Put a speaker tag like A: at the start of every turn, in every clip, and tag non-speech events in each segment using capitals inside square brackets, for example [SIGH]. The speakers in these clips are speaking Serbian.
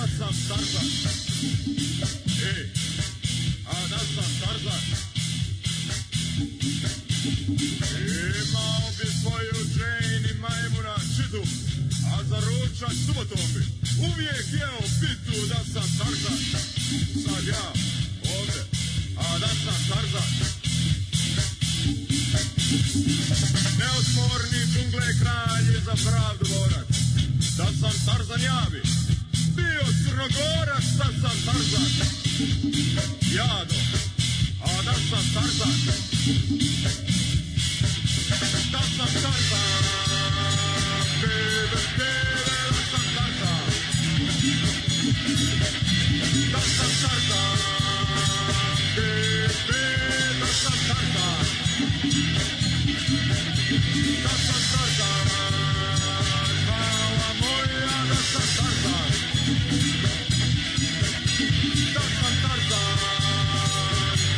A: Tarzan. Ej, a Nastan Tarzan. Imao bi svoju džejn i majmuna čidu, a za ručak subotom bi uvijek jeo pitu da sam Tarzan. Sad ja ovde, a da sam Tarzan. Neosporni džungle kralj i za pravdu borac. Da sam Tarzan javi, bio crnogorac, da sam Tarzan. Jado, a da sam Tarzan. Da sam Tarzan. Bebe, bebe, da sam Tarzan. Da sam Tarzan. Bebe, da sam Tarzan. Da sam Tarzan, mala moja, da sam Tarzan. Da sam Tarzan,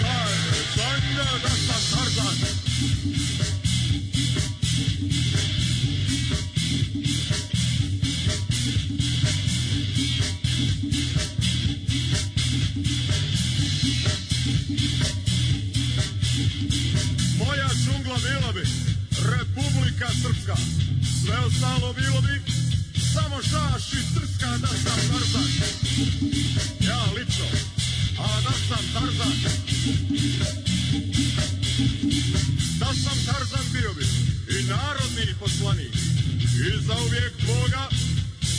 A: hajde, Sonja, da sam Tarzan. Moja džungla bila bi Republika Srpska. Sve ostalo bilo bi samo šaš i trska da sam Tarzan. Ja lično, a da sam Tarzan. Da sam Tarzan bio bi i narodni poslanik. I za uvijek Boga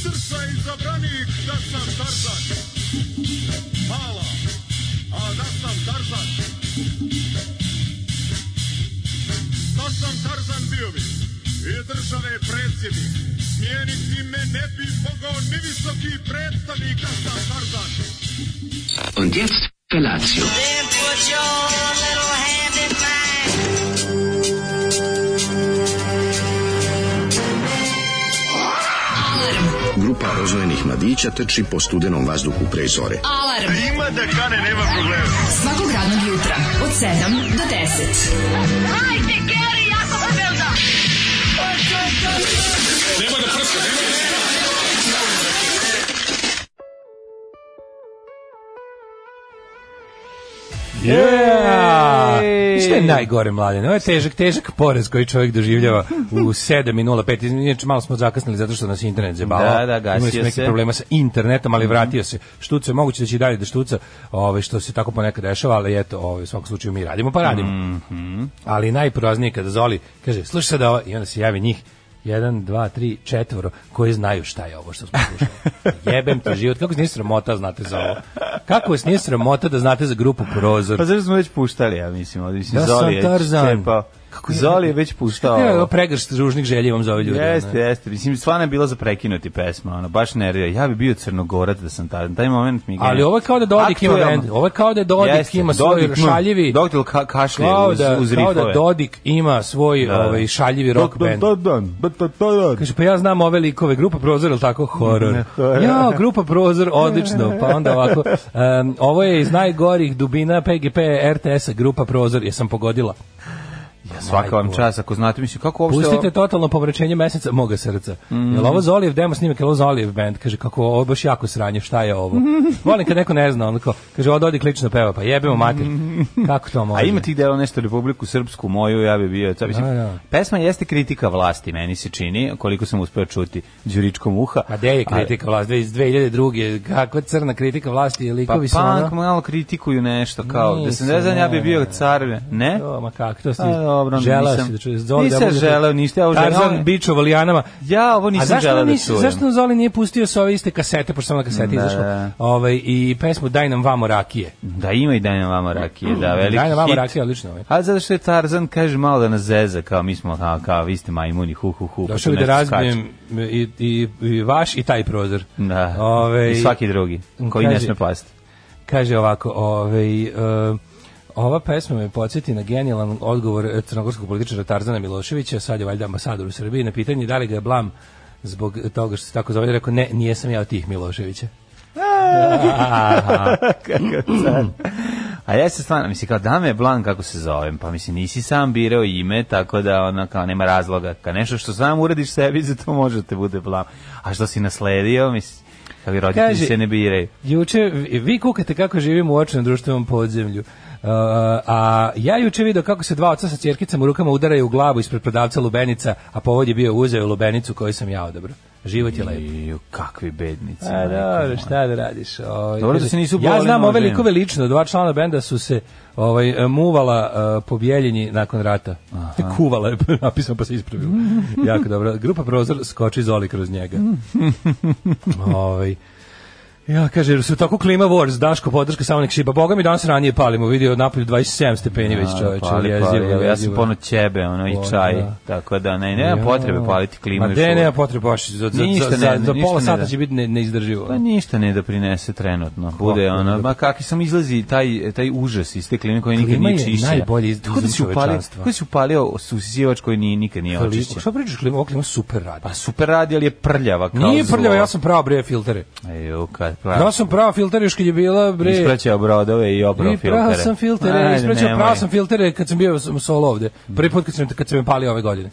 A: srca i zabranik da sam Tarzan. Mala, a da sam Tarzan. Da sam Tarzan bio bi i države predsjednik. Smijeniti me ne bi mogao ni visoki predstavnik da sam Tarzan.
B: Und jetzt Felatio.
C: Then put your little hand in mine.
D: Grupa rozvojenih mladića trči po studenom vazduhu pre zore.
E: Alarm
A: Ima da kane, nema problema.
E: svakog radnog jutra od 7 do 10.
F: Hajde, Geri, jako se velda!
G: Yeah! I Šta je najgore, mladine? Ovo je težak, težak porez koji čovjek doživljava u 7.05. Inače, malo smo zakasnili zato što nas je internet zabavao.
H: Da, da, gasio
G: Imali smo neke
H: se.
G: problema sa internetom, ali vratio se. Štuca je moguće da će i dalje da štuca, ove, što se tako ponekad dešava, ali eto, ove, u svakom slučaju mi radimo, pa radimo.
H: Mhm.
G: Ali najproznije je kada Zoli kaže, slušaj sad ovo, i onda se javi njih jedan, dva, tri, četvoro koji znaju šta je ovo što smo
H: [LAUGHS]
G: slušali. Jebem ti život. Kako vas nije sramota znate za ovo? Kako vas nije sramota da znate za grupu Prozor?
H: Pa zar smo već puštali, ja mislim, ovdje mislim,
G: Da sam
H: Zoli je
G: Tarzan.
H: čepao.
G: Kako je-
H: Zoli je već puštao.
G: Ne,
H: ovo.
G: ovo pregršt ružnih želja vam za ove ljude.
H: Jeste,
G: ono.
H: jeste. Mislim, stvarno je bilo za prekinuti pesma, ono, baš nervio. Ja bi bio crnogorac da sam tada, taj moment mi je...
G: Ali ovo je kao da Dodik ima
H: Aktuelno.
G: bend. Ovo je kao da Dodik
H: Jeste,
G: ima svoj
H: Dodik, mm,
G: šaljivi...
H: Dodik ka, kašlje
G: kao
H: uz,
G: da,
H: uz
G: kao
H: rifove.
G: da Dodik ima svoj ovaj, šaljivi rock band. Kaže, pa ja znam ove likove, grupa Prozor, ili tako, horor. Ja, grupa Prozor, odlično. Pa onda ovako, em, ovo je iz najgorih dubina PGP RTS-a, grupa Prozor, jesam pogodila.
H: Ja, svaka vam čas, ako znate, mislim, kako uopšte...
G: Pustite totalno pomračenje meseca moga srca.
H: Mhm.
G: Jel ovo Zolijev demo snimak, jel ovo Zolijev band? Kaže, kako ovo je baš jako sranje, šta je
H: [LAUGHS]
G: ovo? Volim kad neko ne zna, onako, kaže, ovo Dodik lično peva, pa jebemo mater. Kako to
H: Mhm. A
G: može?
H: ima tih dela nešto Republiku Srpsku moju, ja bi bio. Ja, mislim,
G: Da, da.
H: Pesma jeste kritika vlasti, meni se čini, koliko sam uspeo čuti Đuričkom uha.
G: A gde je
H: Ali-
G: kritika vlasti? Iz 2002. Kakva crna kritika vlasti?
H: Pa
G: Likovi su
H: punk
G: ono-
H: malo kritikuju nešto, kao da se
G: Nisam,
H: ne znam, ja bi
G: ne.
H: bio car, ne?
G: To, ma kako, to si
H: A, dobro,
G: želeo
H: nisam-
G: si da čuješ. Zoli
H: nisam
G: da bude-
H: želeo ništa, ja ovo želim-
G: Tarzan
H: ovo-
G: bič o valijanama.
H: Ja ovo
G: A
H: nisam
G: zašto
H: želeo da
G: nisi-
H: čujem.
G: Zašto Zoli nije pustio sa ove iste kasete, pošto sam na kaseti
H: Da,
G: izašla,
H: da.
G: ovaj, i pesmu Daj nam vamo rakije.
H: Da ima i Dajna Vama Rakije, da, veliki
G: Daj nam vamo
H: hit.
G: rakije, odlično. Ovaj.
H: A zato što je Tarzan, kaže malo da nas zeza, kao mi smo, kao, kao vi ste majmuni, hu, hu, hu. pa
G: Došao
H: tu
G: bi da
H: nešto skače.
G: razbijem i, i, i vaš i taj prozor.
H: Da,
G: Ovaj,
H: i svaki drugi, koji
G: Kaže-
H: ne sme pasti.
G: Kaže ovako, ovaj, e, ova pesma me podsjeti na genijalan odgovor e, crnogorskog političara Tarzana Miloševića, sad je valjda ambasador u Srbiji, na pitanje da li ga je blam zbog toga što se tako zove, rekao, ne, nijesam ja od tih Miloševića.
H: Kako car. A ja se stvarno, mislim, kao dame je blan kako se zovem, pa mislim, nisi sam birao ime, tako da ono, kao nema razloga. Kao nešto što sam uradiš sebi, za to može da te bude blan. A što si nasledio, mislim, Kako roditelji
G: Kaže-
H: se ne biraju.
G: Juče, vi- vi kukate kako živimo u očnom društvenom podzemlju. Uh, a ja juče video kako se dva oca sa ćerkicama u rukama udaraju u glavu ispred prodavca lubenica, a povod je bio uzeo lubenicu koju sam ja odabrao. Život je lep.
H: Iju, kakvi bednici.
G: A
H: majko
G: dobro,
H: moja.
G: šta da radiš? Ovaj,
H: Dobro da
G: kaže,
H: se nisu
G: Ja
H: boleli
G: znam ove
H: nožem.
G: likove lično, dva člana benda su se ovaj muvala uh, po Bjeljini nakon rata. [LAUGHS] Kuvala je napisano pa se
H: [LAUGHS]
G: ispravilo. jako dobro. Grupa Prozor skoči zoli kroz njega. ovaj Ja, kaže, jer su tako klima wars, Daško podrška samo nek šiba. Boga mi danas ranije palimo, vidio napolju 27 stepeni već
H: A,
G: čoveče.
H: Ono, pali,
G: jezivo,
H: pali, evo, ja sam
G: jezivo.
H: pono ćebe, ono, i
G: Poli,
H: čaj.
G: da.
H: Tako da, ne, nema
G: Ja.
H: potrebe paliti klimu.
G: Ma
H: još
G: de,
H: uvek.
G: nema potrebe baš, za, za,
H: Ništa
G: za,
H: ne-
G: za, za
H: ništa
G: pola
H: ne
G: sata
H: da.
G: će biti ne, neizdrživo.
H: Pa ništa ne doprinese trenutno. Bude
G: Kako
H: ono,
G: ne?
H: ma kakvi sam izlazi taj taj užas iz te klime koji nikad
G: Klima
H: nije
G: je
H: čišćena.
G: najbolji iz-
H: Tako da
G: izum
H: si upalio,
G: čovečanstva.
H: kako si upalio susisivač koji nije nikad nije
G: Klimu,
H: očišćen.
G: šta pričaš klima? Ovo klima super radi.
H: Pa super radi, ali je prljava kao
G: Nije
H: zlo.
G: prljava, ja sam pravo bre filtere.
H: Ejo, kad
G: Ja sam pravo filtere još kad je bila bre.
H: Ispraćao brodove i oprao
G: I
H: filtere.
G: pravo sam filtere,
H: Ajde,
G: ispraćao,
H: nemoj.
G: pravo sam filtere kad sam bio sam solo ovde. Prvi put kad sam, kad sam me palio ove godine.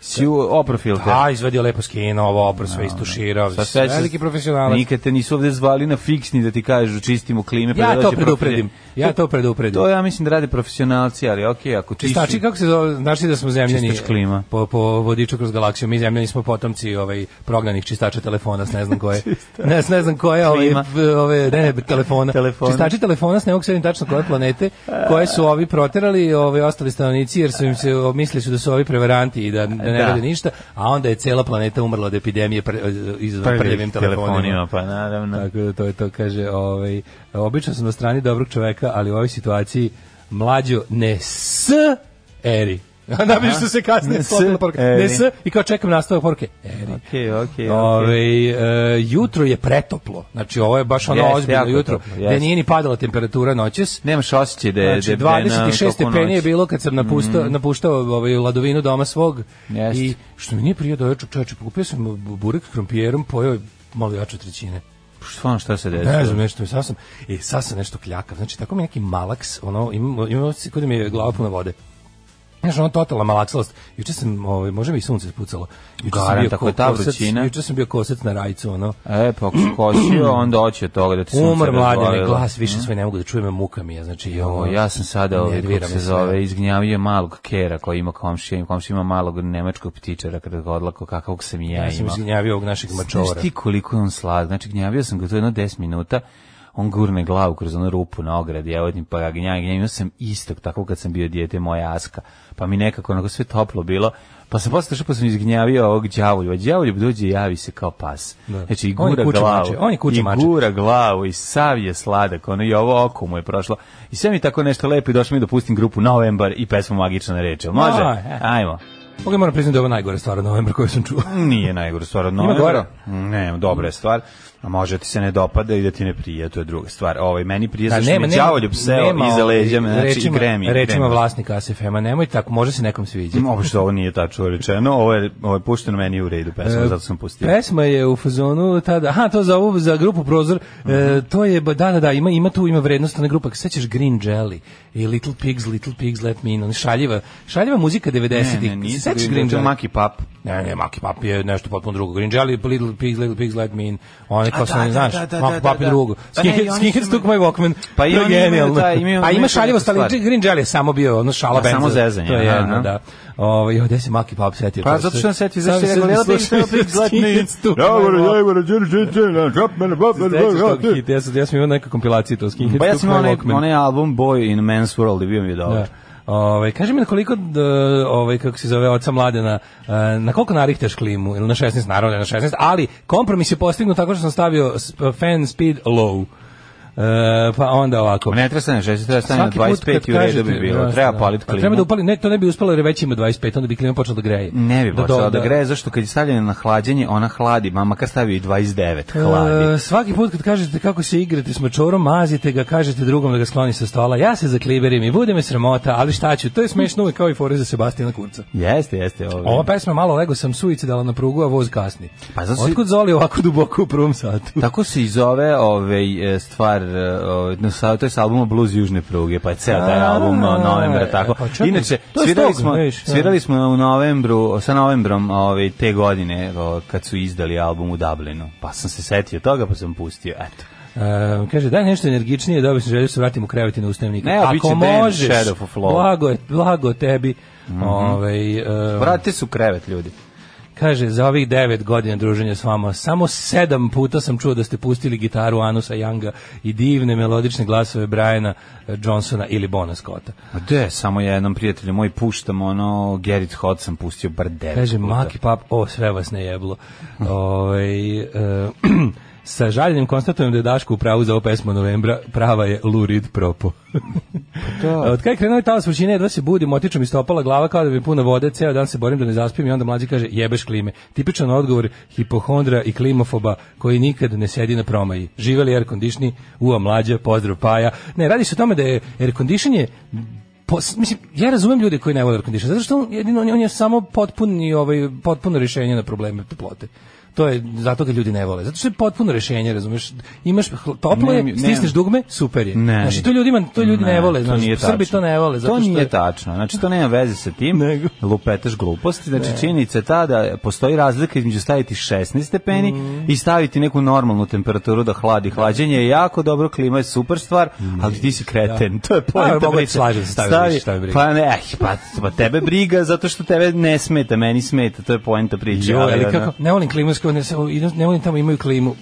H: Si u- oprao filter.
G: A, izvadio lepo skino, ovo opro, sve istuširao.
H: Sad sve će-
G: Veliki profesionalac.
H: Nikad te nisu ovde zvali na fiksni da ti kažu čistimo klime. pa da
G: Ja to
H: dođe profil-
G: predupredim. Ja to predupredim.
H: To ja mislim da rade profesionalci, ali okej, ako čisti...
G: Čistači, kako se zove, znači da smo zemljani
H: Čistač klima.
G: Po, po vodiču kroz galaksiju, mi zemljani smo potomci ovaj, prognanih čistača telefona, s ne znam
H: [LAUGHS]
G: koje, ne, s ne znam koje, ove,
H: Klima.
G: ove, ne, ne, telefona.
H: Telefona.
G: Čistači telefona, s ne mogu sedim tačno koje planete, koje su ovi proterali, ovi ostali stanovnici, jer su im se, mislili su da su ovi prevaranti i da, da ne
H: E, Da.
G: rade ništa, a onda je cela planeta umrla od epidemije pre, izvan prljavim telefonima.
H: Pa naravno.
G: Tako da to je to kaže, ovaj obično sam na strani dobrog čoveka, ali u ovoj situaciji mlađo ne s eri. [LAUGHS] Nabiš što se kasnije
H: Ne s
G: slopila poruka. Ne
H: eri.
G: s i kao čekam nastavak poruke. Eri.
H: Okej, okej, okej.
G: Ove, e, jutro je pretoplo. Znači ovo je baš ono
H: Jeste,
G: ozbiljno
H: jako
G: jutro.
H: toplo,
G: Da
H: jeste.
G: nije ni padala temperatura noćes.
H: Nemaš osjećaj da je...
G: Znači,
H: da je- da je na
G: 26
H: toku
G: stepeni je
H: noći. Mhm.
G: bilo kad sam napuštao, napuštao ovaj, ladovinu doma svog
H: Jeste.
G: i što mi nije prije do večer čoveče, pokupio sam bu- burek s krompijerom, pojeo malo jače trećine.
H: Stvarno ono, šta se desilo?
G: Ne znam nešto, i sad sam, i sad sam nešto kljakav. Znači, tako mi je neki malaks, ono, imam, imam osjećaj kod mi je glava puna vode. Znaš, ono totalna malaksalost. Juče sam, ovaj, može mi i sunce spucalo. Juče sam
H: Garant,
G: bio
H: ako je ta
G: kosac,
H: vrućina.
G: juče sam bio kosac na rajcu, ono.
H: E, pa ako si
G: [CLEARS THROAT]
H: kosio, onda oće od toga da ti sunce
G: Umor mladene,
H: razvalilo.
G: glas više sve ne mogu da čujem, muka mi je, znači,
H: O,
G: ono,
H: Mhm. ja sam sada ovaj, kako
G: nervira
H: se
G: me sve.
H: zove, izgnjavio malog kera koji ima komšija, i komšija ima malog nemačkog ptičara kada ga odlako kakavog sam i ja,
G: Ja sam
H: imao.
G: izginjavio ovog našeg mačovara.
H: Znaš ti koliko je on slad, znači gnjavio sam ga to jedno 10 minuta, on gurne glavu kroz onu rupu na ogradi, evo ti pa ga gnjavi, gnjavi, imao sam istog, tako kad sam bio dijete moja aska, pa mi nekako onako sve toplo bilo, pa sam posle što pa sam izgnjavio ovog đavolja, a đavolj dođe i javi se kao pas.
G: Da.
H: Znači i
G: On je
H: gura
G: kuća
H: glavu,
G: mače, on je kuća
H: i
G: mače.
H: gura glavu i sav je sladak, ono i ovo oko mu je prošlo. I sve mi tako nešto lepo i došlo mi da pustim grupu Novembar i pesmu Magična reč, jel može?
G: Aj, e. aj.
H: Ajmo.
G: Mogu moram priznati da je ovo najgore stvar od novembra koju sam
H: [LAUGHS]
G: čuo.
H: Nije najgora stvar od novembra.
G: gore?
H: Ne, dobra je stvar. A može da ti se ne dopada i da ti ne prije, to je druga stvar. Ovaj, meni prije
G: Da,
H: zašto mi je đavoljub seo iza leđa, me, znači i
G: ovaj, rečima,
H: gremi.
G: Rečima vlasnika ASFM-a, nemoj tako, može se nekom sviđa.
H: Obično ovo nije tačno rečeno, ovo je, ovo je pušteno meni u redu pesma,
G: E,
H: zato sam pustio.
G: Pesma je u fazonu tada, aha, to za ovu, za grupu Prozor, e,
H: Mhm.
G: to je, ba- da, da, da, ima, ima tu, ima vrednost na grupa, sećaš Green Jelly i Little Pigs, Little Pigs Let Me In, on šaljiva, šaljiva muzika 90-ih,
H: ne, ne, nije
G: sećaš
H: Green
G: Green
H: Jelly, to je
G: Jelly?
H: Maki Pap.
G: Ne, ne, Maki Pap je nešto potpuno drugo. Green Jelly, Little Pigs, Little Pigs Let Me In, on je kao
H: A,
G: sam,
H: da,
G: znaš,
H: da, da,
G: Maki
H: da,
G: Pap je
H: da.
G: drugo.
H: Pa ne, i
G: Skinhead-
H: oni su
G: Skinheads
H: imali-
G: took my Walkman,
H: Pa i
G: to je
H: oni imaju
G: genijalno.
H: taj- imaju
G: Pa
H: oni
G: ima
H: neke
G: šaljivost, ali
H: stvari.
G: Green Jelly je samo bio, ono, šala
H: Da,
G: band
H: samo
G: za-
H: zezanje,
G: To je
H: aha.
G: jedno, da. Ovo, jo, gde se Maki Pap setio?
H: Pa
G: To
H: zato
G: se-
H: što on setio,
G: sam
H: zašto je
G: se
H: rekao, Little Pigs,
G: slušao
H: Little Pigs, Let Me
G: Skinheads
H: In.
G: took my Walkman. Sećaš tog hita? Ja sam, ja sam imao neku kompilaciju to Skinheads.
H: Pa ja
G: Took
H: sam
G: My
H: imao onaj,
G: Walkman.
H: onaj album Boy in Man's World i bio mi je
G: Da.
H: dobar.
G: Ovaj kaži mi na koliko d- ovaj kako se zove oca mladena e, na koliko narihtaš klimu ili na 16 naravno da je na 16 ali kompromis je postignut tako što sam stavio sp- fan speed low. E, pa onda ovako.
H: Ne treba stane 60, treba stane na
G: Svaki put kad
H: 25 i u redu bi
G: kažete-
H: bilo.
G: da,
H: Treba
G: da.
H: paliti
G: A Treba
H: klimu.
G: da upali, ne, to ne bi uspelo jer je već ima 25, onda bi klima počela da greje.
H: Ne bi
G: Da
H: počela da,
G: do-
H: da, greje, zašto kad je stavljena na hlađenje, ona hladi, ma makar stavi i 29, hladi.
G: E, svaki put kad kažete kako se igrate s mačorom, mazite ga, kažete drugom da ga skloni sa stola. Ja se zakliberim i bude me sramota, ali šta ću, to je smešno uvek kao i fore za Sebastijana Kurca.
H: Jeste, jeste. ovaj. Ovo.
G: Ova pesma malo lego sam suicidala na prugu, a voz kasni.
H: Pa zato
G: [LAUGHS]
H: si-
G: Otkud Zoli ovako duboko u prvom satu?
H: Tako se i zove ovaj, e, stvar uh, no, sa- to je sa albuma Blues Južne pruge, pa je ceo taj
G: A,
H: album uh, novembra, tako.
G: pa čekaj,
H: Inače,
G: to je
H: svirali
G: s tog,
H: smo,
G: vidiš, da.
H: svirali smo u novembru, sa novembrom ovaj, te godine, o, kad su izdali album u Dublinu, pa sam se setio toga, pa sam pustio, eto.
G: Ehm, kaže, daj nešto energičnije, da bi se želio da se vratim u krevet i na ustavnika.
H: Ne, a bit će
G: Ako
H: Dan,
G: možeš,
H: Shadow of Law.
G: blago, je- blago tebi. Ovaj, ehm,
H: Vratite su krevet, ljudi.
G: Kaže, za ovih devet godina druženja s vama, samo sedam puta sam čuo da ste pustili gitaru Anusa Younga i divne melodične glasove Briana eh, Johnsona ili Bona Scotta.
H: A de, samo jednom prijatelju moj puštam ono, Gerrit Hot sam pustio bar devet
G: Kaže,
H: puta.
G: maki pap, o, sve vas ne
H: [LAUGHS]
G: jeblo. Ovaj, eh, [CLEARS THROAT] sa žaljenjem konstatujem da je Daško u pravu za ovu pesmu novembra, prava je Lurid Propo. [LAUGHS] E, Od kada je krenuo ta osvrćina, jedva se budim, otičem iz topala glava kao da bi puna vode, ceo dan se borim da ne zaspim i onda mlađi kaže, jebeš klime. Tipičan odgovor hipohondra i klimofoba koji nikad ne sedi na promaji. Živeli air kondicioni, uva mlađa, pozdrav Paja. Ne, radi se o tome da je air condition je po- mislim, ja razumem ljude koji ne vole air condition, zato što on, jedino, on, je- on je samo potpuni, ovaj, potpuno rješenje na probleme toplote. To je zato ga ljudi ne vole. Zato što je potpuno rješenje, razumeš? Imaš hla- toplo je,
H: Ne, ne.
G: stisneš dugme, super je.
H: Ne.
G: Znači to ljudima, to ljudi ne, vole,
H: to
G: znaš,
H: nije
G: Srbi
H: tačno.
G: to ne vole, zato
H: to
G: što
H: nije
G: je-
H: tačno. Znači to nema veze sa
G: [LAUGHS]
H: tim.
G: Nego.
H: Lupetaš gluposti. Znači činjenica je ta da postoji razlika između staviti 16 stepeni
G: Mm.
H: i staviti neku normalnu temperaturu da hladi. Hlađenje je jako dobro, klima je super stvar, ali ti si kreten. To je
G: A,
H: poenta
G: mogu Mm. da
H: priče.
G: slažem se, stavi
H: Stavi-
G: više, šta me briga.
H: Pa ne, eh, pa, pa tebe briga zato što tebe ne smeta, meni smeta. To je poenta priče.
G: Jo,
H: ali
G: ali
H: ono-
G: kako, ne volim klimatsko, ne, se- ne volim tamo imaju klimu.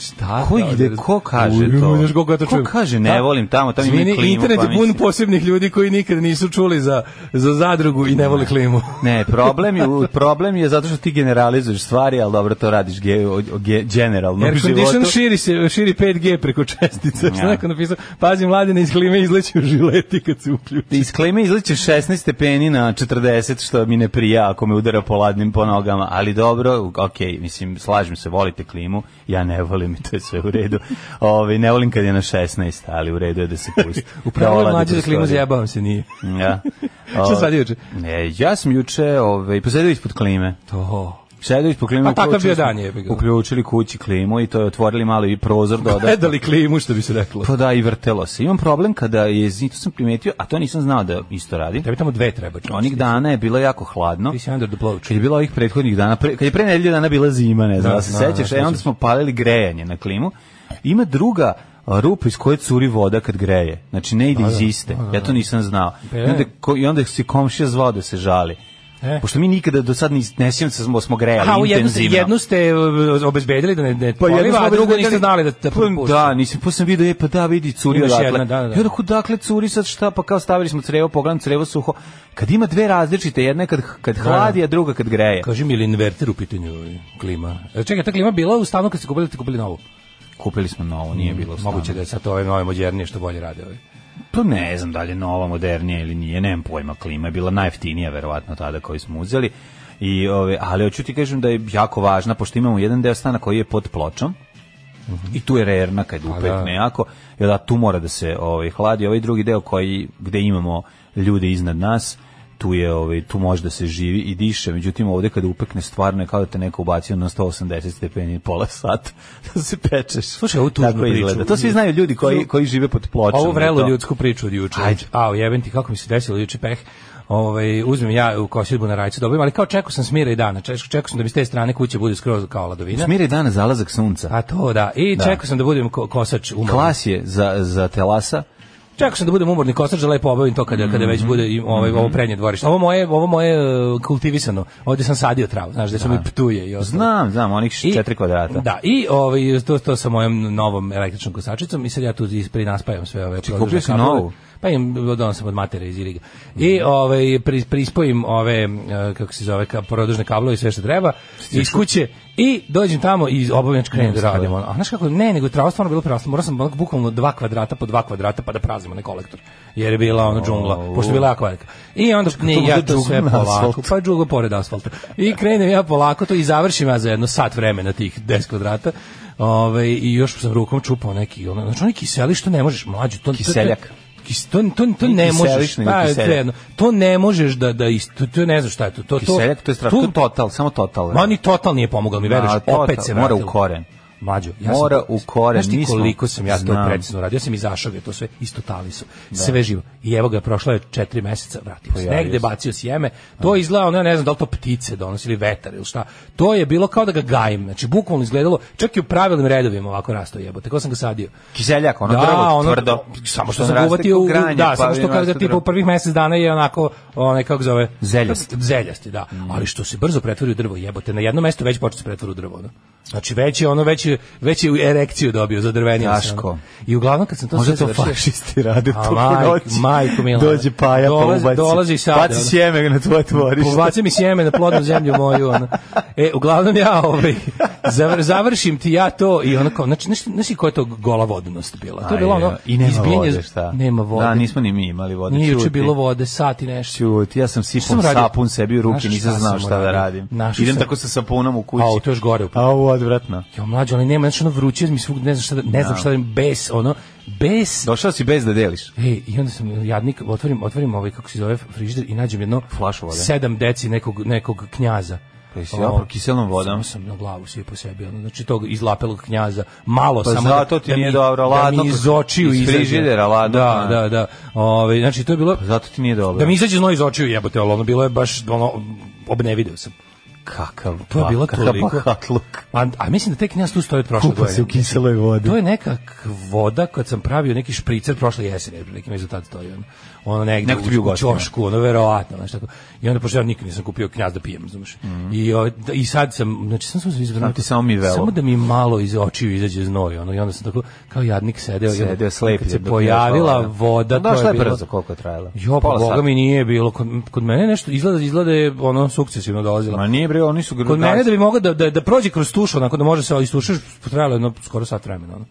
G: Šta?
H: Ko
G: da,
H: ide,
G: da-
H: ko kaže
G: Uj,
H: to?
G: znaš koga ja to
H: Ko
G: čujem?
H: kaže, ne
G: Da.
H: volim tamo, tamo imaju
G: Izvini,
H: klimu,
G: internet
H: pa
G: je pun
H: mislim.
G: posebnih ljudi koji nikad nisu čuli za, za zadrugu i ne vole klimu.
H: Ne, problem je,
G: [LAUGHS]
H: problem je zato što ti generalizuješ stvari, ali dobro, to radiš ge, o- o- ge- generalno u
G: Air
H: životu.
G: condition širi, se, širi 5G preko čestice. Što
H: Ja.
G: neko napisao, pazi mladine iz klime izleće u žileti kad se uključi.
H: Iz klime izliče 16 stepeni na 40, što mi ne prija ako me udara po ladnim po nogama, ali dobro, ok, mislim, slažem se, volite klimu, ja ne volim [LAUGHS] i to je sve u redu. Ove, ne volim kad je na 16, ali u redu je da se pusti. Da
G: [LAUGHS] Upravo je
H: oladi
G: mlađe za klimu,
H: prostorija.
G: zajebavam se, nije.
H: Ja.
G: [LAUGHS] Šta si radio juče?
H: Ne, ja sam juče ovaj, posedio ispod klime.
G: To.
H: Sedović po klimu
G: Pa takav
H: uključili
G: bio
H: smo-
G: dan, jebi ga.
H: Uključili kući klimu i to je otvorili malo i
G: [LAUGHS]
H: prozor dodatno.
G: Gledali klimu, što bi se reklo.
H: Pa da, i vrtelo se. Imam problem kada je, to sam primetio, a to nisam znao da isto radi.
G: Tebi tamo dve treba. čovječe.
H: Onih dana je bilo jako hladno.
G: Ti si under the ploč.
H: Kad je bilo ovih prethodnih dana, pre, kad je pre nedelju dana bila zima, ne znam,
G: Da,
H: da, se
G: da,
H: sećaš,
G: da,
H: e, onda
G: sećam
H: smo palili grejanje na klimu. Ima druga a, rupa iz koje curi voda kad greje. Znači, ne ide iz iste. Ja to nisam znao.
G: Pa
H: I
G: je.
H: onda, ko- I onda si komšija zvao da se žali.
G: E.
H: Pošto mi nikada do sad nis- ne sjećam se da smo, smo grejali
G: Ha, u jednu, ste,
H: Pa intenzivno.
G: jednu ste uh, obezbedili da ne, ne
H: Pa
G: poliva,
H: jedno
G: a
H: smo
G: drugo
H: obezbedili-
G: niste znali da, da
H: Pa, Da, nisam, posle sam vidio, e, pa da, vidi, curi
G: Imaš
H: odatle.
G: jedna, da, da, da.
H: I onda ko, dakle, curi sad šta, pa kao stavili smo crevo, pogledam crevo suho. Kad ima dve različite, jedna je kad, kad hladi, a druga kad greje.
G: Kaži mi ili inverter u pitanju ovaj, klima. E, Čekaj, ta klima bila u stanu kad ste kupili, ste kupili novu.
H: Kupili smo novo, nije bilo stano.
G: Mm, Moguće da je sad ove nove modernije što bolje rade ove.
H: Pa ne znam da li je nova, modernija ili nije, nemam pojma, klima je bila najjeftinija verovatno tada koju smo uzeli. I, ove, ali hoću ti kažem da je jako važna, pošto imamo jedan deo stana koji je pod pločom, I tu je rerna kad
G: Pa
H: upekne jako, jer da tu mora da se ovaj hladi, ovaj drugi deo koji gde imamo ljude iznad nas, tu je ovaj tu može da se živi i diše. Međutim ovde kada upekne stvarno je kao da te neko ubacio na 180 stepeni pola sata [LAUGHS] da se pečeš.
G: Slušaj, ovu tužnu
H: Tako izgleda.
G: priču.
H: To svi znaju ljudi koji koji žive pod pločom.
G: Ovo
H: i
G: vrelo
H: to.
G: ljudsku priču od juče.
H: Ajde.
G: A, jebem ti, kako mi se desilo juče peh. Ovaj uzmem ja u kosidbu na rajcu dobijem, ali kao čekao sam smira i dana. Čekao, čekao sam da mi s te strane kuće bude skroz kao ladovina.
H: Smiri danas zalazak sunca.
G: A to da. I
H: Da.
G: čekao sam da budem ko, kosač umorni.
H: Klas je za za telasa.
G: Čekao sam da budem umorni kosač da lepo obavim to kada kada već bude i ovaj ovo prednje dvorište. Ovo moje, ovo moje e, kultivisano. Ovdje sam sadio travu, znaš, da su mi ptuje i ostalo.
H: Znam, znam, onih
G: I-
H: 4 kvadrata.
G: Da, i ovaj, to, to sa mojom novom električnom kosačicom i sad ja tu ispred naspajam sve ove
H: Čekaj,
G: produžne
H: Znači, kupio si
G: kablove.
H: novu?
G: Pa im dodan sam od matere iz Iriga. I ovaj, pri, prispojim ove, e, kako se zove, ka, produžne kablove i sve što treba iz kuće i dođem tamo i obavljam krenem da radim. ono. A znaš kako, ne, nego je trava stvarno bilo prerasla. Morao sam onako bukvalno dva kvadrata po dva kvadrata pa da prazimo na kolektor. Jer je bila ono džungla, pošto je bila jako velika. I onda ne,
H: možda
G: ja to sve
H: džungla [LAUGHS] na
G: polako,
H: asfaltu.
G: pa je džuglo pored asfalta. I krenem ja polako to i završim ja za jedno sat vremena tih 10 kvadrata. Ove, I još sam rukom čupao neki, ono, znači oni kiseli što ne možeš, mlađu. To, to- to-
H: Kiseljak.
G: Kis- To, to, to
H: Nije
G: ne
H: kiseliš,
G: možeš,
H: nego
G: pa,
H: kiseljak.
G: svejedno, to ne možeš da, da isto, to, to ne znam šta je to. to, to
H: Kiseljak, to je strašno.
G: tu-
H: To je total, samo total.
G: Ma ni total nije pomogao, mi veruješ,
H: Da, total,
G: opet se
H: mora
G: vratilo.
H: u koren.
G: Mlađo,
H: Mora u koren,
G: Znaš ti
H: mi smo-
G: koliko sam ja to
H: Znam.
G: precizno radio? Ja sam izašao je to sve isto tali su. Sve živo. I evo ga, prošlo je četiri meseca, vratio se.
H: Pojavio
G: Negde
H: se.
G: bacio sjeme. To je izgledao, ono, ja ne znam da li to ptice donosi ili vetar ili šta. To je bilo kao da ga gajim. Znači, bukvalno izgledalo, čak i u pravilnim redovima ovako rasto jebo. Tako sam ga sadio.
H: Kiseljak, ono
G: da,
H: drvo
G: ono,
H: tvrdo.
G: Samo što
H: Ono
G: sam ga
H: raste
G: uvatio,
H: ko
G: u-
H: granje,
G: da,
H: pa
G: samo što
H: vidim
G: kao da
H: raste
G: tipa u
H: drvo.
G: prvih mesec dana je onako, onaj, kako zove?
H: Zeljast. Mm.
G: Zeljasti, da. Ali što se brzo pretvori u drvo, jebote, na jedno mesto već počne se pretvori u drvo. Ono. Znači već je ono već je, već je erekciju dobio za drvenje. ono.
H: Daško.
G: I uglavnom kad sam to
H: Možda
G: sve
H: to
G: završio-
H: [LAUGHS] fašisti rade
G: A,
H: to
G: majko-
H: po noći.
G: majko mila.
H: Dođe paja
G: Dolazi-
H: pa ubaci.
G: dolazi sad, ono.
H: Baci sjeme na tvoje tvorište.
G: Pobaci mi sjeme na plodnu zemlju moju. Ono. E, uglavnom ja ovaj, zavr- završim ti ja to i onako, znači, znaš, znaš ti koja je to gola vodnost bila? To je bilo
H: Aj,
G: ono,
H: I nema
G: izbijanje-
H: vode, šta?
G: Nema vode.
H: Da, nismo ni mi imali vode.
G: Nije juče
H: Čuti.
G: bilo vode, sat i nešto.
H: Ćuti, ja sam sipom
G: Šta sam radio?
H: sapun sebi u ruke,
G: Znaš
H: nisam
G: šta
H: znao
G: sam
H: šta da
G: uradio?
H: radim.
G: Našao
H: Idem
G: sam-
H: tako sa sapunom u kući.
G: A, to je još gore.
H: Au, odvratno.
G: Jo, mlađo, ali nema, znači ono vruće mi svugde, ne znam šta, da, ne znam
H: Da.
G: šta da im, bes, ono, bes.
H: Došao si bez da deliš.
G: Ej, i onda sam jadnik, otvorim, otvorim ovaj, kako se zove, frižider i nađem jedno
H: Flašu vode.
G: sedam deci nekog, nekog knjaza. Ono,
H: Pa jesi opro kiselnom vodom?
G: Samo sam na glavu svi po sebi, ono, znači tog izlapelog knjaza, malo
H: Pa
G: samo
H: zato ti nije
G: mi,
H: dobro,
G: da
H: ladno,
G: mi iz očiju
H: iz
G: izađe.
H: frižidera, ladno,
G: Da,
H: a.
G: da, da. Ove, znači to je bilo,
H: Zato ti nije dobro.
G: da mi izađe znoj iz očiju jebote, ali ono bilo je baš, ono, obnevideo sam.
H: Kakav,
G: To je
H: ba-
G: bilo
H: kakav
G: toliko-
H: bahatluk.
G: A, a mislim da tek knjaz tu stoji od prošle
H: Kupa se u kiseloj vodi.
G: To je neka k- voda kad sam pravio neki špricer prošle jeseni, neki rezultat stoji ono. Ono negde
H: Neko ti bi
G: u, u
H: ugostio.
G: čošku, ono verovatno, znači tako. I onda pošto ja nikad nisam kupio knjaz da pijem, razumeš. I o, da, i sad sam, znači sam sam se izbrao.
H: Sad ti samo mi velo.
G: Samo da mi malo iz očiju izađe znoj, ono i onda sam tako kao jadnik sedeo, i onda
H: Sedeo slep.
G: kad
H: je
G: se
H: dok je
G: pojavila
H: došla
G: voda, to
H: Došla
G: je
H: je
G: bilo.
H: brzo, koliko je trajala?
G: Jo, pa
H: Pola
G: boga
H: sata.
G: mi nije bilo kod, kod mene nešto izgleda izgleda je ono sukcesivno dolazila.
H: Ma nije bre, oni su
G: Kod mene
H: grudari.
G: da bi mogao da, da, da prođe kroz tušu, onako da može se istušaš, potrajalo je jedno skoro sat vremena. Ono.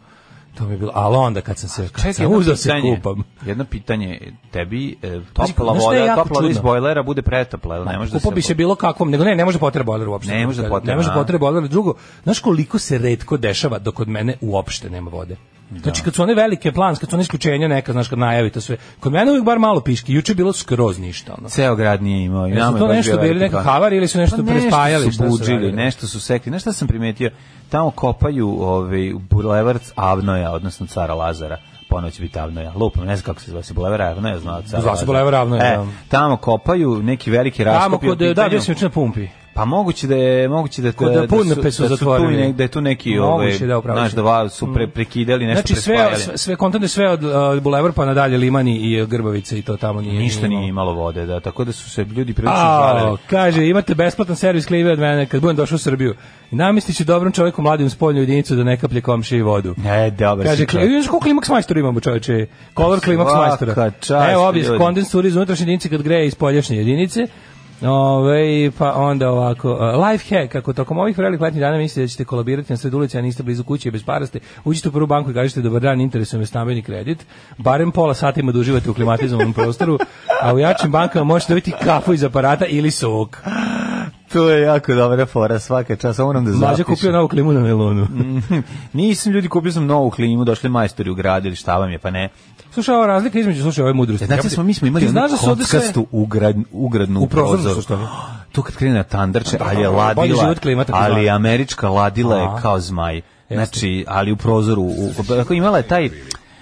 G: To mi je bilo, ali onda kad sam se, kad sam
H: jedno
G: uzeo se
H: pitanje,
G: kupam.
H: Jedno pitanje, tebi e,
G: Pazi,
H: topla
G: znaš šta je
H: voda,
G: jako
H: topla voda iz
G: čudno?
H: bojlera bude pretopla, jel ne može da se...
G: Kupo bi se bilo kakvom, nego ne, ne može potreba bojler uopšte.
H: Ne može da potreba,
G: Ne može
H: a?
G: potreba bojler. Drugo, znaš koliko se redko dešava dok kod mene uopšte nema vode? Znači kad su one velike planske, kad su one isključenja neka, znaš kad najavi to sve. Kod mene uvijek bar malo piški. Juče je bilo skroz ništa. Ono.
H: Ceo grad nije imao. i nama
G: Jesu
H: je
G: to
H: baš
G: nešto
H: bio
G: bili
H: veliki
G: neka
H: plan.
G: havari ili su nešto
H: Pa
G: prespajali?
H: Nešto
G: šta
H: su
G: su
H: budžili,
G: radili?
H: nešto su sekli. Znaš šta sam primetio? Tamo kopaju ovaj, bulevar Avnoja, odnosno cara Lazara. Ponoć će biti Avnoja. Lupam, ne znam kako se zove. Se bulevar Avnoja, znao cara
G: Zvao se
H: Lazara.
G: bulevar Avnoja,
H: E,
G: da.
H: tamo kopaju neki veliki raskop.
G: Tamo
H: je u
G: kod, da,
H: pitanju.
G: bio sam juče na pumpi.
H: Pa moguće da je moguće da
G: Kod Punpe su
H: da
G: zatvorili.
H: tu nek- da je tu neki ovaj
G: Moguće, da, upravo
H: znaš
G: si.
H: da va- su pre, prekidali nešto
G: Znači sve,
H: prespajali.
G: sve, sve kontane sve od uh, Bulevar pa nadalje Limani i Grbavice i to tamo nije.
H: ništa
G: imalo.
H: nije imalo vode, da tako da su se ljudi prilično
G: A,
H: žalili.
G: kaže, imate besplatan servis klive od mene kad budem došao u Srbiju. I namislit ću dobrom čovjeku mladim spoljnu jedinicu da ne kaplje komšiji vodu.
H: Ne, dobro.
G: Kaže,
H: E, Pa si
G: kli,
H: čovek.
G: vidiš koliko klimaks majstora imamo, čoveče. Color klimaks
H: Svaka
G: majstora.
H: čast,
G: Evo obje
H: ljudi.
G: kondensuri iz unutrašnje jedinice kad greje iz poljašnje jedinice. Ove, pa onda ovako, uh, life hack, ako tokom ovih vrelih letnjih dana mislite da ćete kolabirati na sred ulici, a niste blizu kuće i bez para ste, uđite u prvu banku i kažete dobar dan, interesuje me stambeni kredit, barem pola sata ima da uživate u klimatizovanom prostoru, a u jačim bankama možete dobiti kafu iz aparata ili sok.
H: To je jako dobra fora, svaka čast, ovo moram da
G: Mlađa
H: zapišem. Mm.
G: kupio novu klimu na melonu. [LAUGHS]
H: Nisam ljudi, kupio sam novu klimu, došli majstori u grad ili šta vam je, pa ne.
G: Slušaj, ova razlika između, slušaj, ove mudrosti.
H: Znači, smo, mi smo imali
G: Ti znaš
H: jednu
G: da su ovde sve-
H: kockastu ugrad, ugradnu
G: U prozoru su
H: prozor.
G: stavili.
H: [GASPS] To kad krene na tandarče, ali je
G: bolji
H: ladila,
G: život klima, tako
H: ali
G: zvana.
H: američka ladila je
G: Aha.
H: kao zmaj. Znači, ali u prozoru, u, ako imala je taj,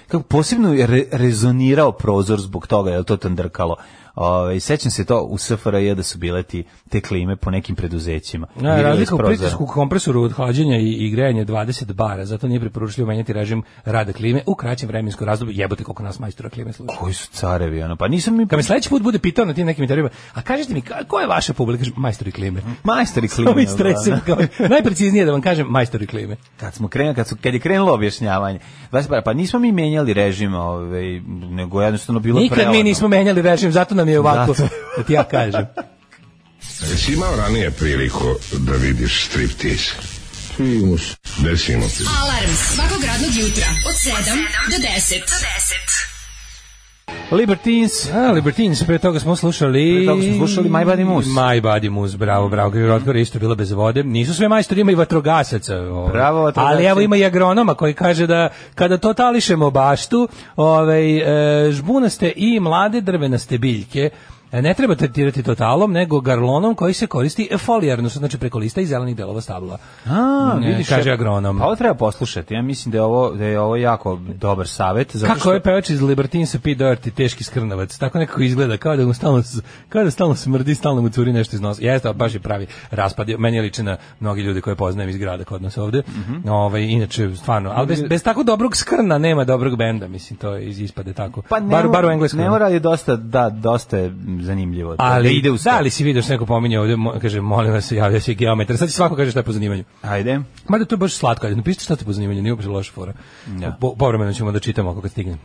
H: kako posebno je re, rezonirao prozor zbog toga, je to tandrkalo. Ove, sećam se to u SFRJ da su bile ti te klime po nekim preduzećima.
G: Ne,
H: Virile iz
G: razlika u
H: prozora.
G: pritisku kompresoru od hlađenja i, i grejanja je 20 bara, zato nije preporučljivo menjati režim rada klime u kraćem vremenskom razdoblju. Jebote koliko nas majstora klime služi.
H: Koji su carevi, ono, pa nisam mi...
G: Kad me sledeći put bude pitao na tim nekim intervjuima, a kažete mi, ka- ko je vaša publika? Kažem, Majstori klime. [LAUGHS]
H: Majstori
G: To mi
H: klime.
G: stresim.
H: ono.
G: Kao, najpreciznije da vam kažem, majstori klime.
H: Kad smo krenuli, kad, su, kad je krenulo objašnjavanje. Vas, pa, pa nismo mi menjali režim, ovaj, nego jednostavno bilo
G: Nikad
H: preladno.
G: mi nismo menjali režim, zato nam je ovako,
H: Zato.
G: da ti ja kažem.
A: Jesi imao ranije priliku da vidiš striptiz? Simus. Gde si imao?
E: Alarm svakog radnog jutra od 7 do 10.
H: Libertines.
G: A, Libertines, pre toga smo slušali...
H: Pre toga smo slušali My Body Moose.
G: My Body Moose, bravo, bravo. Kako je Rodgora isto bila bez vode. Nisu sve majstori, ima i vatrogasaca. ovaj.
H: Bravo, vatrogasci.
G: Ali evo ima i agronoma koji kaže da kada to tališemo baštu, ovaj, e, žbunaste i mlade drvenaste biljke, E, Ne treba tretirati totalom, nego garlonom koji se koristi folijarno, što znači preko lista i zelenih delova stabla.
H: A,
G: Ne,
H: vidiš,
G: kaže
H: ja-
G: agronom.
H: Pa ovo treba poslušati. Ja mislim da je ovo da je ovo jako dobar savet zato
G: Kako je pevač iz Libertinsa P. Doherty, teški skrnavac, tako nekako izgleda, kao da mu stalno, s- kao da stalno smrdi, stalno mu curi nešto iz nosa. Jeste, ali baš je pravi raspad. Meni je liči na mnogi ljudi koje poznajem iz grada kod nas ovde.
H: Mhm.
G: ovaj, inače, stvarno, ali bez, bez tako dobrog skrna nema dobrog benda, mislim, to je iz- ispade tako.
H: pa ne,
G: bar,
H: mora-
G: bar u engleskom.
H: Ne mora ali je dosta da dosta je zanimljivo. Da-
G: ali
H: da ide u
G: da
H: stvari.
G: li si vidio što neko pominje ovde, mo- kaže, molim vas, javlja se geometar. Sad će svako kaže šta je po zanimanju.
H: Ajde.
G: Mada to je baš slatko, ali napišite šta ste po zanimanju, nije uopšte loša fora.
H: Da.
G: Po, povremeno ćemo da čitamo ako kad stignemo.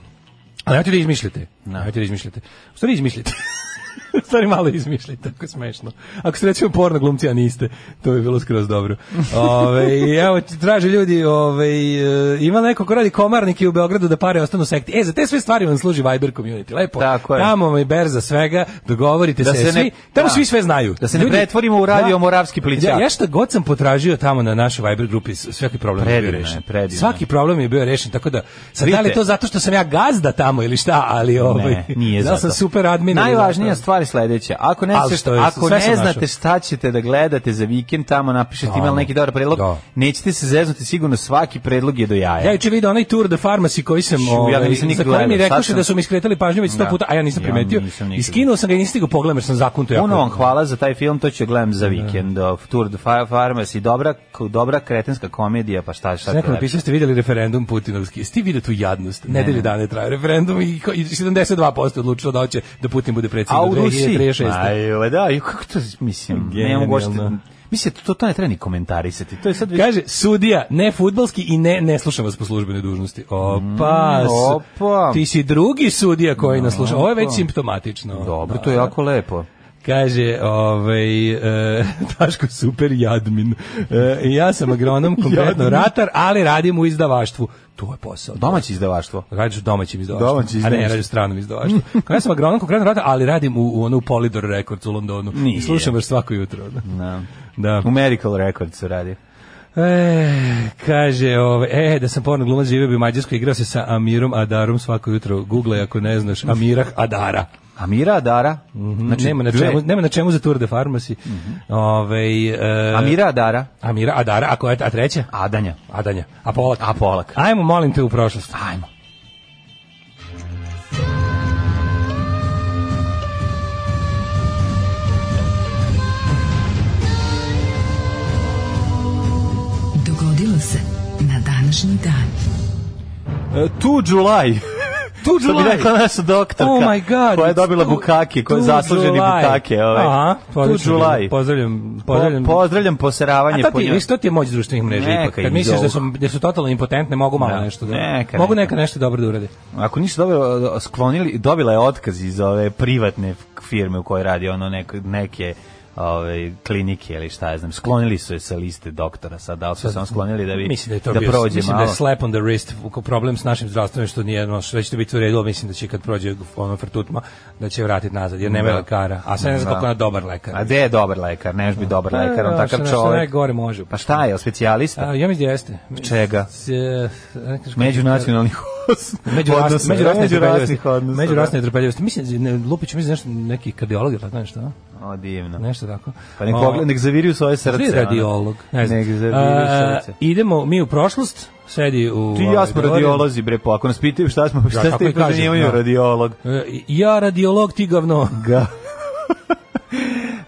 G: Ali nemojte da izmišljate. Da. Nemojte da izmišljate. U stvari izmišljate. [LAUGHS] U stvari malo izmišljate, tako je smešno. Ako ste recimo porno glumci, a niste, to bi bilo skroz dobro. Ove, i evo, traže ljudi, ove, e, ima neko ko radi komarnike u Beogradu da pare ostanu sekti. E, za te sve stvari vam služi Viber community, lepo.
H: Tako je.
G: Tamo vam je berza svega, dogovorite
H: Da
G: se,
H: se ne-
G: svi, tamo
H: da.
G: svi sve znaju.
H: Da se ne pretvorimo u radio Moravski
G: Ja,
H: plićak.
G: ja šta god sam potražio tamo na našoj Viber grupi, s- svaki problem je bio
H: Predivno je,
G: rešen.
H: predivno je.
G: Svaki problem je bio rešen, tako da sad da li
H: Vidite.
G: je to zato što sam ja gazda tamo ili šta, ali ovaj
H: Ne,
G: [LAUGHS]
H: nije
G: da
H: zato.
G: sam super admin. ili
H: Najvažnija
G: zato.
H: stvar je sledeća. Ako ne,
G: Ali
H: znate-
G: što je,
H: ako
G: sve
H: ne
G: sam našao.
H: znate šta ćete da gledate za vikend, tamo napišete ima li neki dobar predlog.
G: Da.
H: Nećete se zeznuti, sigurno svaki predlog je do jaja.
G: Ja juče video onaj tour de pharmacy koji sam ovaj,
H: Šu, ja ga nisam nikad
G: za koji mi
H: gledao,
G: rekao
H: sad sam-
G: da su mi skretali pažnju već sto
H: Da.
G: puta, a ja nisam
H: Ja
G: primetio.
H: nisam nikad. Ono
G: I skinuo sam ga i nisam stigao pogledam jer sam zakunto jako.
H: Puno vam hvala za taj film, to ću gledam za vikend. Da. Tour de Fa- Pharmacy, dobra, dobra kretenska komedija, pa šta, šta
G: Neko
H: treba.
G: napisao ste videli referendum Putinovski. Jeste vidio tu jadnost? Nedelje dana je trajao referendum i ko- i 72% odlučilo da hoće da Putin bude
H: A
G: predsjednik
H: u
G: do
H: Rusiji?
G: 2036.
H: Ajle, da, i kako to, mislim, ne mogu uopšte...
G: Genijalno.
H: Mislim, to, to ne treba ni komentarisati. To je sad već...
G: Kaže, sudija, ne futbalski i ne, ne slušam vas po službenoj dužnosti. Opa, s-
H: Mm, opa.
G: ti si drugi sudija koji nas sluša. Ovo je već simptomatično.
H: Dobro, to je jako lepo.
G: Kaže, ovaj, e, [LAUGHS] Daško super jadmin. E, ja sam
H: [LAUGHS]
G: agronom, kompletno ratar, ali radim u izdavaštvu. To je posao.
H: Domaće izdavaštvo.
G: Radiš u domaćim izdavaštvu.
H: Domaći
G: A ne,
H: izdavaštvo.
G: radiš u stranom izdavaštvu.
H: [LAUGHS]
G: Kao ja sam agronom konkretno radim, ali radim u, u onu Polydor Records u Londonu.
H: Nije.
G: I slušam vas svako jutro. Da.
H: Da.
G: da.
H: U Miracle Records radi.
G: E, kaže, ove, e, da sam porno glumac živeo bi u Mađarskoj, igrao se sa Amirom Adarom svako jutro. Google ako ne znaš, Amirah Adara.
H: Amira Adara.
G: Znači, nema, na
H: dve.
G: čemu, nema na čemu za Tour de Pharmacy. Ovaj, e,
H: Amira Adara.
G: Amira Adara, ako je, a treća?
H: Adanja.
G: Adanja, a Polak.
H: A Polak.
G: Ajmo, molim te u prošlost.
H: Ajmo.
E: Dogodilo se na današnji dan.
H: E, Tu July.
G: Tu
H: Što bi rekla naša doktorka.
G: Oh my God.
H: Koja je dobila
G: Tu-
H: bukake, koja je
G: Tu
H: zasluženi
G: July.
H: bukake. Ovaj.
G: Aha,
H: tu
G: odlično.
H: July.
G: Pozdravljam,
H: Po-
G: pozdravljam.
H: pozdravljam
G: A
H: poseravanje
G: to
H: po
G: ti,
H: njoj.
G: viš, to ti je moć društvenih mreža.
H: Neka
G: ipak. Kad
H: im
G: misliš da su,
H: zovu.
G: da su totalno impotentne, mogu malo
H: Da,
G: nešto. Da,
H: neka,
G: mogu
H: neka.
G: neka nešto dobro da urade.
H: Ako nisu dobro sklonili, dobila je otkaz iz ove privatne firme u kojoj radi ono neke, neke ove, klinike ili šta ja znam. Sklonili su je sa liste doktora sad, da li su samo sklonili da bi
G: mislim da je to bio,
H: prođe
G: mislim
H: malo.
G: da je slap on the wrist u- problem s našim zdravstvenim što nije no, sve će to biti u redu, ali mislim da će kad prođe ono frtutma da će vratiti nazad jer nema
H: Da.
G: lekara. A sve ne znam
H: Da.
G: koliko je ona dobar lekar.
H: A gde je dobar lekar? Ne može biti dobar lekar, on
G: A, Pa, što-
H: takav
G: što
H: čovjek.
G: najgore može.
H: Pa šta je, specijalista?
G: A, ja mislim da jeste.
H: Čega?
G: S- e, ne kažem-
H: Međunacionalnih os-
G: Međurasne,
H: odnosa.
G: međurasne
H: Međurasnih
G: netrpeljivosti.
H: odnosa,
G: Međurasne netrpeljivosti. Mislim, ne, Lupić, mislim nešto, neki kardiolog ili tako nešto, a?
H: da. O, divno.
G: nešto tako.
H: Pa nek,
G: O,
H: pogled, nek zaviriju svoje
G: Ti
H: srce.
G: je radiolog.
H: ono.
G: Ne znam.
H: Nek zaviriju
G: A,
H: srce.
G: idemo mi u prošlost, sedi u...
H: Ti i ja
G: ovaj,
H: smo
G: Beogradu.
H: radiolozi, bre, pa ako nas pitaju šta smo, šta
G: tako
H: ste
G: i
H: ih zanimaju
G: kažem, da.
H: radiolog.
G: E, Ja radiolog, ti gavno. [LAUGHS]
H: Ga.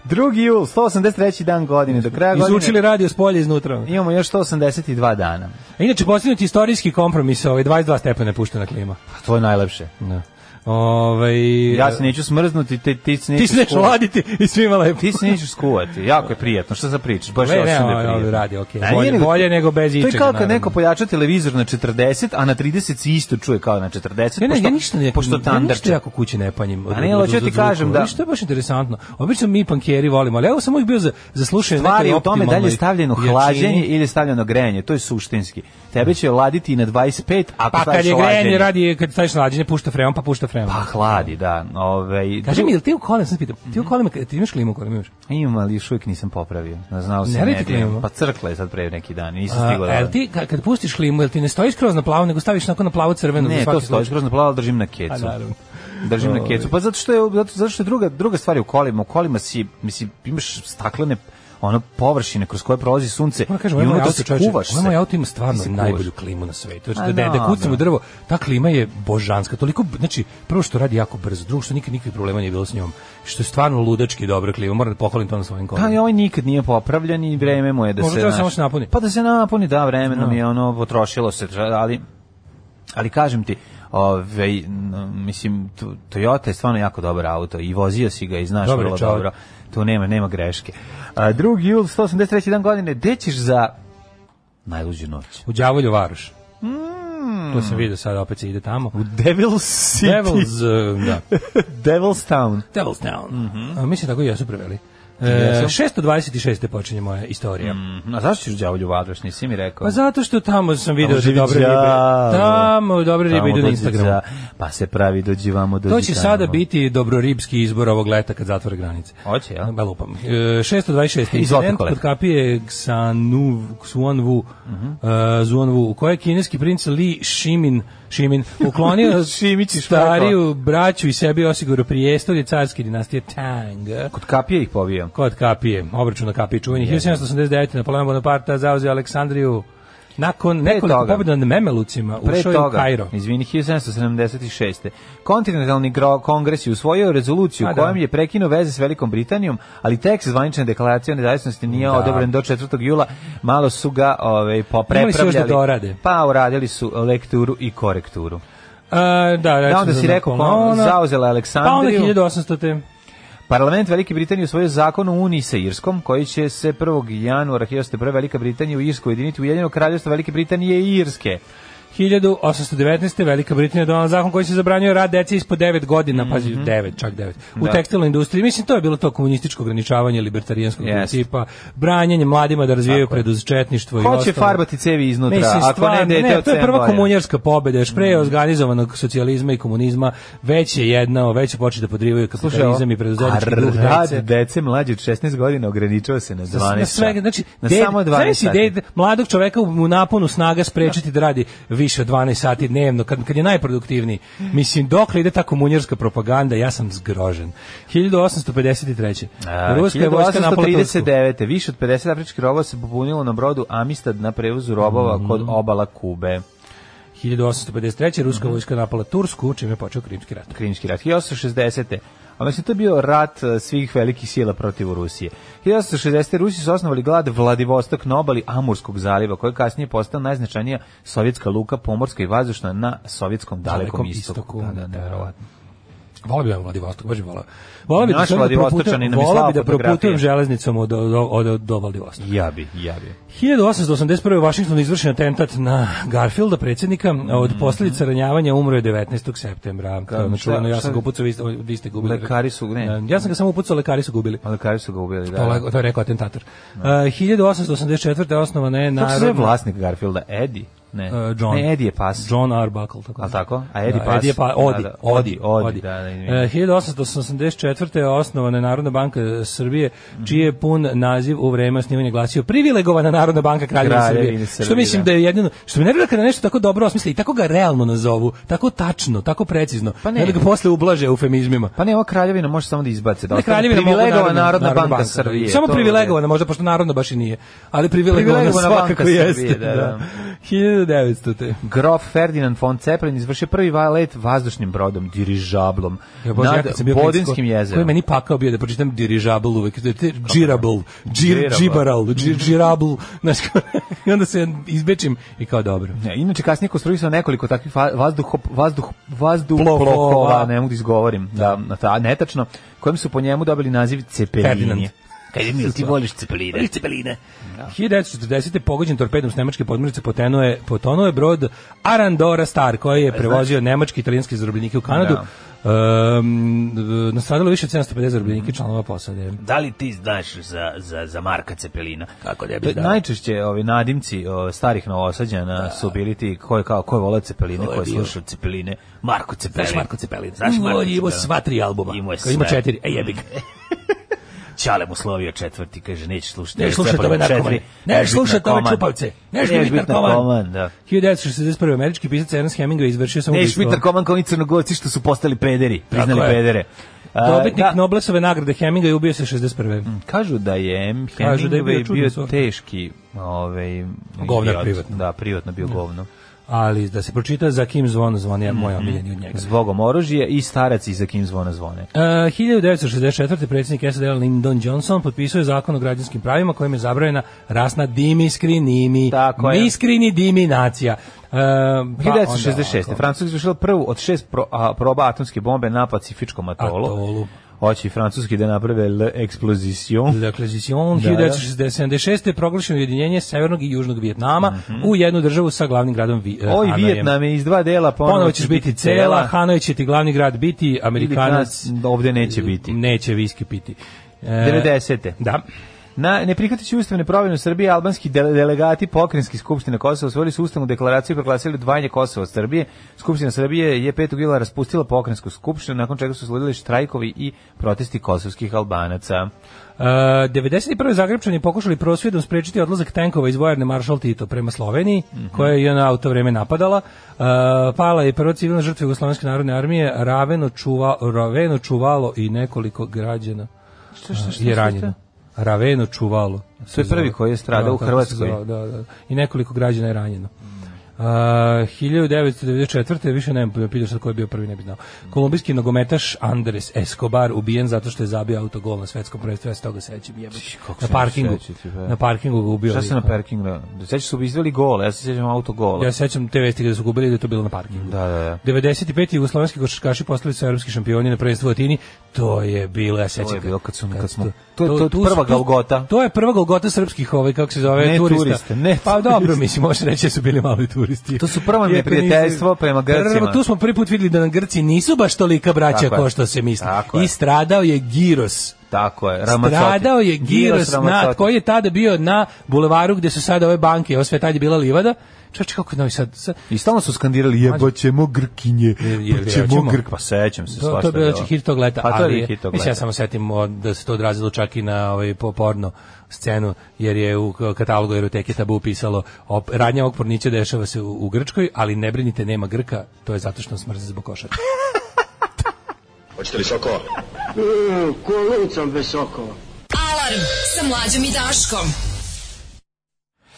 H: 2. jul, 183. dan godine, do kraja godine.
G: Izučili radio s polja iznutra.
H: Imamo još 182 dana.
G: A Inače, postignut je istorijski kompromis, ovaj 22 stepena je puštena klima.
H: Pa to je najlepše.
G: Da. Ovaj,
H: Ja se neću smrznuti, ti, ti se neću
G: Ti se nećeš
H: skuvati.
G: laditi i svima lepo.
H: Ti se nećeš skuvati. Jako je prijetno. Šta za pričaš? Baš
G: Ne,
H: je
G: ne,
H: osebe
G: ovo- ovo
H: prijetno.
G: radi, okej.
H: A nije
G: Bolje- bolje nego bez
H: To je
G: ičega,
H: kao kad
G: naravno.
H: neko pojača televizor na 40, a na 30 se isto čuje kao na 40.
G: Ne, ne,
H: pošto,
G: ja ništa ne,
H: Pošto
G: ja ništa
H: tandarče.
G: jako kući ne panjim.
H: A ne, ali hoću ti kažem da-
G: Što je baš interesantno. Obično mi pankeri volimo, ali evo sam uvijek bio za, za slušanje
H: Stvar je
G: nekoj
H: u tome da li
G: optimalnoj
H: je stavljeno
G: jačini.
H: hlađenje ili je stavljeno grejanje. To je suštinski. Tebe će laditi i na 25, ako
G: Pa
H: staviš
G: kad je grejanje
H: hlađenje.
G: radi, kad staviš hlađenje, pušta freon, pa pušta freon.
H: Pa hladi, da. ovaj, Ove,
G: Kaži mi, jel ti u kolima, sad pitam,
H: Mhm.
G: ti u kolima, ti imaš klimu u kolima, imaš?
H: Imam, ali još uvijek nisam popravio. Znao sam
G: Ne radite
H: ne,
G: klimu?
H: Pa crkla je sad pre neki dan. Nisam
G: A,
H: stigao
G: a jel
H: Pa, da...
G: ti, ka- kad pustiš klimu, jel ti ne stojiš skroz na plavu, nego staviš onako na plavo crveno?
H: Ne, to stojiš grozno plavo, ali držim na
G: A,
H: kecu.
G: Pa naravno.
H: držim na kecu. Pa zato što je zato, zato što je druga druga stvar je u kolima, u kolima si mislim imaš staklene ono površine kroz koje prolazi sunce
G: Moram kažem,
H: i
G: ovaj moj
H: onda
G: auto,
H: se
G: čovječe,
H: kuvaš.
G: ovaj moj auto ima stvarno
H: Ti se kuvaš.
G: najbolju klimu na svetu. Znači,
H: A,
G: da, da,
H: da,
G: da kucam u
H: da.
G: drvo, ta klima je božanska. Toliko, znači, prvo što radi jako brzo, drugo što nikad nikakvih problema nije bilo s njom. Što je stvarno ludački dobra klima. Moram da pohvalim to na svojim kolima.
H: Da, i ovaj nikad nije popravljan i vreme mu je da
G: Možda
H: se...
G: treba
H: znaš,
G: samo se napuni.
H: Pa da se napuni, da, vremenom je ono, potrošilo se, ali, ali kažem ti, Ove, mislim, to- Toyota je stvarno jako dobar auto i vozio si ga i znaš
G: Dobar je
H: vrlo
G: čovjek.
H: dobro. Tu nema, nema greške. A, 2. jul, 183. dan godine, gde ćeš za najluđu noć?
G: U Đavolju Varoš. To sam vidio sad, opet se ide tamo.
H: U Devil's City.
G: Devils, uh, da.
H: [LAUGHS] Devil's Town.
G: Devil's Town. A, mislim tako i jesu preveli. E, 626. počinje moja istorija.
H: Mhm, A zašto ćeš u Đavolju Vadraš, nisi mi rekao?
G: Pa zato što tamo sam video
H: Tamo
G: da
H: živi
G: dobre ribe.
H: đavo.
G: Tamo dobre ribe
H: Tamo
G: idu na
H: dođi
G: Instagramu.
H: za- Pa se pravi, dođi vamo, dođi
G: To će
H: tamo.
G: sada biti dobroribski izbor ovog leta kad zatvore granice.
H: Hoće, jel?
G: Ba lupam. E,
H: [LAUGHS]
G: 626.
H: Izvolite,
G: Incident
H: kolega.
G: kod kapije Xanuv, Xuanwu,
H: Mhm.
G: e, Xuanwu, u kojoj je kineski princ Li Shimin, Shimin uklonio
H: [LAUGHS] Šimić i šmrkao.
G: stariju braću i sebi osigurao prijestolje carske dinastije Tang.
H: Kod kapije ih pobio.
G: Kod kapije, obračun na kapiji čuvenih. 1789. Napoleon Bonaparte zauzeo Aleksandriju Nakon nekoliko
H: toga.
G: pobjeda na Memelucima
H: Pre
G: ušao je u
H: toga,
G: Kairo.
H: izvini, 1776. Kontinentalni gro- kongres je usvojio rezoluciju
G: A, da.
H: kojom je prekinuo veze s Velikom Britanijom, ali tekst zvanične deklaracije o nezavisnosti nije odobren do 4. jula. Malo su ga ovaj,
G: Imali su još da
H: poprepravljali.
G: dorade.
H: Pa uradili su lekturu i korekturu.
G: A, da,
H: Da,
G: recimo
H: onda
G: za
H: si rekao,
G: Napoleona.
H: zauzela
G: Pa onda
H: Aleksandriju.
G: 1800.
H: Parlament Velike Britanije usvojio zakon o uniji sa Irskom, koji će se 1. januara 1901. Velika Britanija u Irsku ujediniti u jedino kraljevstvo Velike Britanije i Irske.
G: 1819. Velika Britanija donala zakon koji se zabranjuje rad dece ispod 9 godina, pazi, 9, čak 9, u
H: Mhm. Da.
G: tekstilnoj industriji. Mislim, to je bilo to komunističko ograničavanje libertarijanskog
H: Jest.
G: principa, branjenje mladima da razvijaju preduzetništvo i
H: Ko
G: ostalo.
H: će farbati cevi iznutra,
G: Mislim,
H: ako ne
G: stvarno,
H: dete od Mhm.
G: to je
H: sedam
G: prva
H: godina?
G: komunjarska pobeda, još pre organizovanog socijalizma i komunizma, već je jedna, već je početi da podrivaju kapitalizam i preduzetnički
H: a
G: duh
H: rad
G: dece.
H: dece mlađe od 16 godina ograničava se na 12
G: na svega, znači,
H: na
G: ded-
H: samo 12
G: znaš si
H: sati.
G: ded- mladog čoveka u u naponu snaga sprečiti da radi više od 12 sati dnevno, kad, kad je najproduktivniji. Mislim, dokle ide ta komunjarska propaganda, ja sam zgrožen. 1853.
H: A,
G: Ruska je vojska napala Tursku.
H: 1839. Više od 50 afričkih robova se popunilo na brodu Amistad na prevozu robova
G: Mhm.
H: kod obala Kube.
G: 1853.
H: Mhm.
G: Ruska vojska napala Tursku, čime je počeo Krimski rat.
H: Krimski rat. 1860. A mislim, to je bio rat e, svih velikih sila protiv Rusije. 1860. Rusi su osnovali glad Vladivostok na obali Amurskog zaliva, koji je kasnije postao najznačajnija sovjetska luka pomorska i vazdušna na sovjetskom dalekom
G: Dalekom
H: istoku.
G: istoku,
H: Da,
G: da.
H: da, neverovatno.
G: Volao bih vam Vladivostok, baš bih volao. Volao bih da,
H: Naš
G: se onda
H: Vladivostočanin
G: proputujem-
H: nam je
G: volao
H: slao
G: bih da
H: fotografije.
G: proputujem železnicom od, od, od, od, do Vladivostoka.
H: Ja bi, ja bi.
G: 1881. u Vašingtonu izvršen atentat na Garfielda, predsjednika. a Od posljedica ranjavanja umro je 19. septembra. To je ono
H: Mhm. šta-
G: čuveno, ja
H: šta-
G: sam ga upucao, vi ste, vi ste gubili.
H: Lekari su, ne.
G: Da, Ja sam ga samo upucao, lekari su gubili.
H: Ali kraju su ga ubili, da.
G: To, le- to je rekao atentator. Uh, 1884. osnovana je
H: Kako se zove
G: narodna...
H: vlasnik Garfielda? Eddie? Ne,
G: Uh, John.
H: ne Eddie je pas.
G: John Arbuckle, tako.
H: Al
G: da.
H: tako? A Eddie
G: Da,
H: Pas?
G: Eddie je pa, Odi,
H: Da, da,
G: Odi,
H: Odi, Odi,
G: Odi.
H: da, da,
G: E,
H: izvinim.
G: 1884. je osnovana je Narodna banka Srbije, čiji je pun naziv u vreme osnivanja glasio Privilegovana Narodna banka Kraljevine
H: Kraljevine
G: Srbije.
H: Srbije,
G: Što mislim
H: da.
G: da je jedino, što mi nervira kada nešto tako dobro osmisli i tako ga realno nazovu, tako tačno, tako precizno,
H: Pa ne.
G: ne da ga posle ublaže eufemizmima.
H: Pa ne, ova kraljevina može samo da izbace. Da
G: Ne,
H: ostane
G: kraljevina mogu
H: privilegovana
G: Narodna-
H: narodna,
G: Narodna
H: banka, Srbije.
G: Samo
H: to je-
G: privilegovana, možda, pošto narodna baš i nije. Ali privilegovana,
H: Privilegovana
G: svakako
H: banka Srbije,
G: jeste.
H: da, da.
G: 1900.
H: Grof Ferdinand von Zeppelin izvršio prvi let vazdušnim brodom, dirižablom,
G: Ja Bože, ja
H: nad
G: kad sam bio klinac,
H: Bodinskim
G: ko- Ko je
H: jezerom.
G: meni pakao bio da pročitam dirižabl uvek, da te džirabl, džir,
H: Džirabl.
G: džibaral, džir, džirabl, znaš, [LAUGHS] kao, i onda se izbečim i kao dobro.
H: Ne, inače kasnije konstruisao nekoliko takvih va- vazduho, vazduh, vazduh,
G: Plofova.
H: plofova, ne mogu da izgovorim, da, na ta, netačno, kojim su po njemu dobili naziv Cepelini.
G: Ferdinand. Da. 1940. pogođen torpedom s nemačke podmornice potenuo je, potonuo je brod Arandora Star, koji
H: E,
G: je prevozio nemački i italijanski zarobljenike u Kanadu. Um, nastradalo je više od 750 zarobljenika i članova posade.
I: Da li ti znaš za, za, za Marka Cepelina? Kako ne
H: To je Najčešće ovi nadimci o, starih novosađana su bili ti ko je kao ko je voleo Cepeline, ko je slušao
I: Cepeline? Marko Cepelin.
G: Znaš Marko Cepelin?
I: Znaš Marko
G: Imao
I: Cepelin?
G: sva tri albuma.
I: Imao je
G: Kao Ima
I: sve.
G: četiri. E jebi ga.
H: [LAUGHS] Ćale mu slovio četvrti, kaže, nećeš slušati.
G: Ne slušate ove narkomane. Ne slušate ove čupavce. Ne
H: Nećeš
G: slušate
H: biti narkoman, da.
G: 1961. američki pisac Ernest Hemingway izvršio sam
H: Nećeš biti narkoman kao oni crnogorci što su postali pederi, priznali
G: Tako je.
H: pedere. A,
G: Dobitnik
H: da, Mm.
G: Noblesove nagrade Hemingway ubio se 61.
H: Kažu da je M.
G: Kažu da je bio
H: Hemingway
G: čudna
H: bio
G: sorta.
H: teški ovaj,
G: Govnar
H: idiot.
G: privatno.
H: Da, privatno bio govno.
G: Ali da se pročita za kim zvon zvoni, ja
H: Mm,
G: moj omiljeni od njega.
H: Zbogom oružje i starac iza kim zvona zvone.
G: Uh, 1964. predsjednik SAD Lyndon Johnson potpisao je zakon o građanskim pravima kojim je zabranjena rasna dimiskrinimi.
H: Tako je.
G: Miskrini diminacija. Uh, pa onda
H: 1966.
G: ovako.
H: Francuska izvršila prvu od šest pro, a, proba atomske bombe na Pacifičkom atolu.
G: Atolu.
H: Hoće i francuski da naprave l'explosion.
G: Dakle, Zision,
H: Da,
G: 1976. je proglašeno ujedinjenje Severnog i Južnog Vijetnama u jednu državu sa glavnim gradom Vi, eh,
H: Mhm. Oj,
G: Hanojem.
H: Vijetnam je iz dva dela, ponovo,
G: Ponovo ćeš biti cela, Hanoj će ti glavni grad biti, Amerikanac
H: Ili kad ovde neće biti.
G: Neće viski piti. E,
H: 90.
G: Da.
H: Na ne prihvatići ustavne promjene u Srbiji, albanski dele- delegati pokrenjskih skupština Kosova osvojili su ustavnu deklaraciju i proglasili odvajanje Kosova od Srbije. Skupština Srbije je 5. jula raspustila pokrenjsku skupštinu, nakon čega su sledili štrajkovi i protesti kosovskih albanaca.
G: E, 91. Zagrebčani pokušali prosvjedom sprečiti odlazak tenkova iz vojarne Maršal Tito prema Sloveniji,
H: Mhm.
G: koja je na auto vreme napadala. E, pala je prva civilna žrtva Jugoslovenske narodne armije, raveno, čuva, raveno čuvalo i nekoliko građana e, je ranjeno. Raveno čuvalo.
H: To je prvi koji je stradao u
G: kako se
H: Hrvatskoj.
G: zove, Da, da. I nekoliko građana je ranjeno. Uh, 1994. više ne bi pitao sad ko je bio prvi, ne bi znao. Kolumbijski nogometaš Andres Escobar ubijen zato što je zabio autogol na svetskom prvenstvu, ja se toga sećam jebate. Na
H: se
G: parkingu.
H: ne sećati, be?
G: Na parkingu ga ubio.
H: Šta se na
G: lik. pa.
H: parkingu? Da sećaš su izveli gol, ja se sjećam autogola.
G: Ja se sećam te vesti gde su gubili da je to bilo na parkingu.
H: Da, da, da.
G: 95. jugoslovenski košarkaši postali su evropski šampioni na prvenstvu u Atini. To je bilo, ja sećam.
H: je bilo kad su- kad smo-
G: to-
H: to je- to je
G: tu-
H: prva
G: tu-
H: Golgota.
G: To je prva Golgota srpskih, ovaj kako se zove,
H: Ne
G: turista.
H: turista, ne
G: pa dobro,
H: turista.
G: mislim, može reći da su bili mali turisti.
H: To su prvo
G: Iako nisu-
H: neprijateljstvo prema Grcima.
G: Prvo, tu smo prvi put videli da nam Grci nisu baš tolika braća
H: Tako je.
G: kao što se misli.
H: Tako je.
G: I stradao je Giros.
H: Tako je, Ramazzotti.
G: Stradao je Giros, na,
H: Ramazzotti.
G: koji je tada bio na bulevaru gde su sada ove banke, ovo sve tad je bila livada. Čači kako je novi sad, sad
H: I stalno su skandirali jebaćemo Grkinje, jebaćemo
G: hoćemo.
H: Grk, pa sećam se
G: To,
H: svašta.
G: to je bio znači hit tog leta,
H: Pa to je
G: ali
H: bio
G: je,
H: hit tog
G: mislim, ja
H: leta.
G: samo setim o, da se to odrazilo čak i na ovaj po- porno scenu, jer je u k- katalogu eroteke tabu pisalo op, radnja ovog pornića dešava se u, u Grčkoj, ali ne brinite, nema Grka, to je zato što nas mrze zbog košara.
J: Hoćete li sokova?
E: Alarm sa mlađom i Daškom.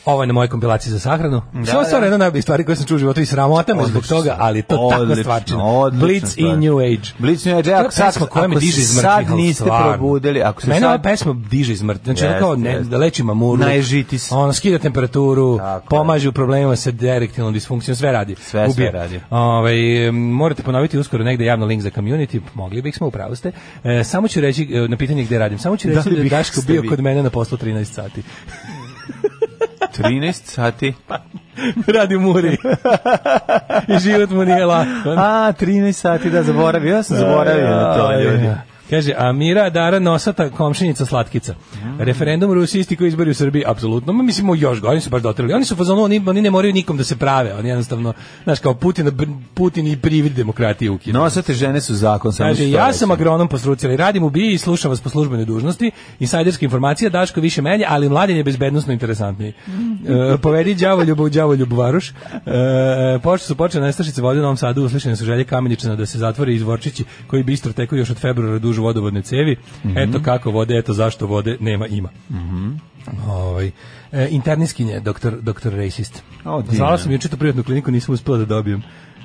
G: Ovo je na mojoj kompilaciji za sahranu. Da, Sve ostalo je jedna od najboljih stvari koje sam čuo u životu i sramota me zbog
H: Odlično
G: toga,
H: stvar.
G: ali to je takva
H: Odlično,
G: stvarčina.
H: odlična
G: Blitz i
H: stvar.
G: New Age.
H: Blitz i New Age,
G: To je
H: ako sad-
G: pesma koja me
H: ako
G: diže
H: se
G: iz mrtvih,
H: sad
G: ali
H: niste
G: stvarno.
H: probudili, ako se
G: Mene
H: sad-
G: ova pesma diže iz mrtvih. Znači, ono
H: Jeste,
G: kao ne,
H: jeste.
G: da leči mamuru.
H: Naježiti se.
G: Ono, skida temperaturu,
H: Tako je.
G: pomaže u problemima sa direktilnom disfunkcijom, sve radi.
H: Sve, sve
G: Ubija.
H: radi.
G: Ovaj, em, morate ponoviti uskoro negde javno link za community, mogli bih smo, upravo ste. E, samo ću reći, e, na pitanje gde radim, samo ću
H: Da
G: reći
H: li
G: da, je
H: bih
G: Daško
H: ste
G: bio
H: vi?
G: kod mene na poslu 13 sati.
H: 13 sati.
G: [LAUGHS] Radi u muri. I život mu nije lako.
H: A, 13 sati, da, zaboravio, ja sam zaboravio na to, ljudi.
G: Kaže, Amira Dara Nosata, komšinica Slatkica. Referendum u Rusiji isti koji izbori u Srbiji, apsolutno. Ma mislimo još gore, oni su baš dotrli. Oni su u fazonu, oni, oni ne moraju nikom da se prave. Oni jednostavno, znaš, kao Putin, Putin i privid demokratije ukinu.
H: Nosate žene su zakon, samo
G: Kaže,
H: što
G: Znači, ja
H: reći.
G: sam agronom po struci, ali radim u BIA i slušam vas po službenoj dužnosti. Insajderska informacija, Daško više menje, ali mladen je bezbednostno
H: [LAUGHS]
G: interesantniji. E, povedi đavoljubu u đavoljubu varuš. E, pošto su počele nestašice vode u Novom Sadu, uslišene su želje Kameničana da se zatvore izvorčići koji bistro teku još od februara dužu vodovodne cevi.
H: Mhm.
G: Eto kako vode, eto zašto vode nema ima. Ovaj e, interniskinje doktor doktor racist.
H: O, divno.
G: Zvala sam juče tu privatnu kliniku, nisam uspela da dobijem.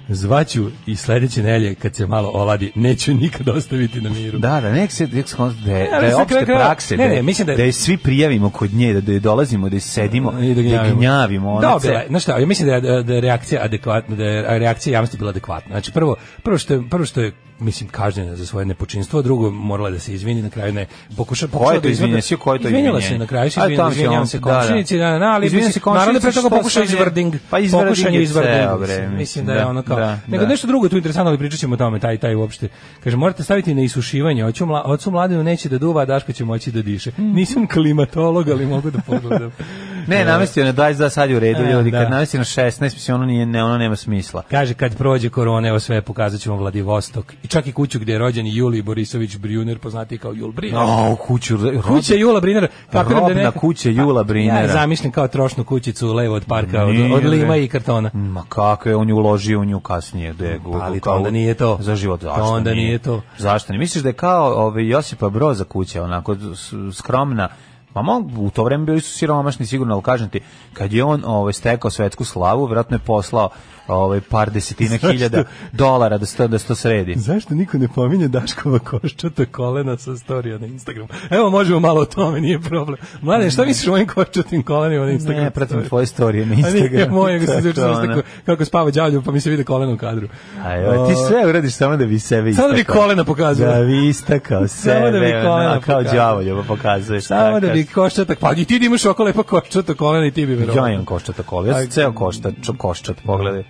G: Zvaću i sledeće nelje kad se malo oladi, neću nikad ostaviti na miru.
H: Da, da, nek se, nek se konsta- da je,
G: ali
H: da je
G: sad
H: opšte
G: kraj kraja-
H: prakse,
G: ne,
H: da je-
G: ne, mislim da je-
H: da je svi prijavimo kod nje, da, da je dolazimo, da je sedimo,
G: I
H: da je gnjavimo. ono ona
G: Da,
H: ce-
G: bila je, znaš šta, ja mislim da je, da je reakcija adekvatna, da je reakcija javnosti bila adekvatna. Znači prvo, prvo što je, prvo što je mislim kažnjena za svoje nepočinstvo, drugo morala je da se izvini na kraju ne pokuša pokušala
H: je to
G: da izvrne-
H: izvinjenje? Si, koje je to
G: Izvinila se
H: izvinjenje?
G: na kraju, se
H: A,
G: izvinila,
H: tamo si
G: izvinjavam
H: on,
G: se
H: da, da.
G: komšinici, da, da, da, ali
H: Izvinjam
G: mislim,
H: se komšinici,
G: naravno pre toga
H: što
G: pokušao
H: sad je-
G: izvrding,
H: pa izvrding
G: pokušanje
H: je
G: izvrding,
H: ceo, bre,
G: mislim,
H: mislim,
G: da je
H: da,
G: ono kao,
H: da,
G: nego
H: da.
G: nešto drugo je tu interesantno, ali pričat ćemo o tome, taj, taj uopšte. Kaže, morate staviti na isušivanje, oću mla,
H: [LAUGHS]
G: ocu mladenu neće da duva, a Daško će moći da diše. Nisam klimatolog, ali mogu da pogledam.
H: Mhm. Ne, namestio na 22 sad je u redu,
G: E,
H: ljudi,
G: da.
H: kad namestio na 16, mislim ono nije ne, ono nema smisla.
G: Kaže, kad prođe korona, evo sve, pokazat ćemo Vladivostok. I čak i kuću gdje je rođen Julij Borisović Brjuner, poznati kao Jul Briner.
H: O, kuću, ro-
G: Kuća Jula Brinera. kapiram
H: Robna kuća Jula Brinera.
G: Pa, Ja je zamišljam kao trošnu kućicu levo od parka, od,
H: Nije,
G: od lima
H: bre.
G: i kartona. Pa
H: Ma kako je, on je uložio u nju kasnije. Da je gu-
G: ali to
H: kao-
G: onda nije to.
H: Za život,
G: To
H: zašto
G: onda nije to.
H: Zašto ne? Misliš da je kao ove, Josipa Broza kuća, onako s- skromna, Ma mogu, u to vreme bili su siromašni sigurno, ali kažem ti, kad je on ovaj, stekao svetsku slavu, vjerojatno je poslao ovaj, par desetina hiljada dolara da se to, da se to sredi.
G: Zašto niko ne pominje Daškova koščata kolena sa storija na Instagramu? Evo, možemo malo o tome, nije problem. Mlade, šta misliš o ovim koščatim kolenima na Instagramu?
H: Ne, pratim tvoje storije na Instagramu.
G: A nije [LAUGHS] moje, nego se
H: Tako,
G: izvučeno
H: ono.
G: sliku kako spava đavlju, pa mi se vide kolena u kadru.
H: Aj, ovaj, ti sve uradiš samo da bi sebe istakao.
G: Samo da bi kolena pokazala.
H: Da bi [LAUGHS] istakao sebe,
G: Samo da bi kolena
H: ono, kao
G: pokazala.
H: djavolje, pa pokazuješ.
G: Samo da
H: takav
G: bi koščata, pa i ti da imaš oko lepa koščata kolena i ti bi verovatno.
H: Ja imam koščat okolo, ja sam
G: Aj,
H: ceo koščat, čo- koščat, pogledaj.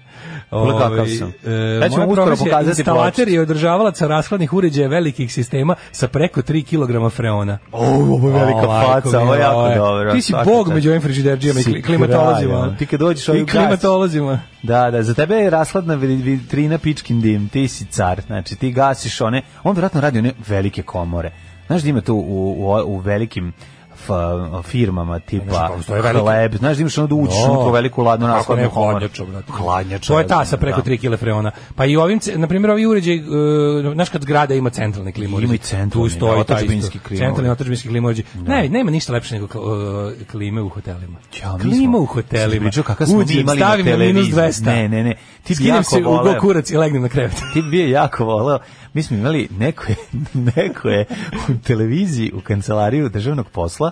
H: Pogledaj
G: Ovaj,
H: kakav sam.
G: e,
H: ja ću
G: moja
H: vam uskoro
G: profesija je
H: pokazati
G: Instalater
H: pločicu.
G: i održavalaca rashladnih uređaja velikih sistema sa preko 3 kg freona.
H: O, ovo je velika
G: O, majko
H: faca,
G: mi,
H: ovo je jako dobro.
G: Ti si
H: svaka
G: bog
H: čast.
G: među ovim frižiderđijama i
H: Si
G: kli- klimatolozima.
H: kralj, ono. Ti kad dođeš
G: I
H: ovdje
G: klimatolozima.
H: Da, da, za tebe je rasladna vid- vitrina pičkin dim, ti si car, znači ti gasiš one, on vjerojatno radi one velike komore. Znaš da ima tu u, u, u velikim f- firmama tipa
G: kako postoje velike.
H: hleb, znaš da imaš ono da uđeš
G: No.
H: unutra u veliku ladnu
G: Kako
H: rasladnu
G: ne,
H: komoru.
G: hladnjača, brate.
H: Hladnjača,
G: To je ta sa
H: razumem,
G: preko
H: da.
G: 3 kg freona. Pa i ovim, ce- na primjer, ovi uređaj, e, znaš kad zgrada ima centralni klima
H: Ima i
G: uređaj.
H: centralni,
G: Tu stoji
H: da,
G: taj
H: otadžbinski
G: isto.
H: klima
G: Centralni
H: uređaj.
G: otadžbinski klima uređaj. Ne, nema ništa lepše nego kl- e, klime u hotelima.
H: Ja, mi
G: klima
H: smo-
G: u hotelima.
H: Pričao kakav smo mi
G: Uđem,
H: imali
G: stavim
H: na
G: na minus
H: televiziji.
G: 200.
H: Ne, ne, ne. Ti bi
G: Skinem
H: jako
G: se u go
H: voleo.
G: kurac i legnem na krevet.
H: Ti bi je jako voleo. Mi smo imali, neko je, [LAUGHS] neko je u televiziji, u kancelariju državnog posla,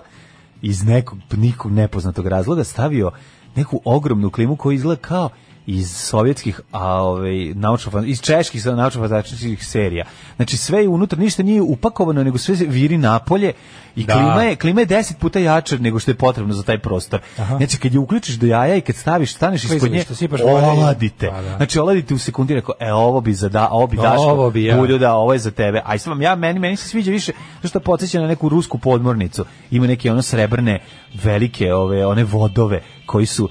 H: iz nekog, nikog nepoznatog razloga stavio neku ogromnu klimu koja izgleda kao iz sovjetskih, a ovaj naučno iz čeških naučno fantastičnih serija. Znači sve je unutra ništa nije upakovano, nego sve se viri napolje i
G: Da.
H: klima je klima je 10 puta jača nego što je potrebno za taj prostor. Znači kad je uključiš do jaja i kad staviš staneš ispod nje,
G: Klizalište, sipaš vode i-
H: oladite.
G: Pa, da.
H: Znači oladite u sekundi rekao, e ovo bi za da, a ovo bi Daško,
G: Ovo bi ja.
H: Bulju, da, ovo je za tebe. Aj sam vam ja, meni, meni se sviđa više, zato što podsjeća na neku rusku podmornicu. Ima neke ono srebrne, velike, ove, one vodove koji su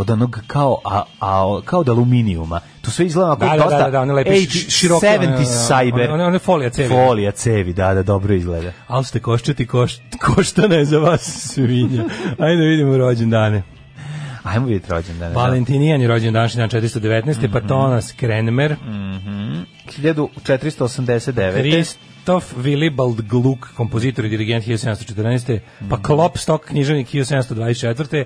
H: od onog kao, a, a, kao od aluminijuma. Tu sve izgleda onako
G: Da, da,
H: dosta
G: da, da, one lepe ši- široke, one,
H: 70 cyber.
G: one- one- one folija cevi.
H: Folija cevi, da, da, dobro izgleda.
G: Ali ste koščati koš, koštana je za vas svinja. Ajde vidimo
H: E,
G: rođendane.
H: Ajmo vidjeti rođendan.
G: Valentinijan je rođen današnji dan 419.
H: Mhm.
G: Pa Tonas Krenmer,
H: 1489.
G: Kristof Willibald Gluck, kompozitor i dirigent 1714.
H: Mhm.
G: Pa Klopstock, književnik 1724.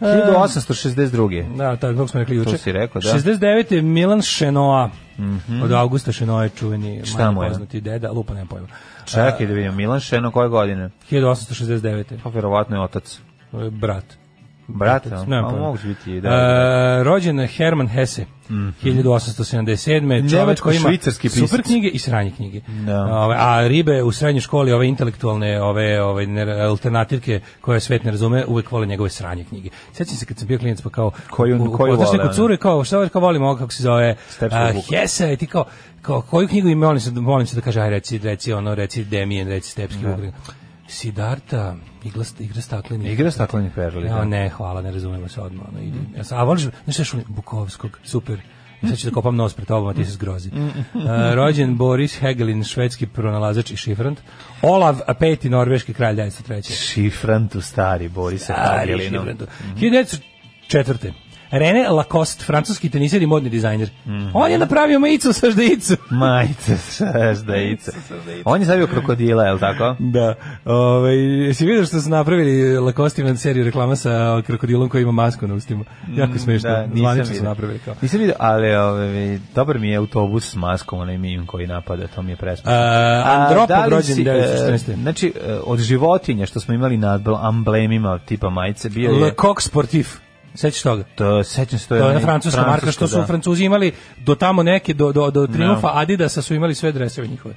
H: 1862.
G: E, Da, tako kako smo rekli juče.
H: si rekao, da. Mhm.
G: 69. je Milan Šenoa. Od Augusta Šenoa je čuveni
H: Šta mu
G: manje
H: je?
G: poznati deda, lupa nema pojma.
H: Čekaj da vidim, Milan Šeno koje godine?
G: 1869.
H: Pa verovatno je otac.
G: E, Brat.
H: Brate,
G: Nemam
H: a
G: pojma.
H: mogu biti i da. Mhm.
G: E, rođen je Herman Hesse, 1877. Čovjek koji ima
H: Nemačko-švicarski pisac.
G: super knjige i sranje knjige.
H: Da.
G: Ove, a ribe u srednjoj školi, ove intelektualne, ove, ove ne- alternativke koje svet ne razume, uvek vole njegove sranje knjige. Sjećam se kad sam bio klijent, pa kao...
H: Koju-
G: u- u-
H: koju
G: odlaš
H: vole, ono?
G: neku
H: ne?
G: curu i kao, šta ovaj, kao volim ovo, kako se zove,
H: Stepsov
G: a,
H: Vuk.
G: Hesse, i ti kao, kao, koju knjigu ima, molim se, molim se da kaže, aj reci, reci ono, reci Demijen, reci Stepski Vuk. Sidarta, igra, igra staklenih.
H: Igra staklenih perli.
G: E, Ja,
H: da.
G: ne, hvala, ne razumemo se odmah. Ono, idi. Ja sam, a voliš, znaš šta je šulim? Bukovskog, super. Ja sad ću da kopam nos pred tobom, a ti se zgrozi. E, rođen Boris Hegelin, švedski pronalazač i šifrant. Olav V, norveški kralj 1903.
H: Šifrantu stari Borisa
G: Stari
H: Hagelinom.
G: šifrant. 1904. René Lacoste, francuski teniser i modni dizajner. On je napravio majicu sa ždejicu.
H: Majice, saždajice. On je zavio krokodila, je li tako?
G: Da. Ovaj si vidio što su napravili Lacoste ima seriju reklama sa krokodilom koji ima masku na ustima. Jako smešno.
H: Da, nisam
G: Zvanično su
H: vidio.
G: napravili kao.
H: Nisam vidio, ali ove, dobar mi je autobus s maskom, onaj mim koji napada, to mi je presmešno.
G: Uh,
H: A, da
G: Andropov
H: li
G: rođen
H: si, e,
G: 1914.
H: Znači, e, od životinja što smo imali na ambl- amblemima tipa majice, bio
G: Le
H: je...
G: Coq Sportif. Sećaš toga?
H: To, sećam se, to je...
G: To je na
H: onaj
G: francuska marka što su
H: da.
G: Francuzi imali do tamo neke, do, do, do Triumfa Adidasa su imali sve dreseve njihove.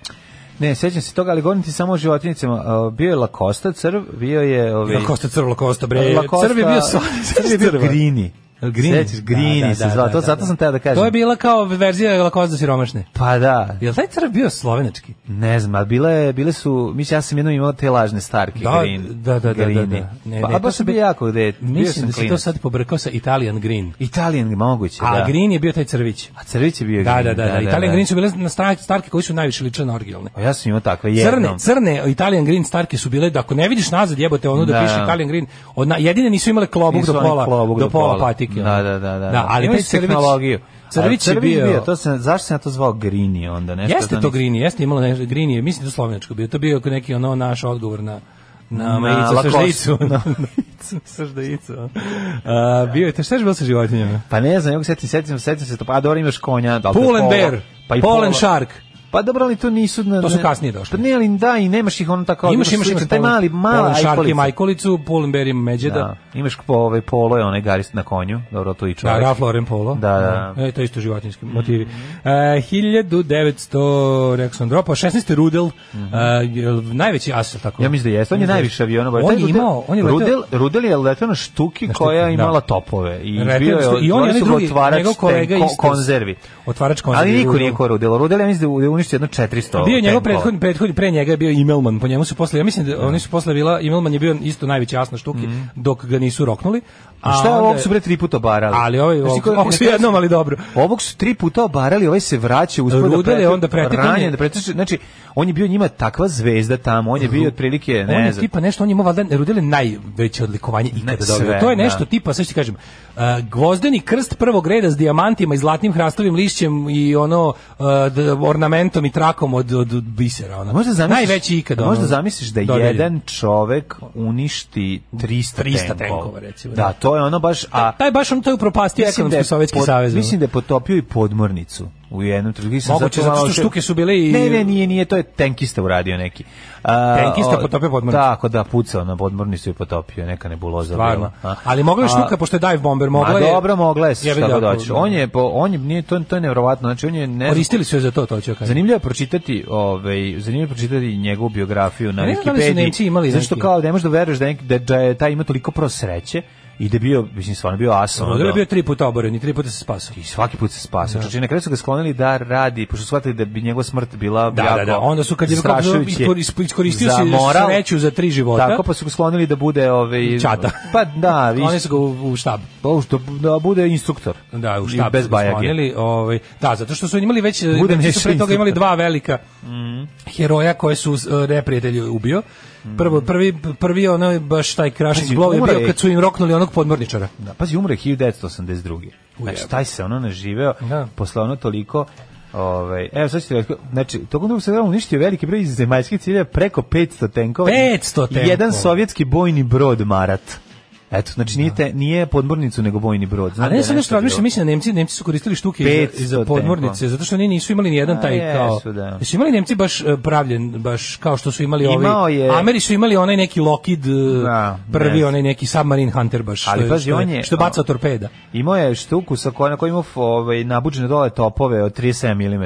H: Ne, sećam se toga, ali govorim ti samo o životinjicama. Uh, Bio je Lakosta crv, bio je... Ovi...
G: Lakosta crv, Lakosta bre.
H: Lacoste- [LAUGHS]
G: Crv je bio sva.
H: Crv je bio grini. Grini. Sećaš, Grini
G: Da, da,
H: se
G: da,
H: zvao,
G: da,
H: to
G: da,
H: zato
G: da.
H: sam teo da kažem.
G: To je bila kao verzija lakoza za siromašne.
H: Pa da,
G: Je li taj crv bio slovenački?
H: ne znam, a bile, bile su, mislim, ja sam jednom imao te lažne starke,
G: Da,
H: Green.
G: da, da, da, da,
H: Grini.
G: da. Ne,
H: pa,
G: ne,
H: a
G: to
H: baš
G: su
H: sam
G: bi-
H: bio jako dete, bio
G: Mislim
H: sam
G: da si to
H: klinac.
G: sad pobrkao sa Italian Green.
H: Italijan moguće,
G: A
H: da.
G: Green je bio taj crvić.
H: A Crvić je bio
G: Da, da,
H: Green,
G: da, da. Italian Green su bile na stra- starke koji su najviše ličile na originalne.
H: A Pa ja sam imao takve
G: Crne,
H: jednom.
G: crne Italian Green starke su bile, da ako ne vidiš nazad jebote ono da,
H: Da.
G: piše Italian Green, odna, jedine nisu imale klobuk
H: Nisu
G: do
H: oni
G: pola,
H: klobuk
G: do pola patike.
H: Da,
G: ono.
H: da, da, da.
G: da ali
H: Imali
G: taj
H: su
G: crvić,
H: tehnologiju.
G: Crvić,
H: Ali
G: je bio,
H: to sam, zašto sam ja to zvao Grini onda? Nešto
G: Jeste
H: znam-
G: to Grini, jeste imalo nešto Grini, je, mislim da je slovenačko bio. To bio neki ono naš odgovor na na
H: Na
G: majicu sa
H: Lacoste.
G: ždicu. [LAUGHS] Na majicu sa ždicu. A, bio je, te šta je bilo sa životinjama?
H: Pa ne znam, ja setim, setim, setim se to. Pa dobro, imaš konja. da li to je
G: Pool and
H: polo,
G: bear,
H: Pa i
G: Paul and
H: polo.
G: shark.
H: Pa dobro, ali to nisu... Na,
G: To su
H: ne-
G: kasnije došli.
H: Pa ne, ali da, i nemaš ih ono tako...
G: imaš, imaš,
H: sličan,
G: imaš
H: Taj
G: Pool-
H: mali,
G: Pool
H: mala
G: and shark je
H: ajkolica.
G: majkolicu, Pool and bear ima međeda.
H: Da, imaš po, ovaj polo je onaj garist na konju. Dobro, to i
G: Da,
H: čovjek.
G: Ralph Lauren Polo.
H: Da, da. Mhm.
G: E, to je isto životinjski motivi. E, 1900, rekao sam dropao, 16. Rudel, e, je li najveći as, je li tako?
H: Mhm. Ja mislim da jeste, on je najviše aviona. baš.
G: On
H: Taj
G: je
H: Rudel-
G: imao- on je leteo-
H: Rudel, Rudel je letao na štuki
G: štuki,
H: koja
G: da.
H: je imala topove. I
G: Retro-
H: bio je,
G: i on je onaj drugi,
H: otvarač
G: njegov
H: te
G: kolega
H: ko-
G: isto.
H: konzervi.
G: Otvarač konzervi
H: Ali niko
G: Rudel.
H: nije ko Rudel. Rudel ja mislim da je uništio jedno 400
G: Bio je njegov
H: tenkova.
G: prethodni, prethodni, pre njega je bio Imelman, po njemu su posle, ja mislim da oni su posle bila, Imelman je bio isto najveći as na štuki, dok ga nisu roknuli.
H: A Mhm. šta je
G: onda-
H: ovog su bre tri puta obarali?
G: Ali ovaj,
H: Znaš ti
G: ovog,
H: ko-
G: ovog su
H: na kraju-
G: jednom, ali dobro.
H: Ovog su tri puta obarali, ovaj se vraća uspod
G: Rudel je
H: preti-
G: onda pretekao
H: ranjen,
G: nje.
H: da preteče, znači on je bio njima takva zvezda tamo, on je bio otprilike, ne
G: on je
H: znam.
G: tipa nešto, on je imao valjda Rudel je najveće odlikovanje ikada
H: Ne,
G: dobio.
H: sve,
G: To je nešto
H: da.
G: tipa, sve što ti kažem, uh, gvozdeni krst prvog reda s dijamantima i zlatnim hrastovim lišćem i ono uh, d- ornamentom i trakom od, od, od bisera. Ono.
H: Možda zamisliš,
G: Najveći ikada. ono,
H: Možda zamisliš da
G: dodeljen.
H: jedan čovek uništi 300,
G: 300
H: tenkova.
G: tenkova, recimo, da.
H: Da, to je ono baš a
G: Taj baš on to je upropastio
H: je
G: ekonomski sovjetski
H: pod-
G: savez. ono.
H: Mislim da je potopio i podmornicu u jednom trenutku. Sam
G: Moguće, zato
H: malo
G: što
H: se-
G: štuke su bile i-
H: Ne, ne, nije, nije, to je tenkista uradio neki. A,
G: Tenkista
H: o-
G: potopio podmornicu?
H: Tako, da, pucao na podmornicu i potopio, neka nebuloza.
G: Stvarno.
H: bila. A-
G: Ali mogla je
H: a-
G: štuka, pošto je dive bomber, mogla
H: Ma
G: je...
H: dobro, mogla je
G: Jebi
H: šta god
G: ga,
H: hoće. On je, po, on je, nije, to, to je nevrovatno, znači on je, ne znam,
G: Koristili su je za to, to ću ja kažem.
H: Zanimljivo je pročitati, ovaj, zanimljivo je pročitati njegovu biografiju na
G: Ne znam da li su Nemci
H: Wikipediji.
G: imali
H: Zašto
G: neki-
H: kao ne možeš da veruješ da, je- da, da je taj ima toliko pro sreće i da je bio, mislim, stvarno bio asom.
G: Rudel je bio tri puta oboren i tri puta se spasao.
H: I svaki put se spasao. Znači, na kraju su ga sklonili da radi, pošto su shvatili da bi njegova smrt bila
G: Da,
H: jako
G: da, da. Onda su kad je
H: zastrašujuće
G: ispor- ispor- iskoristio
H: za
G: si
H: moral.
G: sreću za tri života.
H: Tako, pa su ga sklonili da bude... Ovaj,
G: Čata.
H: Pa
G: [LAUGHS]
H: da, vi,
G: Oni su ga u, u štab.
H: da, da bude instruktor.
G: Da, u štab
H: Bez
G: su ga
H: bajage.
G: sklonili, ovaj, da, zato što su imali već,
H: Budem
G: već su
H: nešto
G: pre toga
H: instruktor.
G: imali dva velika
H: Mhm.
G: heroja koje su e, neprijatelji ubio. Prvo, prvi, prvi ono, baš taj crashing
H: Pazi,
G: blow je
H: umro
G: bio
H: je.
G: kad su im roknuli onog podmorničara.
H: Da, pazi, umre 1982. Znači, taj se ono naživeo,
G: Da.
H: posle ono toliko... Ovaj, evo sad ću ti reći, znači, tokom drugog svega uništio veliki broj zemaljskih ciljeva, preko 500 tenkova.
G: 500
H: i
G: tenkova.
H: Jedan sovjetski bojni brod Marat. Eto, znači nije, te, nije podmornicu, nego bojni brod. Znam
G: A
H: da
G: ne
H: je
G: sam nešto
H: nešto
G: razmišljam,
H: drugo.
G: mislim da Nemci, Nemci su koristili štuke i za, i za
H: 500
G: podmornice,
H: tenkova.
G: zato što oni nisu imali ni jedan
H: A,
G: taj kao.
H: jesu, da.
G: Jesu imali Nemci baš e, pravljen, baš kao što su imali ovi.
H: Imao je-
G: Ameri su imali onaj neki Lockheed, e,
H: Da,
G: prvi
H: ne.
G: onaj neki submarine hunter baš, što,
H: Ali
G: je-
H: pazi,
G: što, je-
H: on je- ono-
G: što baca torpeda.
H: Imao je štuku sa kojom na kojoj imao f- ovaj, nabuđene dole topove od 37 mm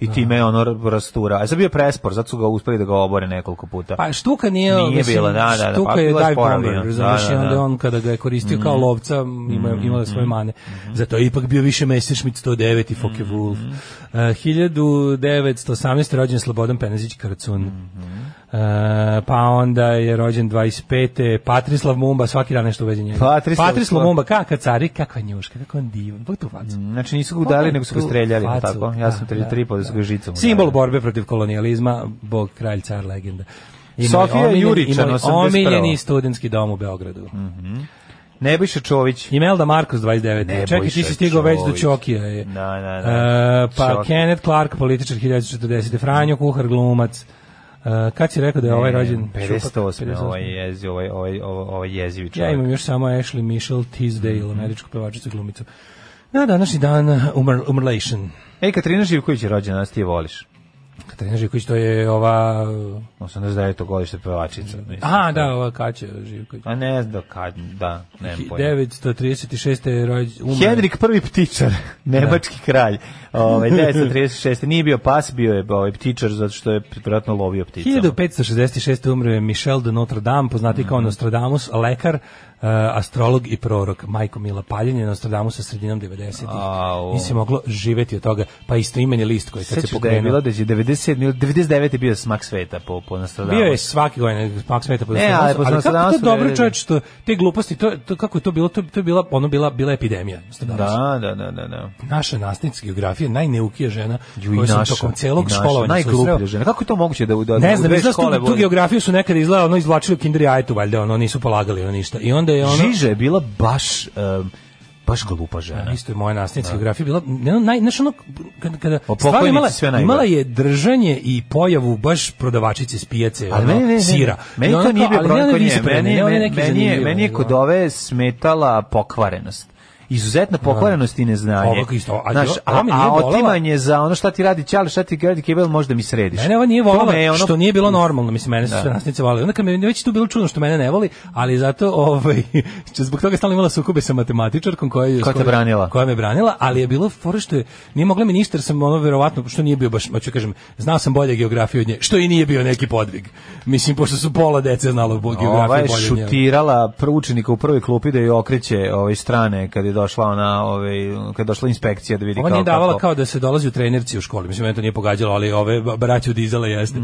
H: i time je ono r- rastura. A sad bio prespor, zato su ga uspeli da ga obore nekoliko puta.
G: Pa štuka nije,
H: Nije
G: mislim,
H: bila, da, da, da,
G: štuka
H: pa
G: je
H: bila
G: dive
H: spora
G: bomber,
H: bila.
G: razumiješ,
H: Da, Mm. da,
G: i onda
H: da.
G: on kada ga je koristio kao lovca, ima, imala svoje mane.
H: mm.
G: Zato je ipak bio više Messerschmitt 109 i Focke Wolf.
H: mm.
G: E, 1918. rođen Slobodan Penezić Karacun.
H: Mm,
G: E, pa onda je rođen 25. Patrislav Mumba, svaki dan nešto uveđe njega.
H: Patrislav-
G: Mumba, kaka cari, kakva njuška, kakva on divan, pogledaj tu facu.
H: Znači nisu ga udali, nego su ga
G: Tu
H: streljali,
G: facu,
H: tako? Ja sam
G: da,
H: tri,
G: da,
H: tri pa da su ga žicom udali.
G: Simbol borbe protiv kolonijalizma, bog, kralj, car, legenda. Imao je
H: Sofija
G: omiljeni-
H: Juričan, Mm.
G: imao je
H: 81.
G: Omiljeni studentski dom u Beogradu.
H: Nebojša Čović.
G: Imelda Markus, 29.
H: Nebojša
G: Čekaj, ti si stigao već do
H: Čović.
G: Ćokija. Je.
H: Da, da, da.
G: E, pa
H: Čoki.
G: Kenneth Clark, političar 1940. Franjo Kuhar, glumac. E, kad si rekao da je ovaj rođen?
H: E,
G: Šupak,
H: 58.
G: 58..
H: Ovaj jezi, ovaj, ovaj, ovaj, ovaj jezivi
G: Ja
H: čovjek. Mhm.
G: imam još samo Ashley Michelle Tisdale, američku pevačicu i glumicu. Na današnji dan umr, umrlation.
H: Ej, Katarina Živković je rođena, nas ti je voliš.
G: Katarina Živković, to je ova...
H: 89. godište pevačica. mislim.
G: A, da, ova Kaća Živković.
H: A ne znam kad, da, nemam pojma.
G: 936. je rođen... umro.
H: Henrik prvi
G: [LAUGHS]
H: ptičar, nemački kralj. Ovaj 936. nije bio pas, bio je ovaj ptičar zato što je vjerojatno lovio ptice.
G: 1566. umro je Michel de Notre Dame, poznati
H: Mhm.
G: kao Nostradamus, lekar, e, astrolog i prorok. Majko Mila Paljenje, Nostradamus sa sredinom 90-ih.
H: Au.
G: Nisi moglo živeti od toga, pa isto imen je list koji kad se
H: Sećaš da je bilo
G: pokrenuo.
H: da je 97 ili 99 je bio smak sveta po po Nostradamusu.
G: Bio je svaki godine Pak Sveta pod
H: Ne, ali
G: Nostradamusom, ali kako
H: pod
G: to
H: Nostradamusom
G: dobro
H: je-
G: čovjek što te gluposti, to, to, kako je to bilo, to, to je bila, ono bila, bila epidemija. Nostradamusa.
H: Da, da, da, da, da.
G: naša nastavnica geografije najneukija žena
H: i
G: koju sam
H: naša,
G: tokom
H: i
G: celog
H: naša,
G: školovanja susreo.
H: Najgluplja žena. Kako je to moguće da u da
G: Ne
H: u
G: znam,
H: dve
G: znaš, tu, tu
H: voli-
G: geografiju su nekada izgledalo, ono izvlačili u kinder jajetu, valjda, ono, nisu polagali, ono, ništa. I onda je ono...
H: Žiža je bila baš um, baš glupa žena.
G: Isto je moja nastavnica geografije bila, ne, ono, naj, znaš, ono, kada, kada
H: O
G: stvar
H: Pa pokojnici
G: imala,
H: sve najgore.
G: imala je držanje i pojavu baš prodavačice s pijace, ono,
H: Ali meni, ne, ne,
G: sira.
H: Meni
G: I
H: to
G: ono
H: nije
G: kao,
H: bio
G: ali
H: problem
G: ne,
H: kod
G: ne,
H: nje.
G: nisu problem,
H: Meni,
G: ne, ono
H: meni,
G: neki
H: meni, je,
G: zanimljivo,
H: meni je
G: ono.
H: kod ove smetala pokvarenost. Izuzetna pokvarenost i neznanje.
G: Ovo isto, a
H: Znaš,
G: jo-
H: a,
G: ovo mi nije
H: a
G: volela.
H: otimanje za ono šta ti radi ćali, šta ti radi kebel, možda mi središ.
G: Mene ova nije
H: To
G: volala
H: me je ono-
G: što nije bilo normalno, mislim mene su sve nastavnice volale. Onda kad me već tu bilo čudno što mene ne voli, ali zato ovaj [LAUGHS] što zbog toga stalno imala sukobe sa matematičarkom koja je
H: Koja te
G: s kojom-
H: branila.
G: Koja me branila, ali je bilo fora što je nije mogla mi ništa jer sam ono verovatno što nije bio baš, hoću kažem, znao sam bolje geografiju od nje, što i nije bio neki podvig. Mislim pošto su pola dece znalo bo- geografiju
H: Ova je
G: bolje od nje.
H: Ovaj šutirala pr- učenika u prvoj klupi da je okreće ove strane kad je došla ona ovaj kad je došla inspekcija da vidi
G: Ova
H: kao
G: nije davala
H: kako.
G: kao da se dolazi u trenerci u školi. Mislim, mene to nije pogađalo, ali ove ba- braće od dizela jeste.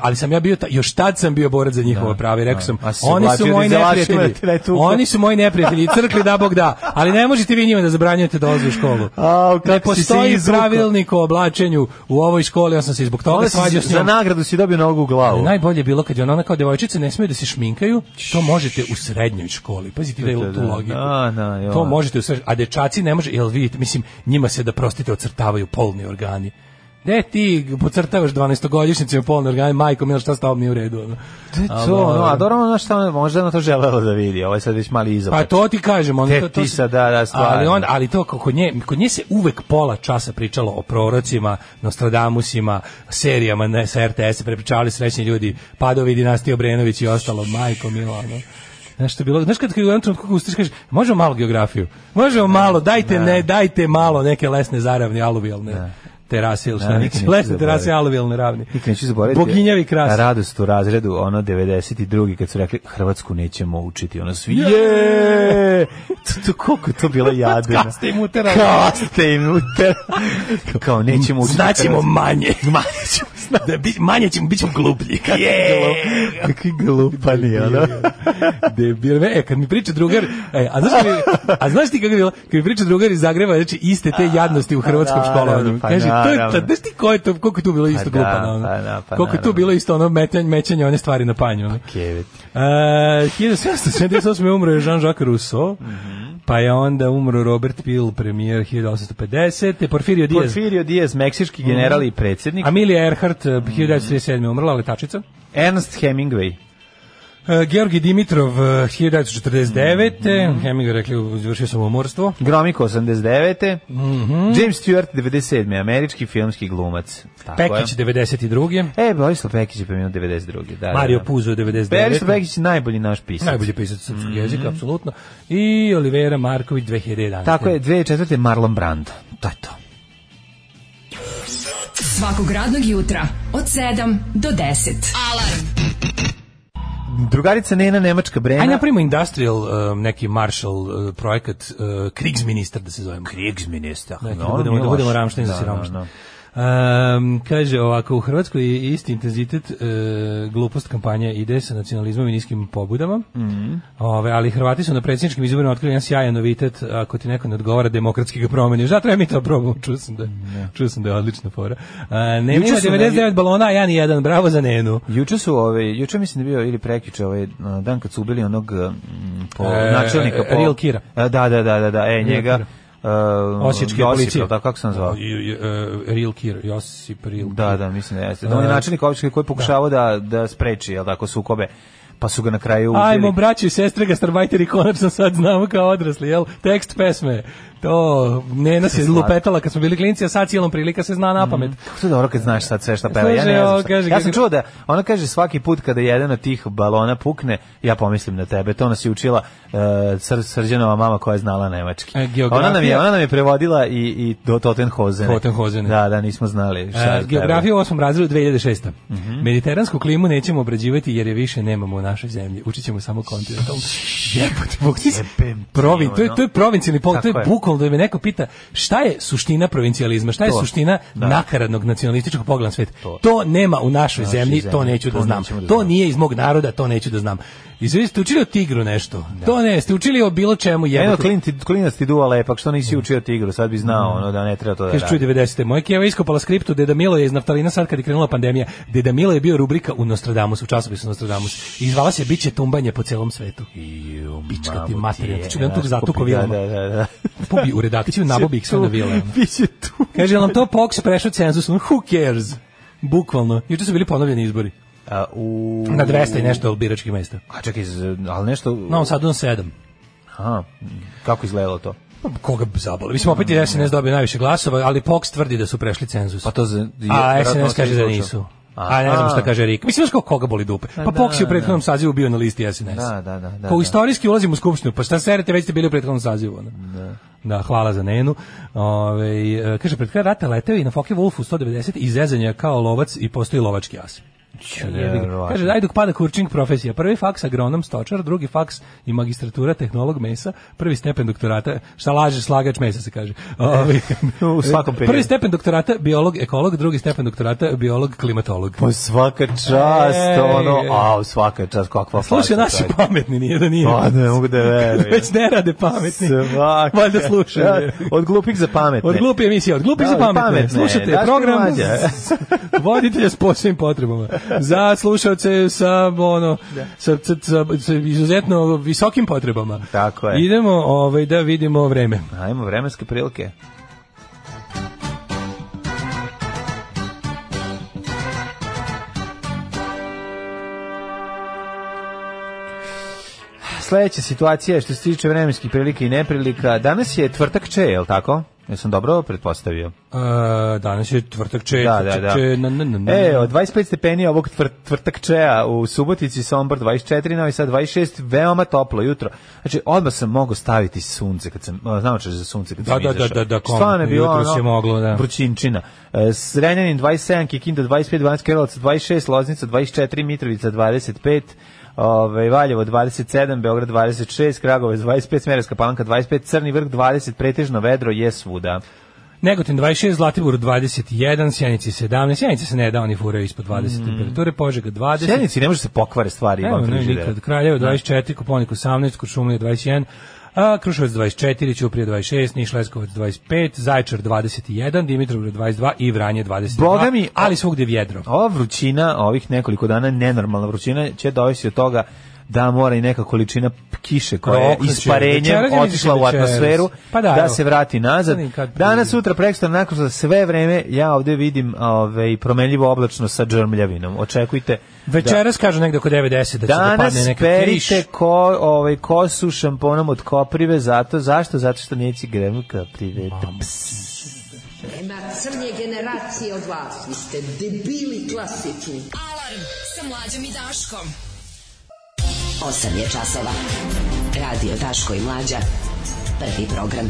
G: Ali sam ja bio, ta, još tad sam bio borac za njihova prava i rekao sam,
H: A si se
G: oni su
H: oblačio Mhm. da
G: moji
H: izdelašima da
G: neprijatelji.
H: te ne tuku."
G: Oni su moji
H: [LAUGHS]
G: neprijatelji, crkli da bog da. Ali ne možete vi njima da zabranjujete dolaze u školu.
H: Au, kako
G: ne
H: si se
G: postoji
H: izvukao.
G: pravilnik o oblačenju u ovoj školi, ja sam se i zbog toga
H: Onda si
G: svađao s
H: za
G: njom.
H: nagradu si dobio nogu u glavu.
G: Najbolje je bilo kad je ona, ona kao devojčice ne smiju da se šminkaju, to možete u srednjoj školi. Pazite da je tu
H: Da,
G: logiku.
H: da, da, jo.
G: to možete u srednjoj, a dečaci ne može, jel vidite, mislim, njima se da prostite ocrtavaju polni organi. De ti pocrtavaš 12-godišnjicima polni organi, majko, milo šta stao mi je u redu. ono.
H: To je to, ono, a dobro, ono šta ona- možda ona to želela da vidi, ovo je sad već mali izopet.
G: Pa to ti kažem, on
H: Te
G: to, to
H: ti
G: se-
H: sad, da, da, stvarno.
G: Ali on, ali to kako nje, kod nje se uvek pola časa pričalo o prorocima, Nostradamusima, serijama ne, sa RTS, prepričavali srećni ljudi, Padovi, dinastija Obrenović i ostalo, majko mila, ono. Znaš što je bilo? Znaš kad kad u jednom trenutku ustaš kažeš, možemo malo geografiju. Možemo malo, dajte ne, dajte malo neke lesne zaravne aluvijalne. terase ili šta
H: Da,
G: neki
H: nikad neću
G: lesne terase
H: zaboraviti.
G: aluvijalne ravni.
H: Nikad neću zaboraviti.
G: Boginjavi kras.
H: Radost u razredu, ono 92. kad su rekli Hrvatsku nećemo učiti, ono svi je! [LAUGHS] To, to, koliko je to
G: [LAUGHS]
H: bilo jadno.
G: Kad ste im uterali.
H: Kad ste im uterali.
G: [LAUGHS]
H: Kao nećemo učiti.
G: Znaćemo
H: Hrvatsku. [LAUGHS]
G: manje. Manje ćemo, da, bi, manje ćemo, bit ćemo gluplji. Yeah!
H: Kakvi glupani, ono.
G: Debil. E, kad mi priča drugar, e, a, znaš, mi, a znaš ti kako je bilo? Kad mi priča drugar iz Zagreba, znači iste te jadnosti u hrvatskom
H: naravno,
G: školovanju.
H: pa
G: Kaže, to je, ta,
H: naravno.
G: znaš ti ko je to, koliko je tu bilo isto
H: da,
G: glupa na ono?
H: pa da, pa
G: koliko je tu
H: naravno.
G: bilo isto ono metenje, mećenje one stvari na panju. Ono?
H: Kevet.
G: E, 1778. je umro je Jean-Jacques Rousseau,
H: Mhm.
G: pa je onda umro Robert Peel, premijer 1850. Porfirio Diaz.
H: Porfirio Diaz, meksički general i predsjednik.
G: Amelia Earhart, eh, 1937. je umrla, letačica.
H: Ernst Hemingway.
G: E, Georgi Dimitrov, eh, 1949.
H: Mm-hmm.
G: Hemingway rekli, izvršio sam umorstvo.
H: Gromiko 89. James Stewart 97. Američki filmski glumac. Tako
G: Pekić,
H: je.
G: 92.
H: E, Borislav Pekić je preminuo 92. Da,
G: Mario
H: da, da.
G: Puzo, 99.
H: Berislav Pekić je najbolji naš pisac.
G: Najbolji pisac srpskog jezika, apsolutno. I Olivera Marković, 2011.
H: Mm-hmm. Tako je, 2004. Marlon Brando. To je to.
E: Svakog radnog jutra od 7 do 10.
K: Alarm.
H: Drugarica Nena, nemačka brena.
G: Ajde napravimo industrial, eh, neki Marshall eh, projekat, eh, Kriegsminister da se zovemo.
H: Kriegsminister.
G: Da,
H: No,
G: da budemo,
H: nije
G: da budemo
H: loš.
G: Rammstein za
H: Da,
G: siromašne.
H: da, da.
G: Ehm, kaže ovako, u Hrvatskoj je isti intenzitet e, glupost kampanja ide sa nacionalizmom i niskim pobudama,
H: Mhm.
G: Ove, ali Hrvati su na predsjedničkim izborima otkrili jedan sjajan novitet, ako ti neko ne odgovara demokratski ga promeni. Šta treba mi to probamo? Čuo sam da, čuo sam da je odlična fora. E, ne,
H: Juče
G: nema
H: sam
G: 99 balona, a ja ni jedan, bravo za Nenu.
H: Juče su ove, juče mislim da je bio ili prekjuče ovaj a, dan kad su ubili onog mm, po
G: E,
H: načelnika po
G: Real Kira.
H: A, Da, da, da, da, da, e njega
G: Kira.
H: uh,
G: Osječke policije.
H: Da, kako sam zvao?
G: I- i- e, Real Kir, Josip Real
H: Da,
G: Kir.
H: da, mislim da jeste. Da, on je
G: E,
H: načelnik opštine koji je pokušavao da da spreči, jel tako, sukobe. Pa su ga na kraju ubili.
G: Ajmo, braćo i sestre, gastarbajteri, konačno sad znamo kao odrasli, jel? Tekst pesme. To, Nena se lupetala kad smo bili klinci, a sad cijelom prilika se zna na pamet.
H: Kako to dobro kad znaš sad sve šta peva? Ja
G: Slušaj,
H: ne znam
G: ovo,
H: šta.
G: kaže,
H: ja sam
G: kaže-
H: čuo da ona kaže svaki put kada jedan od tih balona pukne, ja pomislim na tebe. To nas je učila uh, Sr- Srđanova mama koja je znala nemački.
G: E, geografija-
H: ona nam je ona nam je prevodila i i do Tottenhozene.
G: Tottenhozene.
H: Da, da, nismo znali šta je
G: E, Geografiju u osmom razredu 2006.
H: Mhm.
G: Mediteransku klimu nećemo obrađivati jer je više nemamo u našoj zemlji. Učit ćemo samo kontinentalnu. [LAUGHS] Jebote, Bog ti se-
H: Jebem ti,
G: Provin, to je,
H: ono.
G: to je provincijalni pol, to je
H: Tako je.
G: bukvalno da me neko pita šta je suština provincijalizma, šta je
H: To.
G: suština
H: Da.
G: nakaradnog nacionalističkog pogleda na svet. To.
H: To.
G: nema u našoj zemlji, to
H: zemlji,
G: neću da
H: to
G: znam.
H: nećemo da
G: to
H: znamo.
G: nije iz mog naroda, to neću da znam. I sve ste učili o tigru nešto. To ne, ste učili o bilo čemu
H: Eno,
G: jebote.
H: klin ti, klinac ti duva lepak, što nisi učio tigru, sad bi znao ono, da ne treba to da
G: Kaže, čuj,
H: radi.
G: 90. Moja keva je iskopala skriptu Deda Milo je iz naftalina sad kad je krenula pandemija. Deda Milo je bio rubrika u Nostradamus, u časopisu Nostradamus. I zvala se Biće tumbanje po celom svetu.
H: Ju,
G: Pička
H: mamu
G: ti materina,
H: je,
G: ti ću ga tu
H: znaš,
G: zatuko
H: kupi-
G: vilama.
H: Da, da, da.
G: Pobi u redakciju, nabobi ih sve na vilama.
H: [LAUGHS] Biće tu.
G: Kaže, jel nam to Pox prešao cenzus? Ono, Who cares? Bukvalno. Juče su bili ponovljeni izbori.
H: A, u...
G: Na 200 i nešto biračkih mesta.
H: A čekaj, z- ali nešto...
G: Na ovom sadu na 7.
H: Aha, kako izgledalo to?
G: Koga bi zabali? Mislim, opet je SNS dobio najviše glasova, ali Pox tvrdi da su prešli cenzus.
H: Pa to za...
G: A
H: vjerojatno
G: SNS kaže da
H: slučaj.
G: nisu.
H: Aha.
G: A ne znam šta kaže Rik. Mislim, znaš kao koga boli dupe. Pa
H: Pa da,
G: Poks je u prethodnom
H: da.
G: sazivu bio na listi SNS.
H: Da, da, da, da,
G: Kao
H: da.
G: istorijski ulazim u skupštinu, pa šta serete, već ste bili u prethodnom sazivu. ono. Da, hvala za Nenu. Ove, kaže, pred kraj rata leteo i na Fokke Wolfu 190 i zezan je kao lovac i postoji lovački as.
H: Vjerovatno.
G: Kaže, daj dok pada kurčing profesija. Prvi faks agronom stočar, drugi faks i magistratura tehnolog mesa, prvi stepen doktorata, šta laže slagač mesa se
H: [LAUGHS]
G: kaže. Ovi,
H: U svakom
G: [LAUGHS]
H: periodu.
G: Prvi stepen doktorata biolog, ekolog, drugi stepen doktorata biolog, klimatolog.
H: Pa svaka čast,
G: Ej,
H: ono,
G: ej.
H: a svaka čast, kakva
G: Slušaj,
H: faca,
G: naši
H: čovječe.
G: pametni, nije da nije.
H: Pa ne mogu da verujem.
G: [LAUGHS] Već ne rade pametni.
H: Svaka.
G: Valjda slušaju.
H: Ja, od glupih za pametne.
G: Od glupe emisije, od glupih
H: Da,
G: za
H: ali
G: pametne.
H: pametne,
G: Slušajte,
H: Daško i
G: program
H: Mlađa.
G: s- [LAUGHS] voditelja s posebnim potrebama. Za slušalce sa, ono, sa, sa, sa, sa izuzetno visokim potrebama.
H: Tako je.
G: Idemo ovaj, da vidimo vreme.
H: Ajmo, vremenske prilike. Sledeća situacija je što se tiče vremenskih prilika i neprilika. Danas je tvrtak če, je li tako? Ja sam dobro pretpostavio.
G: E, danas je tvrtak če,
H: Da, da, da.
G: če- na- na- na- na-
H: E, od 25 stepeni ovog tvr, tvrtak čeja u Subotici, Sombor 24, Novi Sad 26, veoma toplo jutro. Znači, odmah sam mogao staviti sunce, kad sam, o, znamo češ za sunce kad
G: Da,
H: sam
G: da,
H: izašao.
G: da, da, da, kom-
H: Stvarno je bilo
G: jutros
H: ono,
G: je moglo, da.
H: vrućinčina. E, Srenjanin 27, Kikinda 25, Banacka Karlovac 26, Loznica 24, Mitrovica 25, Ove, Valjevo 27, Beograd 26, Kragovac 25, Smereska palanka 25, Crni vrh 20, pretežno vedro je svuda.
G: Negotin 26, Zlatibor 21, Sjenici 17, Sjenici se ne da, oni furaju ispod
H: Mm.
G: 20 temperature, Požega 20,
H: Sjenici ne može se pokvare stvari.
G: Evo,
H: van
G: ne,
H: frižidera.
G: nikad. Kraljevo 24, Koponik 18, Kuršumlija 21, a Kruševac 24, Ćuprija 26, Niš Leskovac 25, Zaječar 21, Dimitrovgrad 22 i Vranje 22.
H: Boga mi-
G: ali svugde vjedro.
H: Ova vrućina, ovih nekoliko dana, nenormalna vrućina, će dovesti od toga da mora i neka količina kiše koja je
G: Prokleće.
H: isparenjem
G: Večeras je
H: otišla u
G: mislim večeras.
H: atmosferu
G: Pa da,
H: da,
G: evo.
H: se vrati nazad.
G: Sad nikad prije.
H: Danas, sutra, prekstor, nakon za sve vreme ja ovde vidim ove, promenljivo oblačno sa džrmljavinom. Očekujte
G: Večeras kažu negde oko 9.10 da će
H: da
G: da padne
H: danas
G: neka kriš.
H: perite ko, ovaj, kosu šamponom od koprive, zato, zašto? Zato što neće gremu kaprive.
E: Nema crnje generacije od vas. Vi ste debili klasični.
K: Alarm sa mlađom i Daškom.
E: 8 je časova. Radio Daško i Mlađa. Prvi program.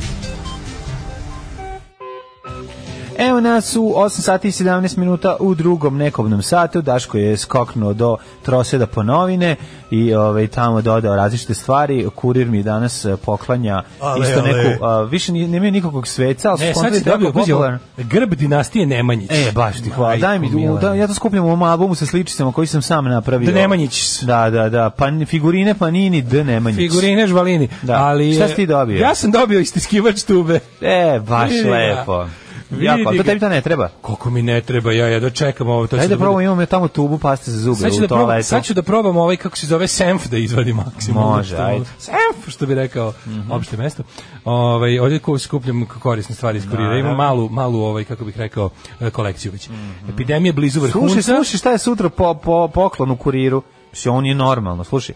H: Evo nas u 8 sati i 17 minuta u drugom nekobnom satu. Daško je skoknuo do troseda po novine i ovaj, tamo dodao različite stvari. Kurir mi danas eh, poklanja
G: Ale,
H: isto
G: ale.
H: neku... A, više nije- nemaju nikakog sveca, ali
G: Ne,
H: skonto
G: E, sad si
H: je jako
G: dobio pazi,
H: popularan.
G: grb dinastije Nemanjić.
H: E, baš ti hvala. Daj mi,
G: Majko
H: u,
G: Mila.
H: da, ja to skupljam u ovom albumu sa sličicama koji sam sam napravio.
G: Da Nemanjić.
H: Da, da, da. Pa, figurine Panini, D Nemanjić.
G: Figurine žvalini.
H: Da.
G: Ali,
H: Šta si ti dobio?
G: Ja sam dobio istiskivač tube.
H: E, baš
G: Vidi ga.
H: lepo.
G: Vidi
H: Jako,
G: ga.
H: to tebi to ne treba.
G: Koliko mi ne treba, ja, ja da čekam ovo. To će
H: Ajde da
G: bude-
H: probamo, imamo tamo tubu paste za zube
G: Sad ću,
H: u
G: da probam,
H: toaletu.
G: sad ću da probam ovaj, kako se zove, senf da izvadi maksimalno.
H: Može,
G: što-
H: ajde. Mhm.
G: Senf, što bi rekao, opšte mesto. Ovaj, ovdje ko skupljam korisne stvari iz kurira. Imam malu, malu ovaj, kako bih rekao, eh, kolekciju već. Epidemija blizu vrhunca.
H: Mhm. Slušaj, slušaj šta je sutra po, po poklon u kuriru. Mislim, on je normalno, slušaj.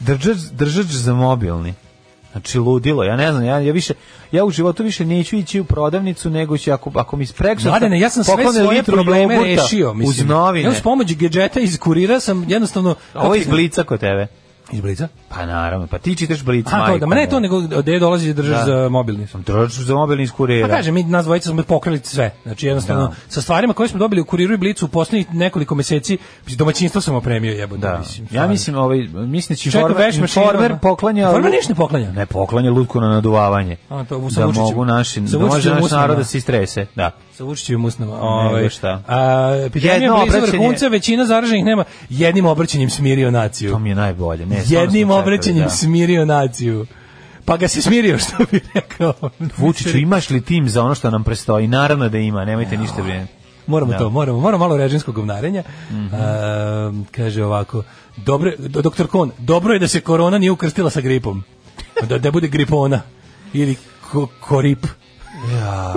H: Držač, držač za mobilni. Znači ludilo, ja ne znam, ja, ja više ja u životu više neću ići u prodavnicu nego ću ako ako mi spreksu.
G: Mladene, ja sam sve svoje probleme rešio, mislim.
H: Uz novine.
G: Ja uz pomoć gedžeta iz kurira sam jednostavno...
H: Ovo je iz blica kod tebe.
G: Iz Blica?
H: Pa naravno, pa ti čitaš blic,
G: A, to, da, ma ne to, nego gde dolazi da držaš
H: Da.
G: za mobilni.
H: Trošku za mobilni iz kurira.
G: Pa kažem, mi nas dvojica smo pokrili sve. Znači jednostavno,
H: Da.
G: sa stvarima koje smo dobili u kuriru i blicu u poslednjih nekoliko meseci, mislim, domaćinstvo sam opremio jebote.
H: Da.
G: Mislim,
H: ja
G: stvarno.
H: mislim ovaj mislim da će
G: Čekaj,
H: Informer,
G: veš mašinu,
H: Informer
G: ono.
H: poklanja.
G: Informer ništa ne poklanja.
H: Ne poklanja lutku na naduvavanje.
G: A, to u- sa
H: da
G: Vučićem.
H: mogu naši,
G: Sa
H: da može
G: Vučićem
H: naš
G: usnama.
H: narod da se istrese. Da.
G: sa Vučićevim usnama. Ovaj
H: šta.
G: A epidemija
H: Jedno
G: blizu
H: obraćanje-
G: vrhunca, većina zaraženih nema jednim obraćanjem smirio naciju.
H: To mi je najbolje. Ne, stvarno
G: jednim
H: smo čekali,
G: obraćanjem
H: da.
G: smirio naciju. Pa ga se smirio što bi rekao.
H: Vučiću, imaš li tim za ono što nam prestoji? Naravno da ima, nemojte ništa brinuti.
G: Moramo
H: Da. Mhm.
G: to, moramo, moramo malo režimskog govnarenja. Ehm, kaže ovako, dobro, je- do- doktor Kon, dobro je da se korona nije ukrstila sa gripom. Da, da bude gripona. Ili ko- korip.
H: Ja,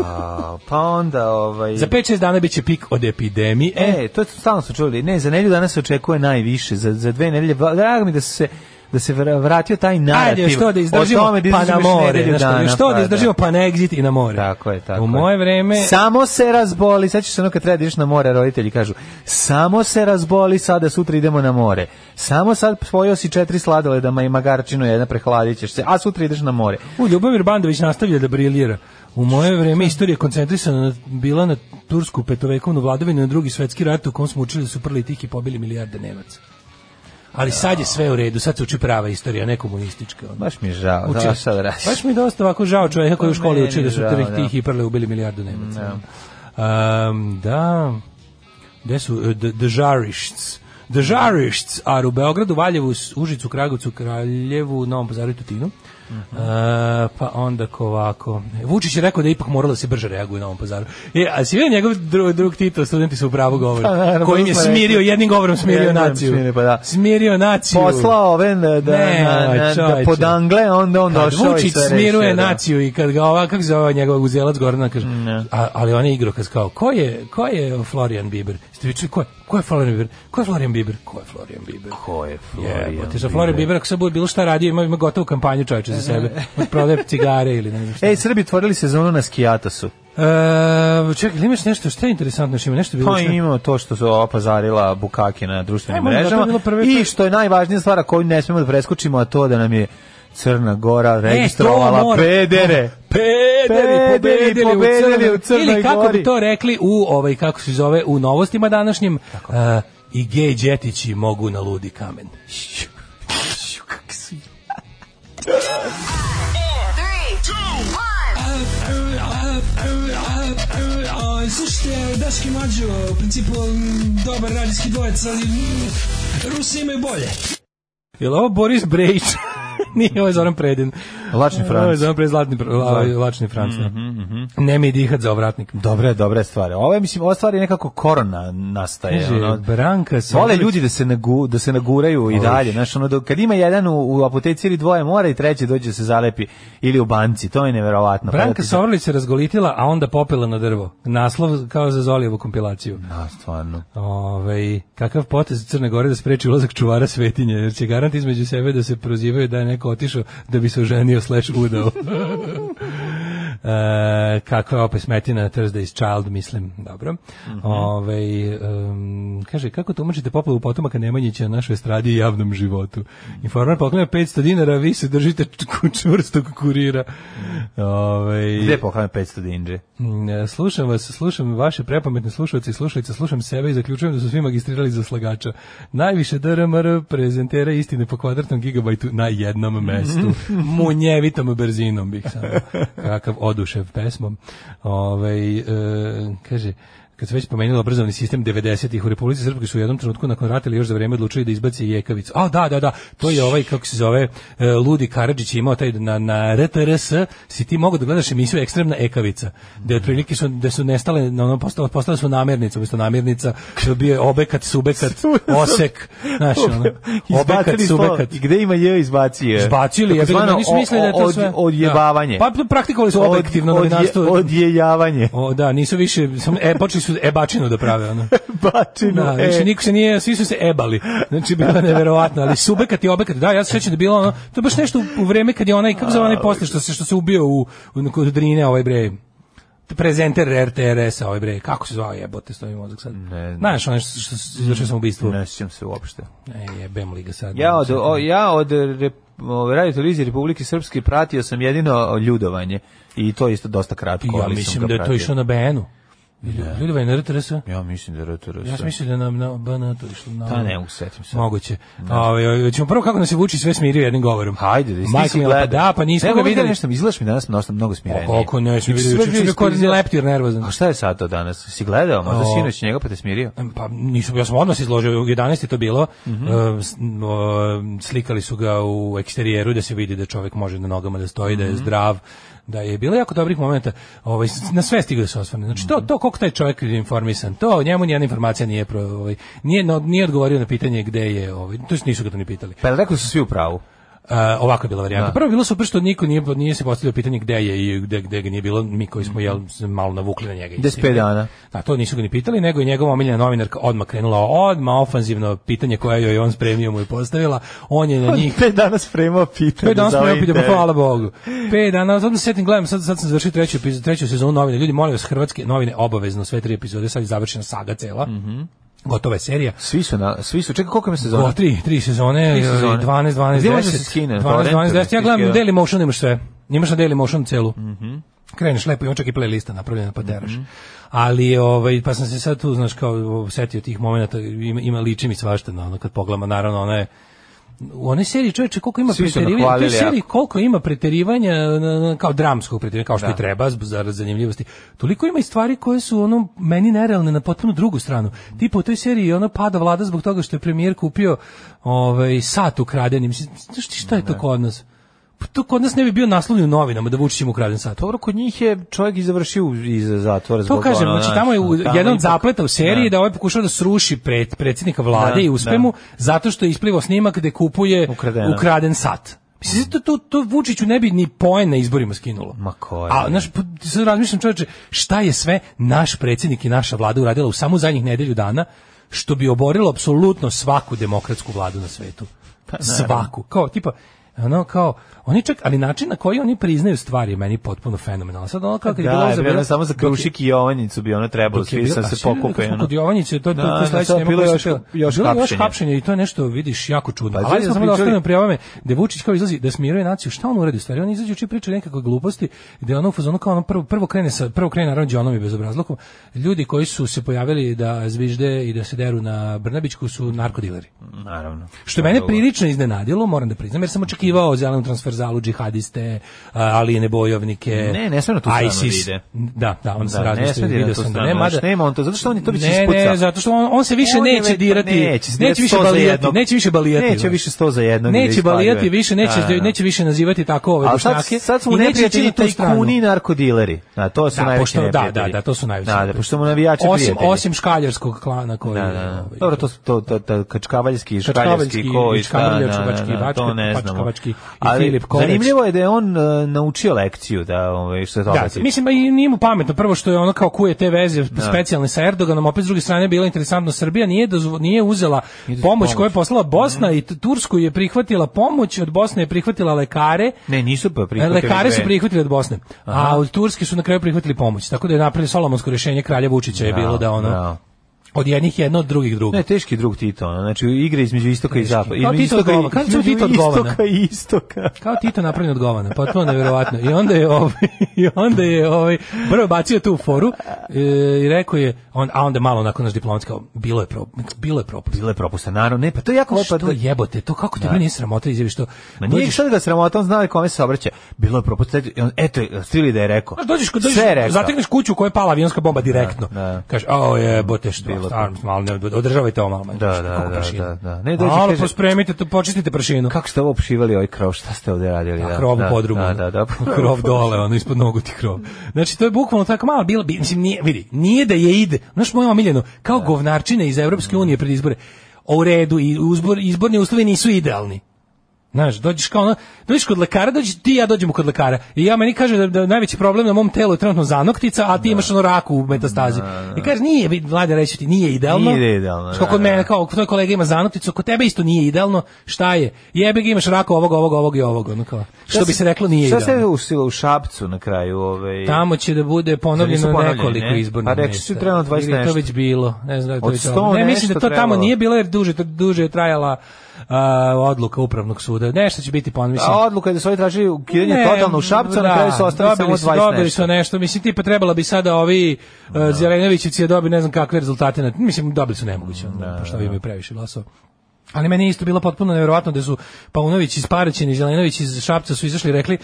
H: pa onda ovaj
G: Za 5-6 dana biće pik od epidemije.
H: E, to je stalno su čuli. Ne, za nedelju danas se očekuje najviše, za, za dve nedelje. Ba- Drago mi da su se da se vra- vratio taj
G: E,
H: narativ.
G: Ajde, što da
H: o
G: izdržimo
H: tome da
G: pa na
H: izdržimo još
G: more.
H: nedelju
G: Znaš, što,
H: dana,
G: što
H: pa
G: da izdržimo pa na exit i na more.
H: Tako je, tako
G: U moje
H: je.
G: vreme...
H: Samo se razboli, sad ćeš se ono kad treba da ideš na more, roditelji kažu, samo se razboli, sada sutra idemo na more. Samo sad pojeo si četiri sladoleda i magarčinu, jedna prehladit ćeš se, a sutra ideš na more.
G: U, Ljubomir Bandović nastavlja da briljira. U moje vreme istorija je koncentrisana na, bila na tursku petovekovnu vladavinu i na drugi svetski rat u kom smo učili da su prli tih i pobili milijarde Nemaca. Ali sad je sve u redu, sad se uči prava istorija, ne komunistička. ono.
H: Baš mi je žao,
G: Učio
H: da,
G: sam.
H: šta da radiš? Pa
G: Baš mi je dosta ovako žao čovjeka koji u školi
H: Meni
G: uči da su
H: je žao,
G: tih,
H: da.
G: tih i prle ubili milijardu Nemaca. Um, da, gde su e, d- Dežarišts? Dežarišts are u Beogradu, Valjevu, S- Užicu, Kragovicu, Kraljevu, Novom Pazaru i Tutinu.
H: Mhm.
G: E, pa onda kovako. Vučić je rekao da je ipak moralo da se brže reaguje u Novom Pazaru. E, a si vidio njegov drug, drug Tito, studenti su u pravu
H: Pa,
G: govore.
H: naravno,
G: Kojim je
H: smo rekli.
G: smirio, jednim govorom smirio
H: Jednim govorom
G: naciju.
H: smirio, pa da.
G: Smirio naciju.
H: Poslao ove na, da,
G: Ne,
H: na, na, da
G: čoveče.
H: podangle, onda on
G: Kad
H: došao i
G: Vučić
H: sve rešio,
G: smiruje
H: da.
G: naciju i kad ga ova, kako se zove njegov uzelac Gorana, kaže, a, ali on je igro, kad kao, ko je, ko je Florian Bieber? Ste vi čuli, ko je, ko je Florian Bieber? Ko je Florian Bieber? Ko je Florian Bieber?
H: Ko je Florian
G: Jebote, za Florian Bieber, ako sad bude bilo šta radio, ima, ima gotovu kampanju čovječe za
H: [LAUGHS]
G: sebe. Od prodaje cigare ili ne znam šta.
H: Ej, Srbi otvorili sezonu na skijatosu.
G: E, čekaj, ili imaš nešto, šta je interesantno, još ima nešto bilo
H: Pa
G: šta?
H: ima to što su opazarila bukake na društvenim
G: Ajmo, da, to je
H: mrežama.
G: bilo prvi
H: I
G: put.
H: što je najvažnija stvar a koju ne smemo da preskočimo, a to da nam je Crna Gora
G: E, to
H: registrovala
G: mora-
H: pedere.
G: Pederi,
H: Pederi,
G: pobedili,
H: pobedili u
G: u,
H: Crnoj
G: crnoj, Ili kako
H: Gori.
G: bi to rekli u ovaj kako se zove u novostima današnjim e, i gej đetići mogu na ludi kamen. Slušajte, Daški Mađo, u principu mm, dobar radijski dvojec, ali mm, Rusi imaju bolje. Jel ovo Boris
H: [LAUGHS]
G: Brejić? Nije, ovo je Zoran Predin.
H: Lačni Franc. Mhm,
G: Ovo je Zoran Predin, Zlatni Pr- la- Lačni Franc. da. Ne mi dihat za ovratnik.
H: Dobre, dobre stvari. Ovo je, mislim, ova stvar je nekako korona nastaje.
G: Kaže,
H: ono.
G: Branka se...
H: Vole ljudi da se, nagu, da se naguraju i dalje. Znaš, ono, dok- kad ima jedan u, u apoteci ili dvoje mora i treći dođe da se zalepi ili u banci. To je neverovatno. Pa da
G: Branka
H: ti-
G: Sovrlić se razgolitila, a onda popela na drvo. Naslov kao za Zolijevu kompilaciju.
H: A, stvarno.
G: Ovaj kakav potez Crne Gore da spreči ulazak čuvara svetinje, jer će garant između sebe da se prozivaju da je neko otišao da bi se oženio slash udao. [LAUGHS] e, kakva je opet smetina na Thursday's Child, mislim, dobro.
H: Mhm.
G: Ovaj, em, kaže, kako tumačite poplavu potomaka Nemanjića na našoj estradi i javnom životu? Informar poklanja 500 dinara, a vi se držite čku- čvrstog kurira. Ovaj,
H: Gde poklanja 500 dinđe?
G: Mm, e, Slušam vas, slušam vaše prepametne slušalce i slušalice, slušam sebe i zaključujem da su svi magistrirali za slagača. Najviše DRMR prezentera istine po kvadratnom gigabajtu na jednom mestu. Munjevitom brzinom bih samo. Kakav odušev pesmom. Ovaj, e, kaže, kad se već pomenula obrazovni sistem 90-ih u Republici Srpskoj su u jednom trenutku nakon rata ili još za vreme odlučili da izbaci Jekavicu. A da, da, da, to je ovaj kako se zove e, Ludi Karadžić je imao taj na na RTRS si ti mogao da gledaš emisiju Ekstremna Ekavica. Da
H: Mhm.
G: otprilike su da su nestale na ono postale, postale su namirnice, umjesto namirnica što bio je obekat, subekat,
H: [LAUGHS]
G: osek, znaš ono. Obekat,
H: Izbacili slovo.
G: subekat.
H: I gde ima je, izbacio je.
G: Zbacili je,
H: Takozvano
G: oni su mislili da je
H: o- o-
G: to sve.
H: od- Odjebavanje.
G: Da. Pa praktikovali su
H: Od-
G: objektivno
H: odje-
G: novinarstvo. [LAUGHS]
H: Odjejavanje.
G: O, da, nisu više, sam, e, počeli su ebačinu da prave ono.
H: Bačino.
G: Da, znači, niko se nije, svi su se ebali. Znači, bilo je neverovatno, ali subekat i obekat, da, ja se sećam da je bilo ono, to je baš nešto u, u vreme kad je onaj, kako zove onaj posle što se, što se ubio u, u kod Drine, ovaj bre, prezenter RTRS-a, ovaj bre, kako se zvao jebote, stoji mi mozak sad.
H: Ne, ne.
G: Znaš, ono što, što, što izvršio sam ubistvo.
H: Ne sjećam se uopšte.
G: E, jebem li ga sad.
H: Ja od, o, ja od rep, o, Radio Televizije Republike Srpske pratio sam jedino ljudovanje i to je isto dosta kratko.
G: ja
H: ali sam
G: mislim
H: ga
G: da je to
H: pratio.
G: išlo na BN-u. Ljudi, ovaj na RTS-a?
H: Ja mislim da je RTS.
G: Ja sam mislio da je na, na BN to išlo na...
H: Pa ne, usetim se.
G: Moguće. Ovaj ćemo prvo kako nas je Vučić sve smirio jednim govorom.
H: Hajde, da isti
G: Majko
H: si
G: mila, pa
H: gledao.
G: da, pa nismo
H: Nego
G: ga
H: vidi
G: videli.
H: Nešto, izgledaš mi danas mnogo, mnogo smirenije.
G: O, kako ne, ja sam
H: Ti
G: vidio
H: sve
G: juče, sam Znači, bio kao
H: izgledao-
G: leptir nervozan.
H: A šta je sad to danas? Si gledao? Možda
G: O.
H: sinoć njega pa te smirio?
G: Pa nisam, ja sam odmah se izložio, u 11 je to bilo, E, s- m, o, slikali su ga u eksterijeru da se vidi da čovjek može na nogama da stoji, da je zdrav, da je bilo jako dobrih momenta, ovaj, s- na sve stigli da se osvrne. Znači to, to koliko taj čovjek je informisan, to njemu nijedna informacija nije, pro, ovaj, nije, no, nije odgovorio na pitanje gde je, ovaj, to jest nisu ga to ni pitali.
H: Pa jel rekao su svi u pravu.
G: Uh, ovako je bila varijanta. Prvo je bilo super što niko nije, nije se postavio pitanje gde je i gde, gde ga nije bilo, mi koji smo jel, se malo navukli na njega. iz
H: 15 dana.
G: Da, to nisu ga ni pitali, nego je njegova omiljena novinarka odmah krenula, odmah ofanzivno pitanje koje joj je on spremio mu je postavila, on je na njih
H: Pet dana spremao pitanje.
G: Pet dana
H: za
G: smo
H: ovaj
G: opet, pa
H: intervju.
G: hvala Bogu. Pet dana, sad se setim, gledam, sad, sad sam završio treću, epizodu, treću sezonu novine. Ljudi, molim vas, hrvatske novine obavezno, sve tri epizode, sad je završena saga cela. Gotova je serija.
H: Svi su, na, svi su, čekaj koliko ima sezona?
G: O, tri, tri sezone, e,
H: Tri sezone.
G: 12, 12, 10.
H: Gdje može se skine?
G: 12, 12, 10. Ja
H: Torrent,
G: gledam,
H: ili-
G: na Daily Motion imaš sve. Imaš na Daily Motion celu.
H: Mhm.
G: Kreneš lepo, ima čak i playlista napravljena, pa teraš. Ali, ovaj, pa sam se sad tu, znaš, kao setio tih momenta, ima, ima liči mi svašta, na ono, kad pogledam, naravno, ona je, u onoj seriji čovječe koliko ima
H: Svi su
G: preterivanja, u toj
H: nahvalili jako.
G: seriji koliko ima preterivanja e, na- na- kao dramskog preterivanja, kao što i treba zb- zarad zanimljivosti. Toliko ima i stvari koje su ono meni nerealne na potpuno drugu stranu. Tipo u toj seriji ono pada vlada zbog toga što je premijer kupio ovaj sat ukraden. Mislim, znaš ti šta je to kod nas? Pa to kod nas ne bi bio naslovni u novinama da Vučić ima ukraden sat.
H: Dobro, kod njih je čovjek i završio iz zatvora zbog
G: To kažem,
H: ono,
G: znači
H: znaš,
G: tamo je u-
H: tamo
G: jedan od
H: ipak-
G: zapleta u seriji
H: Da.
G: da ovaj pokušao da sruši pred predsjednika vlade
H: Da,
G: i uspemu
H: da.
G: zato što je isplivao snimak gde kupuje
H: Ukradeno.
G: ukraden sat. Mislim, to, to, to Vučiću ne bi ni poen na izborima skinulo.
H: Ma koje?
G: A, znaš, pa, ti sad razmišljam čovječe, šta je sve naš predsjednik i naša vlada uradila u samo zadnjih nedelju dana, što bi oborilo apsolutno svaku demokratsku vladu na svetu.
H: Pa
G: svaku. Kao, tipa, ono kao, oni čak, ali način na koji oni priznaju stvari je meni potpuno fenomenalno. Sad ono kao kad je bilo
H: Da, je
G: za-
H: bilo samo za krušik i jovanjicu bi ono trebalo,
G: dok je
H: svi
G: bilo-
H: sam
G: a
H: se
G: svi rekli
H: pokupe.
G: smo
H: ono.
G: Kod Jovanjice, to, to,
H: Da,
G: to,
H: da,
G: sledeće
H: to
G: nema
H: bilo
G: koje
H: još-
G: se-
H: još
G: bilo je
H: hapšenje.
G: hapšenje i to je nešto, vidiš, jako čudno.
H: Pa,
G: Ali
H: znači
G: ja
H: smo
G: samo da
H: pričali-
G: ostavim pri ovome, da je Vučić kao izlazi, da smiruje naciju, šta on uradi u stvari? On izađe uči priča nekakve gluposti, gde je ono u fazonu kao ono prvo, prvo krene, sa, prvo krene naravno Đonom i bezobrazlukom. Ljudi koji su se pojavili da zvižde i da se deru na Brnabićku su narkodileri.
H: Naravno.
G: Što je mene prilično iznenadilo, moram da priznam, jer sam očekivao zelenu transferzalu, džihadiste, a, alijene bojovnike,
H: Ne, ne sme na tu stranu
G: ISIS.
H: da ide.
G: Da, da, on se
H: Da, ne
G: razmislio,
H: sme da ide na
G: vidio
H: tu
G: sam da
H: stranu,
G: nema.
H: znaš, nema on to, zato što on je- to bi se
G: ne,
H: ispucao.
G: ne, zato što on, on se više
H: On je
G: neće
H: već- pa
G: dirati,
H: neće,
G: neće,
H: neće
G: više
H: sto za
G: balijati,
H: jednog.
G: neće više balijati.
H: Neće više sto za jednog da
G: Neće
H: ispaljuje.
G: balijati više, neće,
H: Da, da, da.
G: neće više nazivati tako ove
H: A sad,
G: bošnjake.
H: sad su
G: i
H: mu
G: neće
H: neprijatelji
G: ići na tu stranu.
H: tajkuni i narkodileri. Da, to su
G: Da,
H: najveći
G: pošto, da, da,
H: neprijatelji.
G: da, to su najveći.
H: Da, da, pošto mu navijači
G: osim,
H: prijatelji.
G: osim škaljarskog klana koji... ovaj.
H: Da, da, da. Dobro, to su to, to, to kačkavaljski,
G: Kačkavaljski,
H: škaljarski, koji,
G: Čkamrljač, Čubački, Bačka,
H: to ne znamo.
G: Pačkavački i
H: Ali
G: Filip Kovač.
H: Zanimljivo je da je on e, naučio lekciju, da, ovaj, što je to
G: Da, mislim, pa i nije mu pametno. Prvo što je ono kao kuje te veze specijalne sa Erdoganom, opet s druge strane bila interesantno, Srbija nije, dozvo- nije uzela pomoć koju je poslala Bosna i T- Tursku je prihvatila pomoć, od Bosne je prihvatila lekare,
H: Ne, nisu pa prihvatili.
G: Lekare su
H: dve.
G: prihvatili od Bosne, a od Turske su na kraju prihvatili pomoć. Tako da je napravili solomonsko rješenje kralja Vučića je bilo da ono
H: bravo.
G: od jednih jedno, od drugih drugo.
H: Ne, teški drug Tito, ono, znači igre između istoka i zapada.
G: Kao
H: između
G: Tito
H: istoka i-
G: odgovara, kako su
H: između
G: Tito odgovara?
H: Istoka i istoka.
G: Kao Tito napravljen od govana, potpuno nevjerovatno. I onda je ovaj, [LAUGHS] i onda je ovaj, prvo je bacio tu foru e, i rekao je, on, a onda malo nakon naš diplomatski, kao, bilo je, pro, bilo je propust.
H: Bilo je propusta, naravno, ne, pa to je jako lepo.
G: Što jebote, to kako te bre nije sramota izjaviš to?
H: Ma nije
G: Dođeš-
H: šta da ga sramota, on znao je kome se obraća. Bilo je propusta, eto, eto, stili da je rekao.
G: Znaš, dođeš kod dođeš,
H: Sve je rekao.
G: zatekneš kuću u kojoj je pala avionska bomba direktno.
H: Da, da.
G: Kaže, "A jebote što,
H: Bilo
G: stvarno, malo ne održavajte ovo malo." manje,
H: Da,
G: što,
H: da,
G: kako
H: da,
G: prašina.
H: da, da. Ne, dođe,
G: Malo
H: kaže-
G: pospremite, to počistite prašinu.
H: Kako ste ovo opšivali ovaj krov, šta ste ovde radili?
G: A krov u podrumu.
H: Da, da, da.
G: [LAUGHS] krov dole, ono ispod nogu ti krov. Znači to je bukvalno tako malo bilo, bi- mislim nije, vidi, nije da je ide. Znaš moje omiljeno, kao govnarčine iz Evropske unije pred izbore. O u redu i uzbor, izborni uslovi nisu idealni. Znaš, dođeš kao ono, dođeš kod lekara, dođeš ti i ja dođemo kod lekara. I ja meni kaže da, da je najveći problem na mom telu je trenutno zanoktica, a ti imaš ono raku u metastazi. I kaže nije, vidi, mlade reći ti nije idealno.
H: Nije idealno,
G: Što
H: da,
G: kod
H: da.
G: mene E, kao tvoj kolega ima zanokticu, kod tebe isto nije idealno. Šta je? Jebe ga imaš raku ovog, ovog, ovog i ovog, ono kao. Što bi se reklo nije
H: Šta se
G: idealno.
H: usilo u Šapcu na kraju? Ovaj,
G: Tamo će da bude
H: Nisu
G: ponovljeno
H: ponavljali,
G: nekoliko
H: ne?
G: izbornih
H: Pa
G: mesta.
H: rekli su trebalo 20
G: Ili je
H: nešto.
G: To već bilo. Ne znam da
H: Od
G: li to je
H: 100
G: to. Ne, mislim da to tamo
H: nešto trebalo.
G: nije bilo jer duže, duže je trajala a, odluka upravnog suda. Nešto će biti ponovljeno.
H: A odluka je da su oni tražili ukidanje
G: Ne,
H: totalno u Šapcu, a na kraju su ostali
G: dobili
H: samo
G: su-
H: 20
G: Dobili
H: nešto.
G: su nešto, mislim tipa trebala bi sada ovi uh, Zelenovićevci je dobili ne znam kakve rezultate, na, mislim dobili su nemoguće, ono, pošto ovi imaju previše glasova. Ali meni je isto bilo potpuno nevjerovatno da su Paunović iz Paraćina i Zelenović iz Šapca su izašli i rekli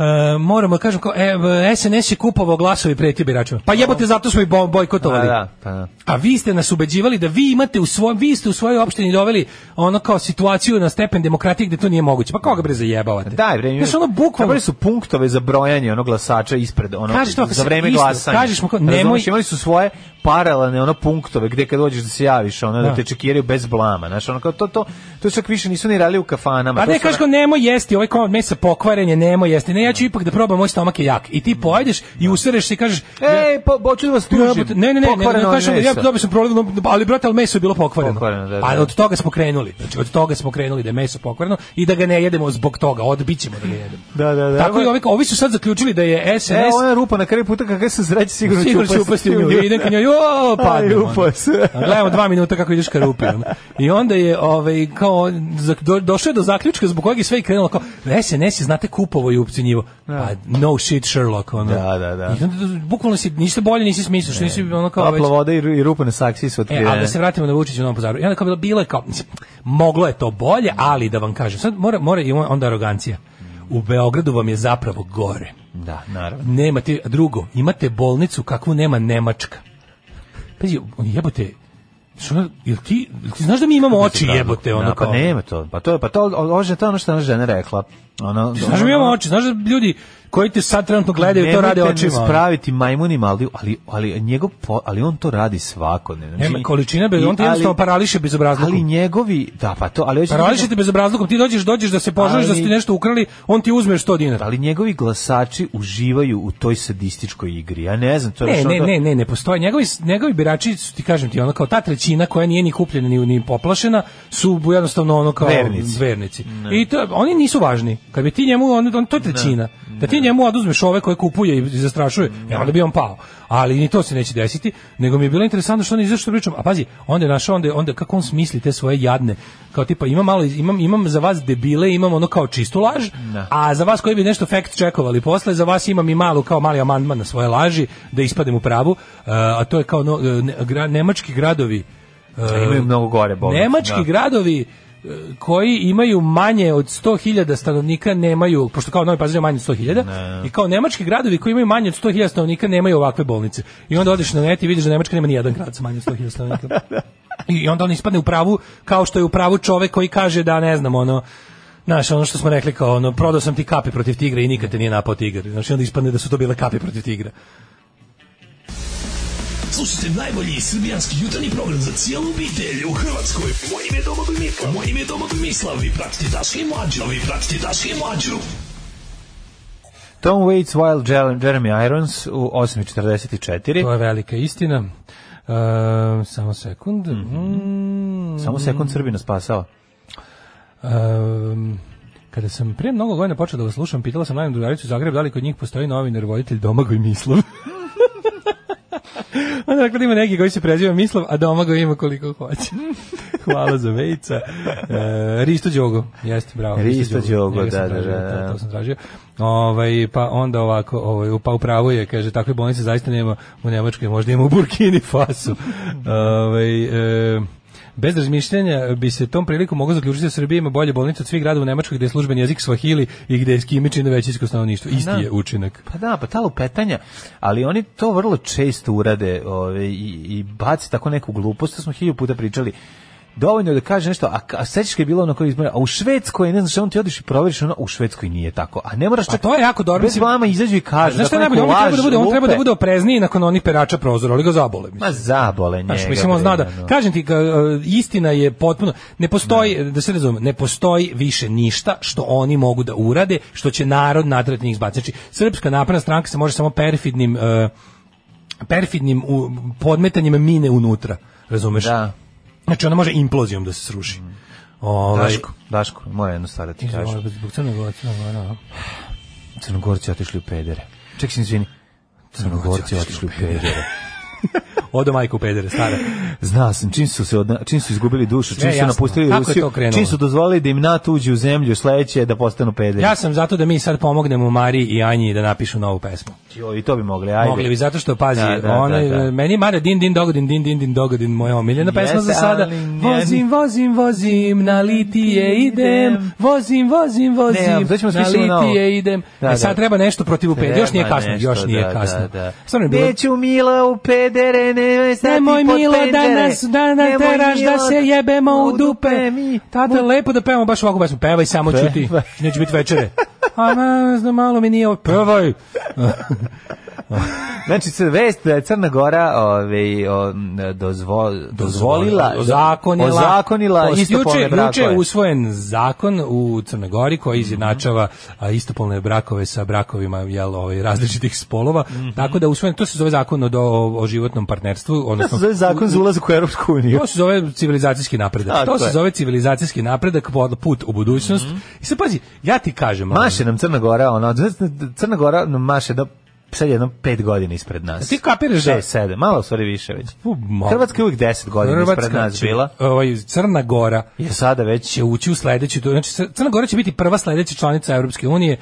G: Uh, moramo da kažem kao e, SNS je kupovao glasovi preti biračima. Pa jebote zato smo i bo-
H: Pa
G: bojkotovali.
H: da, pa da.
G: A vi ste nas ubeđivali da vi imate u svom vi ste u svojoj opštini doveli ono kao situaciju na stepen demokratije gde to nije moguće. Pa koga bre zajebavate?
H: Da, bre,
G: Znaš, ono bukvalno
H: Dobili su punktove za brojanje onog glasača ispred, ono,
G: Kažeš to, ako
H: za
G: se
H: vreme
G: isto,
H: glasanja.
G: kažeš mu kao,
H: Razumeš,
G: nemoj-
H: imali su svoje paralelne ono punktove gde kad dođeš da se javiš, ono, da,
G: Da.
H: te čekiraju bez blama. Znaš, ono, kao to, to, to čak više nisu ni radili u kafanama.
G: Pa
H: to
G: ne
H: su
G: kažeš
H: ono-
G: kao nemoj jesti, ovaj komad mesa pokvaren je, nemoj jesti. Ne, ja ću ipak da probam, moj stomak je jak. I ti pojedeš i usereš se i kažeš
H: Ej, po, hoću da pa, vas E, tužim.
G: Jebote, Ne, ne, ne, ne, ne,
H: Pokvareno je
G: kažem, ja
H: meso.
G: dobio sam problem, no, ali brate, ali meso je bilo pokvareno.
H: Pokvareno, da, da.
G: A od toga smo krenuli. Znači, od toga smo krenuli da je meso pokvareno i da ga ne jedemo zbog toga, odbićemo da ne jedemo.
H: Da, da, da.
G: Tako i ovi, ovi su sad zaključili da je SNS...
H: E, ona rupa na kraju puta kakve se zreći sigurno,
G: Sigurno će upasti u nju. I idem ka njoj, jo,
H: Aj,
G: padne.
H: upao se.
G: Gledamo dva minuta kako ideš ka rupi. ono. I onda je, ovaj, kao, za- do, došao je do zaključka zbog kojeg je sve i krenulo, kao, SNS je, znate, kupovo i upcenjivo. Pa, no shit, Sherlock, ono.
H: Da, da, da.
G: I onda, bukvalno si, niste bolje, nisi smislio, što nisi, ono, kao, već,
H: Topla voda i, ru- i rupa na saksiji su
G: E,
H: otkrivene.
G: ali da se vratimo na Vučića u Novom Pazaru. I onda kao bilo, bilo je kao, mislim, moglo je to bolje, ali da vam kažem, sad mora, mora i onda arogancija. U Beogradu vam je zapravo gore.
H: Da, naravno.
G: Nemate drugo, imate bolnicu kakvu nema Nemačka. Pazi, jebote, što, jel ti, jel ti znaš da mi imamo oči jebote, ono
H: Da,
G: kao...
H: Pa nema to. Pa to je, pa to, o- ovo je to je ono što je ona žena rekla. Ono,
G: Znaš da mi imamo oči, znaš da ljudi koji te sad trenutno gledaju, to
H: Nemojte
G: rade
H: me
G: očima. ono.
H: spraviti majmunima, ali, ali, ali, njegov, po- ali on to radi svakodnevno.
G: Nema
H: Znači,
G: količina, bez,
H: i-
G: on te jednostavno
H: ali-
G: parališe bez obrazluka.
H: Ali njegovi, da, pa to, ali hoću ti
G: Parališe te bez obrazlukom, ti dođeš, dođeš da se požališ da
H: Ali-
G: ste nešto ukrali, on ti uzme 100 dinara.
H: ali njegovi glasači uživaju u toj sadističkoj igri. Ja ne znam, to je ono-
G: Ne,
H: što
G: ne,
H: onda-
G: ne, ne, ne postoje. Njegovi, njegovi birači su, ti kažem ti, ono kao ta trećina koja nije ni kupljena ni, ni poplašena, su jednostavno ono kao
H: Vernici.
G: vernici. I to, oni nisu važni. Kad bi ti njemu, on, on, to je trećina. Da ti njemu oduzmeš ove koje kupuje i zastrašuje, e, onda bi on pao. Ali ni to se neće desiti, nego mi je bilo interesantno što on izašto pričam. A pazi, onda je našao, onda, je- onda kako on smisli te svoje jadne, kao tipa imam malo, imam, imam za vas debile, imam ono kao čistu laž, a za vas koji bi nešto fact čekovali posle, za vas imam i malu kao mali amandman na svoje laži, da ispadem u pravu, E, a to je kao no, e, ne- gra- nemački gradovi e,
H: A imaju mnogo gore bolesti.
G: Nemački
H: da.
G: gradovi e, koji imaju manje od 100.000 stanovnika nemaju, pošto kao Novi Pazar je manje od 100.000, i kao nemački gradovi koji imaju manje od 100.000 stanovnika nemaju ovakve bolnice. I onda odeš na net i vidiš da Nemačka nema ni jedan grad sa manje od 100.000 stanovnika. I onda on ispadne u pravu, kao što je u pravu čovek koji kaže da, ne znam, ono, Znaš, ono što smo rekli kao, ono, prodao sam ti kapi protiv tigra i nikad te nije napao tigar. Znaš, i onda ispadne da su to bile kapi protiv tigra.
L: Slušajte najbolji srbijanski jutarnji program za cijelu obitelj u Hrvatskoj. Moje ime je Domagoj Mislav. Moje ime je Domagoj Mislav. Vi pratite Daška i Mlađu. Vi pratite Daška i Mlađu.
H: Tom Waits, Wild Jer- Jeremy Irons u 8.44.
G: To je velika istina. E, samo sekund. Mm.
H: Samo sekund Srbina spasao.
G: Ehm, kada sam prije mnogo godina počeo da vas slušam, pitala sam najmanju drugaricu u Zagrebu da li kod njih postoji novinar, voditelj Domagoj
H: [LAUGHS]
G: Mislav. Onda dakle ima neki koji se preziva Mislav, a Domagoj ima koliko
H: [LAUGHS]
G: hoće. Hvala za vejca. E, Risto Đogo, jeste, bravo.
H: Risto Đogo,
G: Njega sam
H: da, da,
G: tražio,
H: da, da.
G: To, to pa sam tražio. Ovaj, pa onda ovako, ovaj, pa upravo je, kaže, takve bolnice zaista nema u Nemačkoj, možda ima u Burkini [LAUGHS] Fasu. ovaj, e, Bez razmišljanja bi se tom prilikom moglo zaključiti da Srbija ima bolje bolnice od svih gradova u Nemačkoj gde je služben jezik Swahili i gde je skimičino većinsko stanovništvo. Isti
H: Da.
G: je učinak.
H: Pa da, pa ta lupetanja, ali oni to vrlo često urade ove, i, i baci tako neku glupost, to smo hilju puta pričali. dovoljno je da kaže nešto, a, a sećaš kad je bilo ono koji izmora, a u Švedskoj, ne znam šta, on ti odiš i proveriš, ono, u Švedskoj nije tako. A ne moraš
G: Pa to je jako dobro.
H: Bez
G: mislim.
H: vama izađu i kažu.
G: Znaš šta je
H: tako
G: najbolje? On
H: neko
G: treba da bude, on
H: laže,
G: treba da
H: lupe.
G: bude oprezniji nakon onih perača prozora, ali ga zabole. Mislim.
H: Ma zabole njega.
G: Znaš, mislim, on zna da,
H: bre, ono.
G: kažem ti, ka- e, istina je potpuno, ne postoji, da se razumem, ne postoji više ništa što oni mogu da urade, što će narod natrati njih zbaciti. Znači, Srpska napredna stranka se može samo perfidnim, e, perfidnim u- podmetanjem mine unutra, razumeš?
H: Da. Mm.
G: Znači, ona može implozijom da se sruši. Ovaj,
H: Daško, Daško, mora jednu stvar da ti
G: Izvoli,
H: kažem.
G: zbog Crne Gore, Crna Gora, a?
H: Crnogorci otišli u pedere. Ček se, izvini. Crnogorci otišli u pedere.
G: Odo majka u pedere, stara.
H: Znao sam, čim su, se odna- čim su izgubili dušu,
G: Sve
H: čim
G: je
H: su
G: jasno.
H: napustili
G: Kako je
H: Rusiju,
G: to krenulo?
H: čim su dozvolili da im NATO uđe u zemlju, sledeće je [LAUGHS] da postanu pederi.
G: Ja sam zato da mi sad pomognemo Mariji i Anji da napišu novu pesmu.
H: Jo, I to bi mogli, ajde.
G: Mogli bi, zato što, pazi,
H: Da, da,
G: ona,
H: da, da.
G: meni je mada din, din, dogodin, din, din, din, dogodin, moja omiljena
H: Jeste,
G: pesma za sada.
H: ali ne-
G: Vozim, vozim, vozim, na litije idem, vozim, vozim,
H: Ne,
G: vozim,
H: to ćemo
G: na
H: smisliti novo.
G: litije idem.
H: Da,
G: e
H: da.
G: sad treba nešto protiv upede, još nije
H: Treba
G: kasno,
H: nešto,
G: još nije
H: da,
G: kasno.
H: Da, da.
G: Stvarno je bilo-
H: Neću mila u pedere, nemoj stati
G: Nemoj
H: pod
G: milo
H: pedere.
G: da nas, da nas
H: Nemoj,
G: teraš da
H: Milo,
G: se jebemo u dupe.
H: mi.
G: Tata, lepo da pevamo baš ovako pesmu. Pevaj samo čuti,
H: Pevaj.
G: neće biti večere. A ne znam, malo mi nije ovo. Pevaj.
H: Znači, sve vest da je Crna Gora ove, o, dozvo, dozvolila,
G: ozakonila,
H: ozakonila
G: Os-
H: istopolne
G: juče- Juče
H: brakove. Mhm.
G: je usvojen zakon u Crnoj Gori koji izjednačava a, istopolne brakove sa brakovima jel, ovaj, različitih spolova. Tako da usvojen, to se zove zakon o, o, o životnom partnerstvu.
H: Mhm. To se
G: Odnosno,
H: zove zakon za ulazak u Europsku uniju.
G: To se zove civilizacijski napredak.
H: Tako
G: to se
H: je. Mhm.
G: zove civilizacijski napredak, pod- put u budućnost. I sad pazi, ja ti kažem... ono,
H: Maše nam Crna Gora, ono, znaš, Crna Gora nam maše da sad jedno pet godina ispred nas.
G: Ti kapiraš da-
H: Šest, sedam, malo u stvari više već.
G: U, malo.
H: Hrvatska je uvijek deset godina ispred
G: Hrvatska
H: nas
G: će-
H: bila.
G: Ovaj, Crna Gora
H: Je sada već
G: će ući u sledeću, to- znači Cr- Crna Gora će biti prva sledeća članica Evropske unije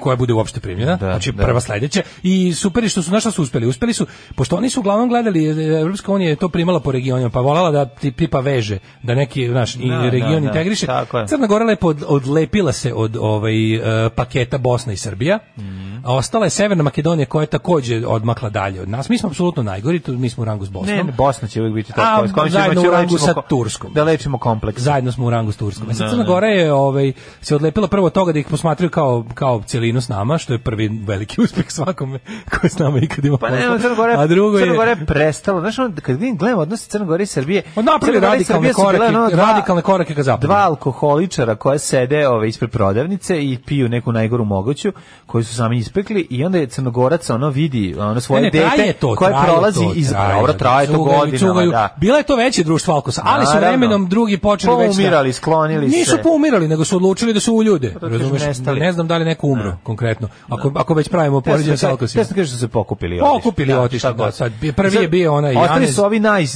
G: koja bude uopšte primljena,
H: Da,
G: znači
H: da.
G: prva sledeća i super je što su našta su uspeli, uspeli su, pošto oni su uglavnom gledali, e, Evropska unija je to primala po regionima, pa volala da ti tipa veže, da neki naš i
H: Da,
G: region
H: da, da,
G: integriše,
H: tako je.
G: Crna Gora lepo od- odlepila se od ovaj e, paketa Bosna i Srbija,
H: Mhm.
G: a ostala je Severna Makedonija koja je takođe odmakla dalje od nas, mi smo apsolutno najgori, tu mi smo u rangu s Bosnom.
H: Ne, ne, Bosna će uvijek biti
G: A,
H: tako. S kojom ćemo
G: zajedno
H: će
G: u rangu
H: lečimo
G: sa
H: ko-
G: Turskom.
H: Da lečimo kompleks.
G: zajedno smo u rangu s Turskom. E sad Crna Gora je ovaj se odlepila prvo od toga da ih posmatraju kao kao celinu s nama, što je prvi veliki [LAUGHS] uspeh svakome ko je s nama ikad imao.
H: Pa ne,
G: posla.
H: Crna Gora,
G: a drugo
H: Crna Gora
G: je
H: je prestalo. Znaš, ono, kad vidim, gledam odnose Crna Gora i Srbije,
G: Od napravili
H: Crna Gora i
G: radikalne
H: Srbija su bile,
G: korake,
H: ono, dva-
G: radikalne korake ka zapadu.
H: Dva alkoholičara koja sede ove, ispred prodavnice i piju neku najgoru moguću, koju su sami ispekli i onda je Crnogorac ono vidi ono svoje
G: Ne, ne, traje
H: dete
G: to,
H: koje
G: traje
H: prolazi
G: to,
H: iz
G: traje,
H: Dobro,
G: da,
H: traje to
G: cugaju,
H: godinama,
G: cugaju.
H: da.
G: Bila je to veće društvo alkosa, ali su
H: Naravno.
G: vremenom drugi počeli već da-
H: Poumirali, sklonili se.
G: Nisu poumirali, nego su odlučili da su u ljude.
H: to kažu,
G: razumeš?
H: nestali.
G: Ne znam da li neko umro konkretno. Ako ako već pravimo
H: Ja sam
G: poređenje sa
H: kaže- ja
G: alkosima.
H: sam kaže što su se pokupili. i
G: Pokupili i otišli,
H: šta
G: da,
H: god.
G: sad, prvi je bio onaj
H: Ostali
G: Janez.
H: su ovi naj,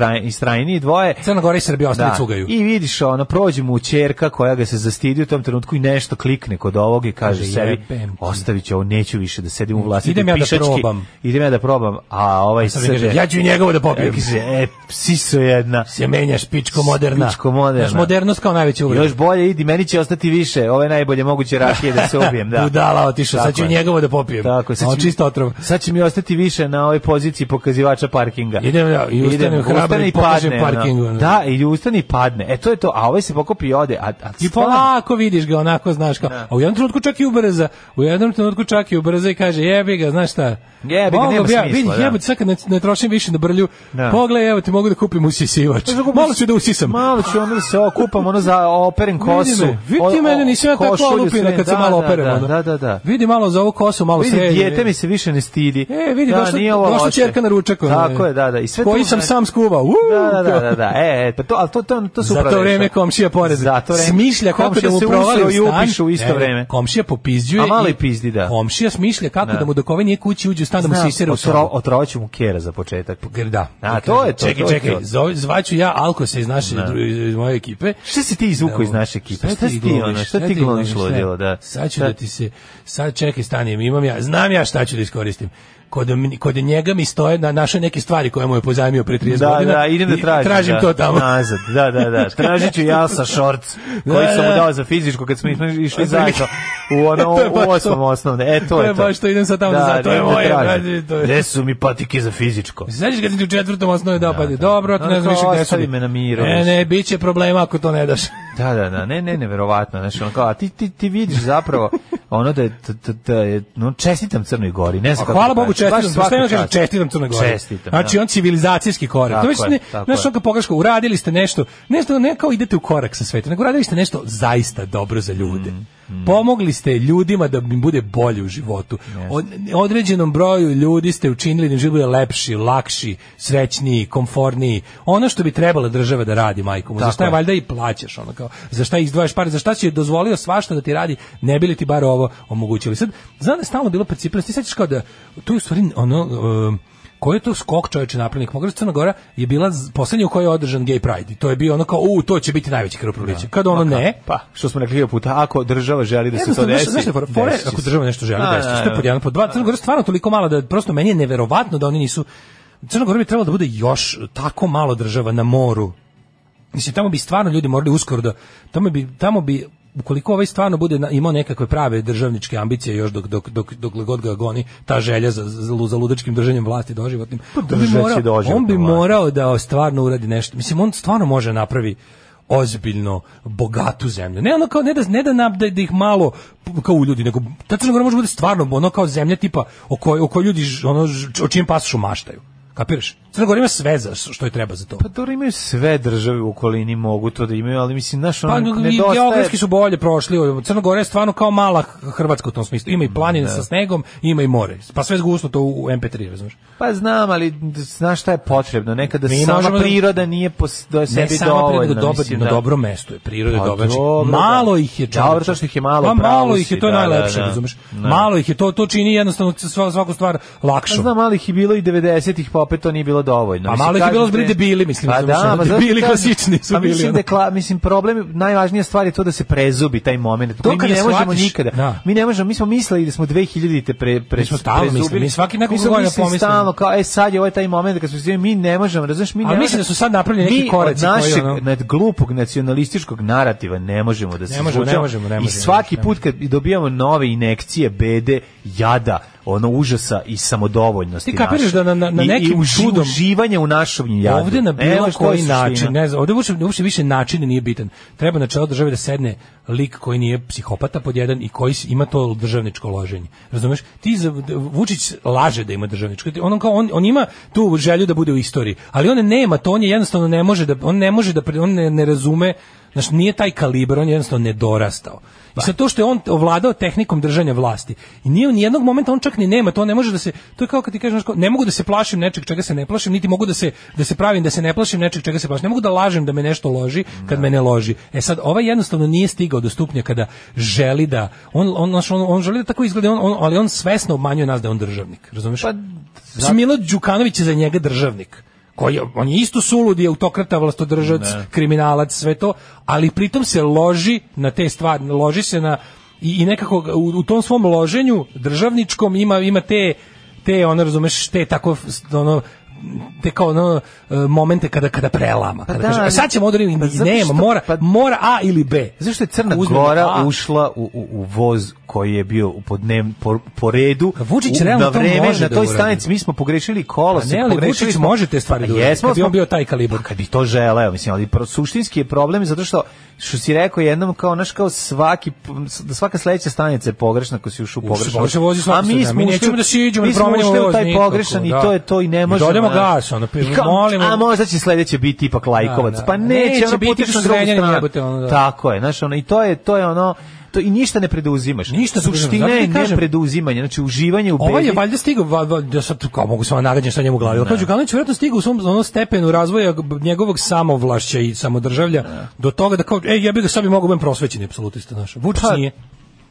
H: najistrajniji dvoje.
G: Crna Gora i Srbija ostali cugaju.
H: I vidiš, ono, prođe mu čerka koja ga se zastidi u tom trenutku i nešto klikne kod ovog i kaže
G: Kaže,
H: sebi,
G: jebem ti.
H: ostavit ću ovo, neću više da sedim u vlasti.
G: Idem ja da probam.
H: Idem ja da probam. A ovaj
G: Sad mi kaže,
H: srđe-
G: ja ću i njegovo da popijem.
H: Kaže, e, psiso jedna.
G: se menjaš pičko moderna.
H: Pičko moderna.
G: Znaš, modernost kao najveća uvreda.
H: Još bolje, idi, meni će ostati više. Ove najbolje moguće rakije da se
G: [LAUGHS]
H: ubijem, da.
G: Budala otišao, sad
H: Tako
G: ću
H: je.
G: njegovo da popijem.
H: Tako,
G: sad ću... čisto otrov.
H: Sad će mi ostati više na ovoj poziciji pokazivača parkinga.
G: Idem ja i ustanem
H: Idem,
G: hrabar
H: ustane
G: i pokažem
H: padne, ono.
G: parkingu, ono.
H: Da, ili ustane i padne. E, to je to. A ovaj se pokupi i ode. A, a
G: I
H: stvarno,
G: polako vidiš ga, onako znaš kao. A u jednom trenutku čak i ubrza. U jednom trenutku čak i ubrza i kaže jebi ga, znaš šta?
H: Jebi ga,
G: Mogao
H: nema
G: bi ja,
H: smisla,
G: Vidi,
H: da.
G: jebote, sad kad ne, ne trošim više na brlju,
H: Da.
G: pogledaj, evo ti mogu da kupim usisivač. Malo ću da usisam.
H: Malo ću ono da se okupam, ono za operem kosu.
G: Vidi me, vidi
H: O-
G: mene,
H: o-
G: nisam ja tako
H: košulju
G: olupina
H: sve.
G: kad se
H: Da,
G: malo
H: da,
G: operem.
H: Da,
G: ono.
H: da, da. da.
G: Vidi malo za ovu kosu, malo
H: Vidi,
G: sredi.
H: dijete mi se više ne stidi.
G: E, vidi, došla,
H: nije ovo
G: došla
H: loše.
G: čerka na ručak. ono,
H: Tako je, da, da. I sve
G: koji
H: tu,
G: sam
H: znaš,
G: sam skuvao. Uuu,
H: Da, da, da,
G: [LAUGHS]
H: da. E, e, pa to, ali to, to, to su
G: Za to vreme komšija pored.
H: Zato vreme.
G: Smišlja kako
H: Komšija
G: da mu
H: se
G: provali
H: usro
G: u
H: i
G: stan.
H: upiše u isto
G: Ne,
H: vreme.
G: Komšija popizđuje.
H: A malo
G: i-
H: i pizdi, da.
G: Komšija smišlja kako
H: Da.
G: da mu dok ovaj nije kući uđe u stan da mu
H: Znam,
G: sisere u
H: otro,
G: sobu.
H: otrovaću mu kera za početak.
G: Da.
H: A, to je to,
G: Čekaj,
H: to je
G: čekaj,
H: to.
G: zove- zvaću ja Alkose iz naše, dru- iz moje ekipe.
H: Šta si ti izvukao iz naše ekipe? Šta si ti, ono, šta ti glumiš
G: šta?
H: ludilo, da?
G: Sad ću
H: Šta-
G: da ti se, sad čekaj, stani, imam ja, znam ja šta ću da iskoristim. kod, m- kod njega mi stoje na naše neke stvari koje mu je pozajmio pre 30
H: Da,
G: godina.
H: da, idem da
G: i
H: tražim.
G: Tražim
H: da,
G: to tamo.
H: Nazad, da, da, da. Tražit ću Jalsa Šorc, koji
G: Da,
H: sam mu
G: da.
H: dao za fizičko kad smo išli zajedno u ono
G: [LAUGHS] To je baš
H: u osmom
G: to.
H: osnovne. E, to,
G: To je
H: je to.
G: baš to, idem sad tamo za- to je
H: idem
G: moje,
H: tražim.
G: brate, to je-
H: Gde su mi patike za fizičko?
G: Sećaš kad si u četvrtom osnovi dao, pa ti, dobro, to
H: Ono
G: ne znam
H: kao,
G: više gde su.
H: ostavi
G: mi."
H: me na miru,
G: Ne,
H: znaš.
G: ne, bit će problema ako to ne daš.
H: Da, da, da, ne, ne, neverovatno, znači on kao, a ti, ti, ti vidiš zapravo ono da je, t- t- da je no, čestitam Crnoj Gori, ne znam
G: A
H: kako
G: hvala
H: da
G: Bogu
H: kažem,
G: čestitam,
H: baš
G: pa šta
H: svaka
G: ima kažem
H: čast.
G: čestitam Crnoj Gori.
H: Čestitam,
G: Znači
H: da.
G: on civilizacijski korak.
H: Tako
G: To već
H: je,
G: ne,
H: tako
G: znaš
H: je.
G: onka pogreška, uradili ste nešto, ne znam, ne kao idete u korak sa svetom, nego uradili ste nešto zaista dobro za ljude.
H: Mm,
G: Pomogli ste ljudima da im bude bolje u životu. Od, određenom broju ljudi ste učinili da im život bude lepši, lakši, srećniji, komforniji. Ono što bi trebala država da radi, majkom. Za
H: Tako
G: šta je
H: je.
G: valjda i plaćaš ono kao. Za šta izdvajaš pare? Za šta si joj dozvolio svašta da ti radi? Ne bi li ti bar ovo omogućili? Sad znam da je stalno bilo percipirano. Ti sećaš kao da to je u stvari ono um, koji je to skok čoveče napravljenik? Mogu reći, Crna Gora je bila z- poslednja u kojoj je održan gay pride. I to je bio ono kao, u, to će biti najveći krvoproliće. Kad ono ne,
H: Pa, što smo rekli hiljadu puta, ako država želi da se to
G: Jednostavno,
H: desi,
G: znaš- znaš šta je fora? Fora je
H: desit će
G: ako
H: se.
G: država nešto želi,
H: A,
G: desiti.
H: da,
G: Što je
H: da.
G: pod jedan, pod dva, Crna Gora je stvarno toliko mala da prosto meni je neverovatno da oni nisu Crna Gora bi trebalo da bude još tako malo država na moru. Mislim, tamo bi stvarno ljudi morali uskoro da, tamo bi, tamo bi ukoliko ovaj stvarno bude na- imao nekakve prave državničke ambicije još dok, dok, dok, dok god ga goni ta želja za, za, za ludačkim držanjem vlasti doživotnim, on bi,
H: Pa držat će
G: morao,
H: doživotno
G: on bi
H: vlast.
G: morao da stvarno uradi nešto. Mislim, on stvarno može napravi ozbiljno bogatu zemlju. Ne ono kao ne da ne da nam da, da ih malo p- kao u ljudi, nego ta Crna Gora može biti stvarno ono kao zemlja tipa o kojoj o kojoj ljudi ž- ono ž- o čijem pasošu maštaju. Kapiraš? Crna Gora ima sve za što je treba za to.
H: Pa dobro, imaju sve države u okolini, mogu to da imaju, ali mislim, znaš,
G: Pa
H: ono,
G: i
H: nedostaje...
G: geografski su bolje prošli. Crna Gora je stvarno kao mala Hrvatska u tom smislu. Ima i planine sa snegom, ima i more. Pa sve zgusno to u u MP3, razumeš?
H: Pa znam, ali d- znaš šta je potrebno, nekada
G: Mi
H: sama
G: možemo da-
H: priroda nije pos, do sebi
G: Ne samo
H: dovoljna.
G: priroda dobro,
H: mislim,
G: na
H: da.
G: dobro mesto je, priroda je
H: Pa
G: dobra. Znači,
H: dobro, da.
G: malo ih je čovječe.
H: Dobro, to što ih je malo,
G: Pa
H: pravo
G: malo
H: si,
G: ih je, to je
H: da, da,
G: najlepše,
H: da.
G: razumeš?
H: Da.
G: Malo ih je, to, to čini jednostavno sva- svaku stvar
H: Pa
G: lakšom.
H: znam, ali ih je bilo i 90-ih, pa opet to nije bilo dovoljno.
G: A
H: Mislim,
G: malo ih je
H: kažem
G: bilo
H: ti-
G: zbri debili, mislim,
H: Pa
G: razumeš,
H: da,
G: ono,
H: ma zato
G: debili
H: kažem,
G: klasični su
H: pa
G: bili,
H: Mislim,
G: ono.
H: da, je kla- mislim, problem, najvažnija stvar je to da se prezubi taj moment. To mi
G: kada
H: ne možemo
G: shvatiš,
H: nikada.
G: da.
H: Mi ne možemo, mi smo mislili da smo 2000-te pre, pre,
G: Mi smo stalno
H: prezubili.
G: mislili, mi svaki nekoliko
H: Mi smo
G: godina
H: mislili
G: pomislimo.
H: stalno, kao, e, sad je ovaj taj moment kad smo se mi ne možemo, razumeš, mi ne
G: Ali mislim
H: možemo-
G: da su sad napravljeni neki
H: mi
G: koraci
H: od
G: koji,
H: našeg,
G: ono-
H: nad glupog nacionalističkog narativa ne možemo da se
G: Ne možemo,
H: izvučemo.
G: ne možemo, ne
H: I
G: možemo,
H: svaki
G: ne
H: put kad dobijamo nove inekcije bede, jada, ono užasa i samodovoljnosti
G: Ti kapiraš
H: naše.
G: da na- na- na
H: I-
G: nekim
H: i uži-
G: čudom-
H: uživanje u našom jadu.
G: Ovde na
H: Ne
G: bilo
H: možeš, to je
G: koji
H: suština.
G: način, ne znam, ovde uopšte, uopšte više način nije bitan. Treba na čelo države da sedne lik koji nije psihopata pod jedan i koji s- ima to državničko loženje. Razumeš? Ti za, d- Vučić laže da ima državničko. On, kao, on, on ima tu želju da bude u istoriji, ali on nema to, on je jednostavno ne može da on ne može da pri- on ne, ne razume Znaš, nije taj kalibar, on je jednostavno nedorastao. I sad to što je on ovladao tehnikom držanja vlasti. I nije ni jednog momenta on čak ni nema, to ne može da se to je kao kad ti kažeš znaš, kao, ne mogu da se plašim nečeg čega se ne plašim, niti mogu da se da se pravim da se ne plašim nečeg čega se plašim. Ne mogu da lažem da me nešto loži kad me ne loži. E sad ovaj jednostavno nije stigao do stupnja kada želi da on on znaš, on, on želi da tako izgleda, on, on- ali on svesno obmanjuje nas da je on državnik, razumeš? Pa, Milo Đukanović je za njega državnik koji je- on je isto sulud je autokrata, vlastodržac, kriminalac, sve to, ali pritom se loži na te stvari, loži se na i, i nekako ga- u, u tom svom loženju državničkom ima ima te te ono razumeš te tako ono te kao ono e, momente kada kada prelama kada
H: Pa da,
G: kaže, "E,
H: ali-
G: sad ćemo odredim
H: pa zato
G: nema
H: što-
G: mora
H: pa-
G: mora A ili B
H: Zašto je Crna
G: Uzmemo
H: Gora
G: A.
H: ušla u, u, u voz koji je bio u podnem, po, po redu?
G: A Vučić
H: u,
G: realno
H: na
G: to
H: vreme,
G: može
H: na
G: da
H: toj
G: uradi.
H: stanici mi smo pogrešili kolo.
G: Pa ne, ali Vučić može te stvari da uradi,
H: Pa Jesmo,
G: kad bi on
H: smo-
G: bio taj kalibar.
H: Pa kad bi to želeo, mislim, ali pro, suštinski je problem zato što, što si rekao jednom, kao, naš, kao svaki, p- da svaka sledeća stanica je pogrešna ako si ušao u
G: Ušao,
H: pogrešnu.
G: može vozi
H: A
G: svaki
H: mi
G: stan,
H: smo
G: mi
H: ušli-
G: nećemo da siđemo,
H: mi
G: ne
H: smo
G: promenjamo
H: ušli u
G: voz
H: taj
G: nikako,
H: pogrešan i
G: da.
H: to je to i ne
G: I
H: možemo.
G: dodajemo
H: znaš.
G: gas, ono,
H: I kao,
G: molimo-
H: A možda će sledeće biti ipak lajkovac.
G: Da, da.
H: Pa neće,
G: Neće
H: ono,
G: biti
H: potičeš
G: što
H: na drugu
G: zrenjanin,
H: stranu.
G: jebote, ono, da.
H: Tako je, znaš, ono, i to je, to je ono, to i ništa ne preduzimaš.
G: Ništa ne
H: Suština
G: preduzimaš. Zato
H: je
G: ti kažem-
H: ne preuzimanje, znači uživanje u
G: Ovo Ovaj je
H: bedi.
G: valjda stigao, va- va- da sad kao mogu samo nagađam šta njemu u glavi. Otođu Kalinić vjerojatno stigao u svom ono, stepenu razvoja g- njegovog samovlašća i samodržavja do toga da kao, ej, ja bih ga sad bi mogu budem prosvećeni apsolutista naš. Vučić
H: Pa,
G: nije.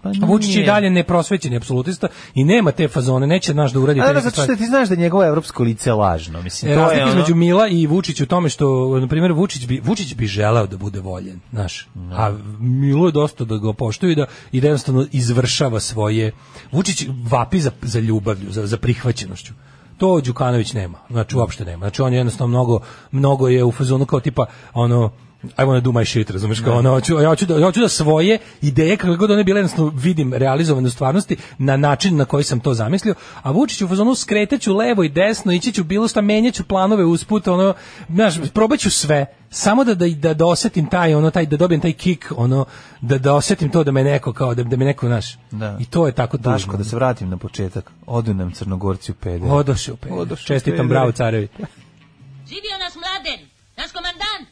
G: Pa Vučić je i dalje neprosvećeni apsolutista i nema te fazone, neće naš da uradi
H: A
G: te
H: da,
G: neke
H: zato
G: stvari.
H: što ti znaš da je njegovo evropsko lice je lažno, mislim,
G: E,
H: to je
G: razlika
H: ono...
G: između Mila i Vučića u tome što, na primjer, Vučić bi, Vučić bi želeo da bude voljen, znaš, a Milo je dosta da ga poštuju i da, i da jednostavno izvršava svoje, Vučić vapi za, za ljubavlju, za, za prihvaćenošću. To Đukanović nema, znači uopšte nema. Znači on je jednostavno mnogo, mnogo je u fazonu kao tipa, ono, I wanna do my shit, razumeš, kao ono, hoću, ja, hoću da, ja hoću da svoje ideje, kako god one bile, jednostavno vidim realizovane u stvarnosti na način na koji sam to zamislio, a Vučić u fazonu skreteću levo i desno, ići ću bilo šta, menjaću planove usput, ono, znaš, probaću sve, samo da, da, da, da osetim taj, ono, taj, da dobijem taj kik, ono, da, da osetim to da me neko, kao, da, da me neko, znaš,
H: Da.
G: i to je tako tužno.
H: Daško, da se vratim na početak. Odu nam Crnogorci u pede.
G: Odoše u peder.
H: Odoše u
G: Čestitam,
H: peder.
G: bravo, carevi.
K: Živio nas mladen, naš komandant.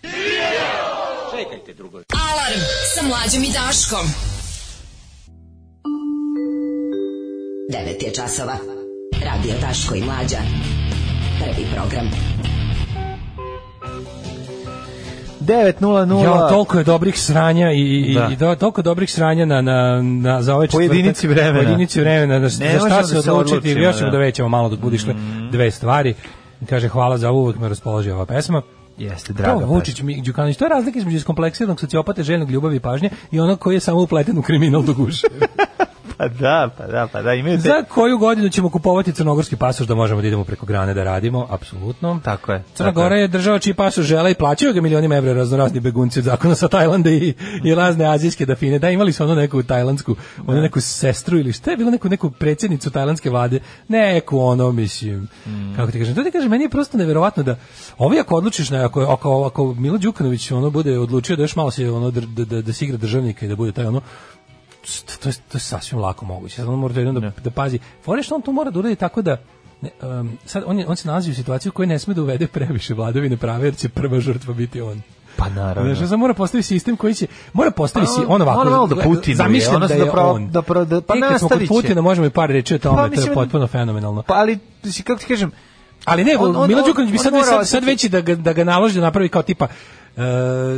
M: Alarm sa mlađom i Daškom.
E: 9 je časova. Radio Daško i Mlađa. Prvi program.
H: 9.00.
G: Ja, toliko je dobrih sranja i, i,
H: Da.
G: i do, toliko dobrih sranja na, na, na, za ovaj
H: Po
G: četvrtak.
H: jedinici vremena.
G: Po jedinici vremena, da, za
H: možemo
G: šta
H: da
G: se
H: se
G: odlučiti,
H: odlučimo,
G: još ćemo
H: da. Mhm.
G: da većemo malo dok budu išle dve stvari. Kaže, hvala za ovo, uvek me raspoloži ova pesma.
H: Jeste, draga.
G: to, Vučić, mi, Đukanović, to je razlika između iskompleksiranog sociopata, željnog ljubavi i pažnje i onog koji je samo upleten u kriminal do
H: [LAUGHS]
G: guše.
H: Pa da, pa da, pa da, imaju te...
G: za koju godinu ćemo kupovati crnogorski pasoš da možemo da idemo preko grane da radimo, apsolutno.
H: Tako je.
G: Crna
H: tako
G: Gora
H: je.
G: je država čiji pasu žele i plaćaju ga milionima evra raznorazni begunci od zakona sa Tajlanda i, i razne azijske dafine. Da, imali su ono neku tajlandsku, ono neku sestru ili šta je bilo neku, neku predsjednicu tajlandske vlade, neku ono, mislim,
H: Mm.
G: kako ti kažem. To ti kažem, meni je prosto neverovatno da ovi ako odlučiš, na, ako, ako, ako Milo Đukanović ono bude odlučio da još malo se ono, dr- da, da, da se igra državnika i da bude taj ono, to je, to je sasvim lako moguće. Sad on mora to jednom da, da pazi. Fore što on to mora da uradi tako da ne, em, sad on, je, on se nalazi u situaciji u kojoj ne sme da uvede previše vladavine prave jer će prva žrtva biti on.
H: Pa naravno.
G: Znači, on mora postaviti sistem koji će mora
H: Pa,
G: postaviti si, on ovako.
H: ono malo da Putinuje,
G: zamišljam
H: ono
G: da
H: se
G: je
H: da pro-
G: on.
H: da pro- da- pa
G: I kad smo kod
H: nastavit će.
G: Putina možemo i par reči o tome,
H: Pa,
G: to je
H: mislim-
G: potpuno fenomenalno.
H: Pa ali, mislim, kako ti kažem,
G: Ali ne,
H: On- on-
G: Milo
H: on-
G: Đukanović bi
H: on
G: sad,
H: mora
G: sad, sad
H: osjetiti-
G: veći da ga, da ga naloži da napravi kao tipa e,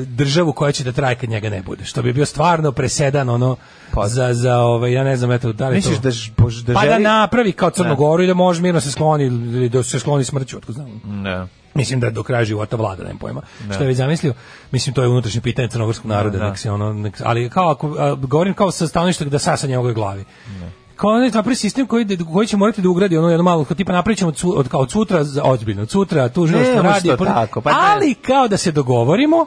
G: državu koja će da traje kad njega ne bude. Što bi bio stvarno presedan ono
H: Pa-
G: za, za ovaj, ja ne znam, eto, da li je
H: misliš
G: to...
H: da, ž- bož- da
G: pa da
H: želi...
G: napravi kao Crnogoru i da može mirno se skloni ili da se skloni smrću, otko znam.
H: Ne.
G: Mislim da do kraja života vlada, nema pojma. Što je već zamislio? Mislim, to je unutrašnje pitanje crnogorskog naroda.
H: Da.
G: nek se ono, nek- ali kao, ako, a, govorim kao sa stanovišta da sasa njegovoj glavi. Kao onaj napravi sistem koji, koji će morati da ugradi ono jedno malo, kao tipa napravićemo od, su- od, kao od sutra, za- ozbiljno, od sutra tužilaštvo
H: Ne, može
G: radi.
H: to
G: pr-
H: tako, pa ne.
G: ali kao da se dogovorimo,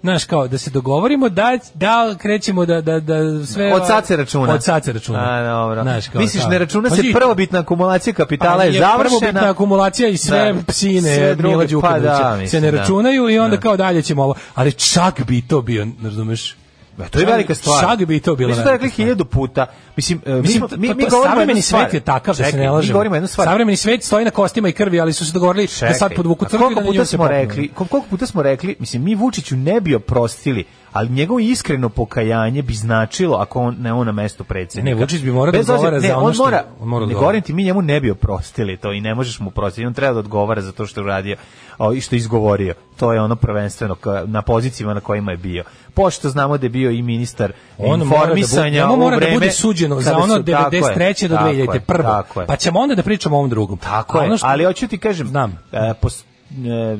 G: Znaš, kao da se dogovorimo da, da krećemo da, da, da sve...
H: Od sad se računa.
G: Od sad se računa.
H: A, dobro.
G: Znaš, kao
H: Misliš,
G: tako.
H: ne računa
G: Pa
H: se
G: vidi,
H: prvobitna akumulacija kapitala
G: ali
H: je, završena.
G: prvobitna akumulacija i sve
H: Pa Da.
G: psine
H: Sve druge,
G: Mila
H: pa
G: Đukanovića
H: da, mislim,
G: se ne
H: da.
G: računaju i onda kao dalje ćemo ovo. Ali čak bi to bio, ne razumeš?
H: Ba, to je velika stvar.
G: Čak bi to bilo
H: Mi smo to rekli
G: velika stvar.
H: hiljadu puta. Mislim, e, mi,
G: Mislim,
H: smo- mi,
G: to-
H: mi
G: to-
H: govorimo
G: savremeni
H: jednu stvar.
G: svet je takav, da se
H: Čekaj,
G: ne
H: Mi
G: lažemo.
H: govorimo jednu stvar.
G: Savremeni svet stoji na kostima i krvi, ali su se dogovorili da
H: Čekaj,
G: sad podvuku
H: a
G: crkvu i da
H: koliko
G: na nju
H: puta
G: se ono.
H: smo
G: popnu.
H: rekli, kol- koliko puta smo rekli, mislim mi Vučiću ne bi oprostili, ali njegovo iskreno pokajanje bi značilo ako on ne on na mestu predsjednika.
G: Ne, Vučić bi morao da
H: Bez obzira-
G: odgovara za
H: ne,
G: ono
H: on
G: što-
H: mora,
G: on mora da
H: ne
G: odgovara.
H: govorim ti mi njemu ne bi oprostili to i ne možeš mu oprostiti, on treba da odgovara za to što je uradio a, i što je izgovorio. To je ono prvenstveno ka- na pozicijama na kojima je bio. Pošto znamo da je bio i ministar
G: On Ono mora da bude,
H: informisanja
G: njemu
H: u
G: mora da
H: vreme
G: bude suđeno za
H: kada
G: ono
H: su- tako je,
G: 93. do
H: tako je,
G: 2000. prvo.
H: tako je.
G: Pa ćemo onda da pričamo o ovom drugom.
H: Tako
G: A
H: je,
G: ono što-
H: ali hoću ti kažem,
G: Znam.
H: e, pos- e,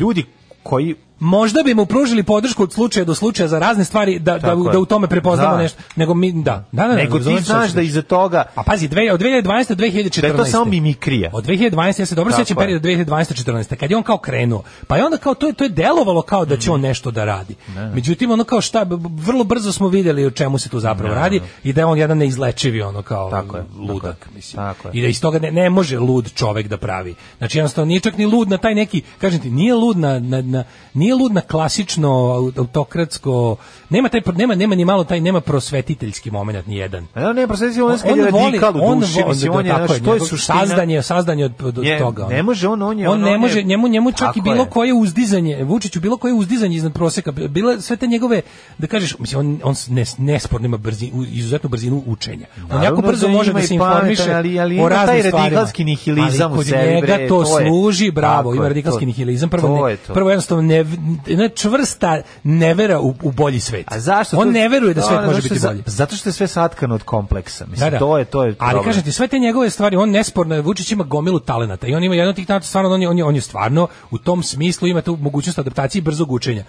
H: ljudi koji
G: možda bi mu pružili podršku od slučaja do slučaja za razne stvari da da,
H: Tako je.
G: da u tome prepoznamo
H: Da.
G: nešto nego mi da da, da
H: nego ti
G: razumem što
H: znaš
G: se-
H: da iza toga
G: A pazi, dve, od 2012. do 2014.
H: da je to samo mimikrija.
G: Od 2012. ja se dobro
H: Tako
G: sećam
H: je.
G: perioda 2012-14. Kad je on kao krenuo. Pa je onda kao to je to je delovalo kao da će on nešto da radi. Međutim ono kao šta b- b- vrlo brzo smo vidjeli o čemu se tu zapravo radi i da je on jedan neizlečivi ono kao
H: Tako je, tako
G: ludak
H: je,
G: mislim.
H: tako je.
G: I da iz toga ne, ne može lud čovek da pravi. Znači jednostavno nije čak ni lud na taj neki kažem ti nije lud na, na, na nije lud na klasično au- autokratsko nema taj pro- nema nema ni malo taj nema prosvetiteljski momenat ni jedan.
H: A on ne, prosveti, on, kad je radikal u duši,
G: vo-
H: mislim, on je,
G: tako
H: znaš, to je
G: njegov
H: suština.
G: Sazdanje, sazdanje od, od
H: Je,
G: toga. ono.
H: ne može on, on je
G: On
H: ono,
G: ne
H: on je-
G: može, njemu, njemu čak i
H: Tako
G: bilo
H: je.
G: koje uzdizanje, Vučiću, bilo koje uzdizanje iznad proseka, bilo sve te njegove, da kažeš, mislim, on, on ne, nesporno ima brzinu, izuzetnu brzinu učenja. on jako
H: Naravno
G: brzo
H: da
G: može
H: ima
G: da se
H: i pametan,
G: informiše
H: ali- ali
G: o
H: ima taj
G: raznim stvarima.
H: radikalski nihilizam
G: Ali
H: u
G: kod
H: sebi,
G: njega
H: bre,
G: to,
H: to je-
G: služi, bravo,
H: Tako
G: ima
H: je,
G: radikalski
H: to-
G: nihilizam. Prvo,
H: to
G: ne-
H: je to.
G: prvo jednostavno ne, jedna čvrsta nevera u, u bolji svet.
H: A zašto?
G: On
H: to-
G: ne veruje da
H: No,
G: svet
H: ono,
G: može
H: zašto
G: biti
H: je za-
G: bolji.
H: Zato što je sve satkano od kompleksa. Mislim,
G: Da, da.
H: to je, to je
G: Ali
H: problem.
G: kažem ti, sve te njegove stvari, on nesporno je, Vučić ima gomilu talenata i on ima jedan od tih talenata, stvarno, on je, on je, on je stvarno u tom smislu ima tu mogućnost adaptacije i brzog učenja.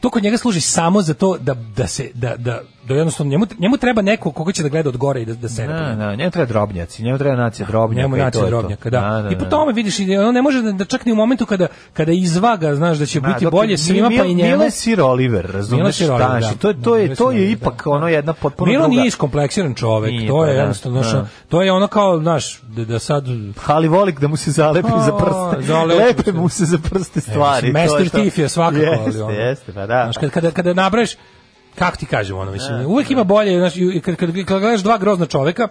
G: To kod njega služi samo za to da, da se, da, da, da jednostavno, njemu, njemu treba neko koga će da gleda od gore i da, da se
H: Da, da, njemu treba drobnjaci, njemu treba nacija drobnjaka.
G: njemu
H: i to
G: naći
H: je to.
G: drobnjaka, da.
H: Da, da,
G: I po
H: da.
G: tome vidiš, i on ne može da, da čak ni u momentu kada, kada izvaga, znaš da će
H: Ma,
G: biti
H: dok-
G: bolje svima,
H: Mil-
G: pa i njemu.
H: Mile Sir Oliver,
G: Milo
H: razumeš?
G: Sir Oliver,
H: da,
G: da.
H: znači, To, to je,
G: Milo
H: to
G: Sir
H: je
G: Oliver,
H: ipak ono jedna potpuno
G: Milo
H: druga.
G: nije iskompleksiran čovek,
H: Nije,
G: to
H: pa
G: je
H: da,
G: jednostavno, znaš,
H: da.
G: to je ono kao, znaš, da, da sad...
H: Ali volik da mu se zalepi
G: A,
H: za prste.
G: zalepi
H: Lepe
G: se. E,
H: mu se za prste
G: Stvari,
H: stvari. to
G: Master
H: to.
G: Thief je svakako, ali
H: Jeste,
G: ono.
H: jeste, pa da.
G: Znaš, kad, kada, kada nabraš, kako ti kažem, ono, mislim, uvek ima bolje, znaš, i kad, kad, kad gledaš dva grozna čoveka,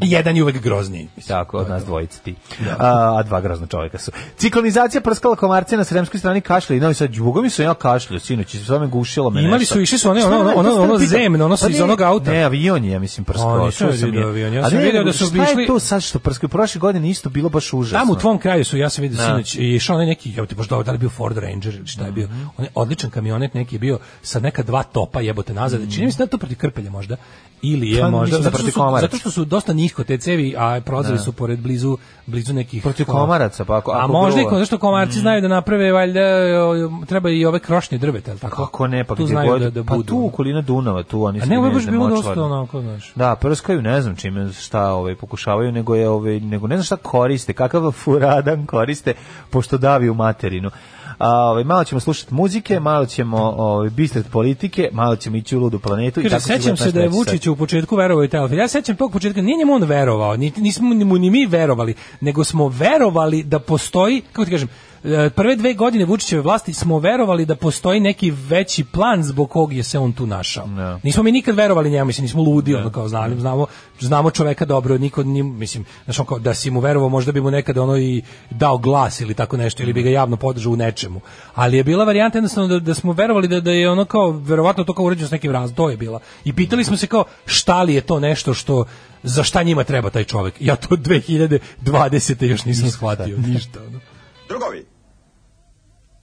G: jedan je uvek grozniji.
H: Tako, od nas dvojice ti. A, a dva grozna čovjeka su. Ciklonizacija prskala komarce na sremskoj strani kašlja i novi sad džugo mi su ja kašlju, sinoć, sve me gušilo me
G: Imali
H: nešto.
G: su, išli su one,
H: Šta
G: ono-
H: ne,
G: ono-
H: to sam
G: ono
H: pitao.
G: zemno, ono su
H: Pa
G: iz
H: ne,
G: onog auta.
H: Ne, avion je, ja mislim,
G: A,
H: prskao.
G: nisam
H: čuo
G: ja vidio
H: je.
G: avion, ja
H: A
G: sam
H: ne,
G: vidio
H: nego,
G: da su
H: šta
G: išli-
H: je to sad što prskaju? Prošle godine isto bilo baš užasno.
G: Tamo u tvom kraju su, ja sam vidio
H: Da.
G: sinoć, i išao onaj neki, jebote, baš dobro, da li je bio Ford Ranger ili šta je
H: Mhm.
G: bio, on je odličan kamionet neki je bio sa neka dva topa jebote nazad, Znači, čini mi se da je to protiv krpelja možda, ili je
H: Pa,
G: možda,
H: mislim da
G: zato što,
H: protiv
G: su,
H: komaraca.
G: zato što su dosta nisko te cevi, a prolazili su pored blizu, blizu nekih... ono-
H: Protiv komaraca, pa ako-
G: a
H: ako Mhm.
G: možda i
H: gruva.
G: kod, zašto komarci znaju da naprave, valjda, o, treba i ove krošnje drveta, jel tako?
H: Kako ne, pa
G: tu
H: gdje
G: znaju
H: god.
G: da, da budu.
H: pa
G: ono.
H: tu u okolina Dunava, tu oni
G: a ne, ovo je baš
H: ne,
G: bilo
H: močvarno.
G: dosta ono, onako, znaš.
H: Da, prskaju, ne znam čime šta ovaj, pokušavaju, nego, je, ovaj, nego ne znam šta koriste, kakav furadan koriste, pošto davi u materinu. A, ovaj, malo ćemo slušati muzike, malo ćemo ovaj, bistret politike, malo ćemo ići u ludu planetu. i
G: Kaže,
H: tako će
G: sećam
H: biti
G: se
H: naš
G: da je
H: treći sat.
G: Vučić u početku verovao u telefon. Ja se sećam tog početka, nije njemu on verovao, niti nismo ni mu ni mi verovali, nego smo verovali da postoji, kako ti kažem, e, prve dve godine Vučićeve vlasti smo verovali da postoji neki veći plan zbog kog je se on tu našao. Nismo mi nikad verovali njemu, mislim, nismo ludi, ono kao znali, znamo, znamo čoveka dobro, niko njim, mislim, znaš, on kao, da si mu verovao, možda bi mu nekada ono i dao glas ili tako nešto, ili bi ga javno podržao u nečemu. Ali je bila varijanta jednostavno da, da smo verovali da, da je ono kao, verovatno to kao uređeno s nekim razlogom, to je bila. I pitali smo se kao, šta li je to nešto što, za šta njima treba taj čovek? Ja to [LAUGHS] 2020. još nisam shvatio, ništa. ono.
N: Drugovi,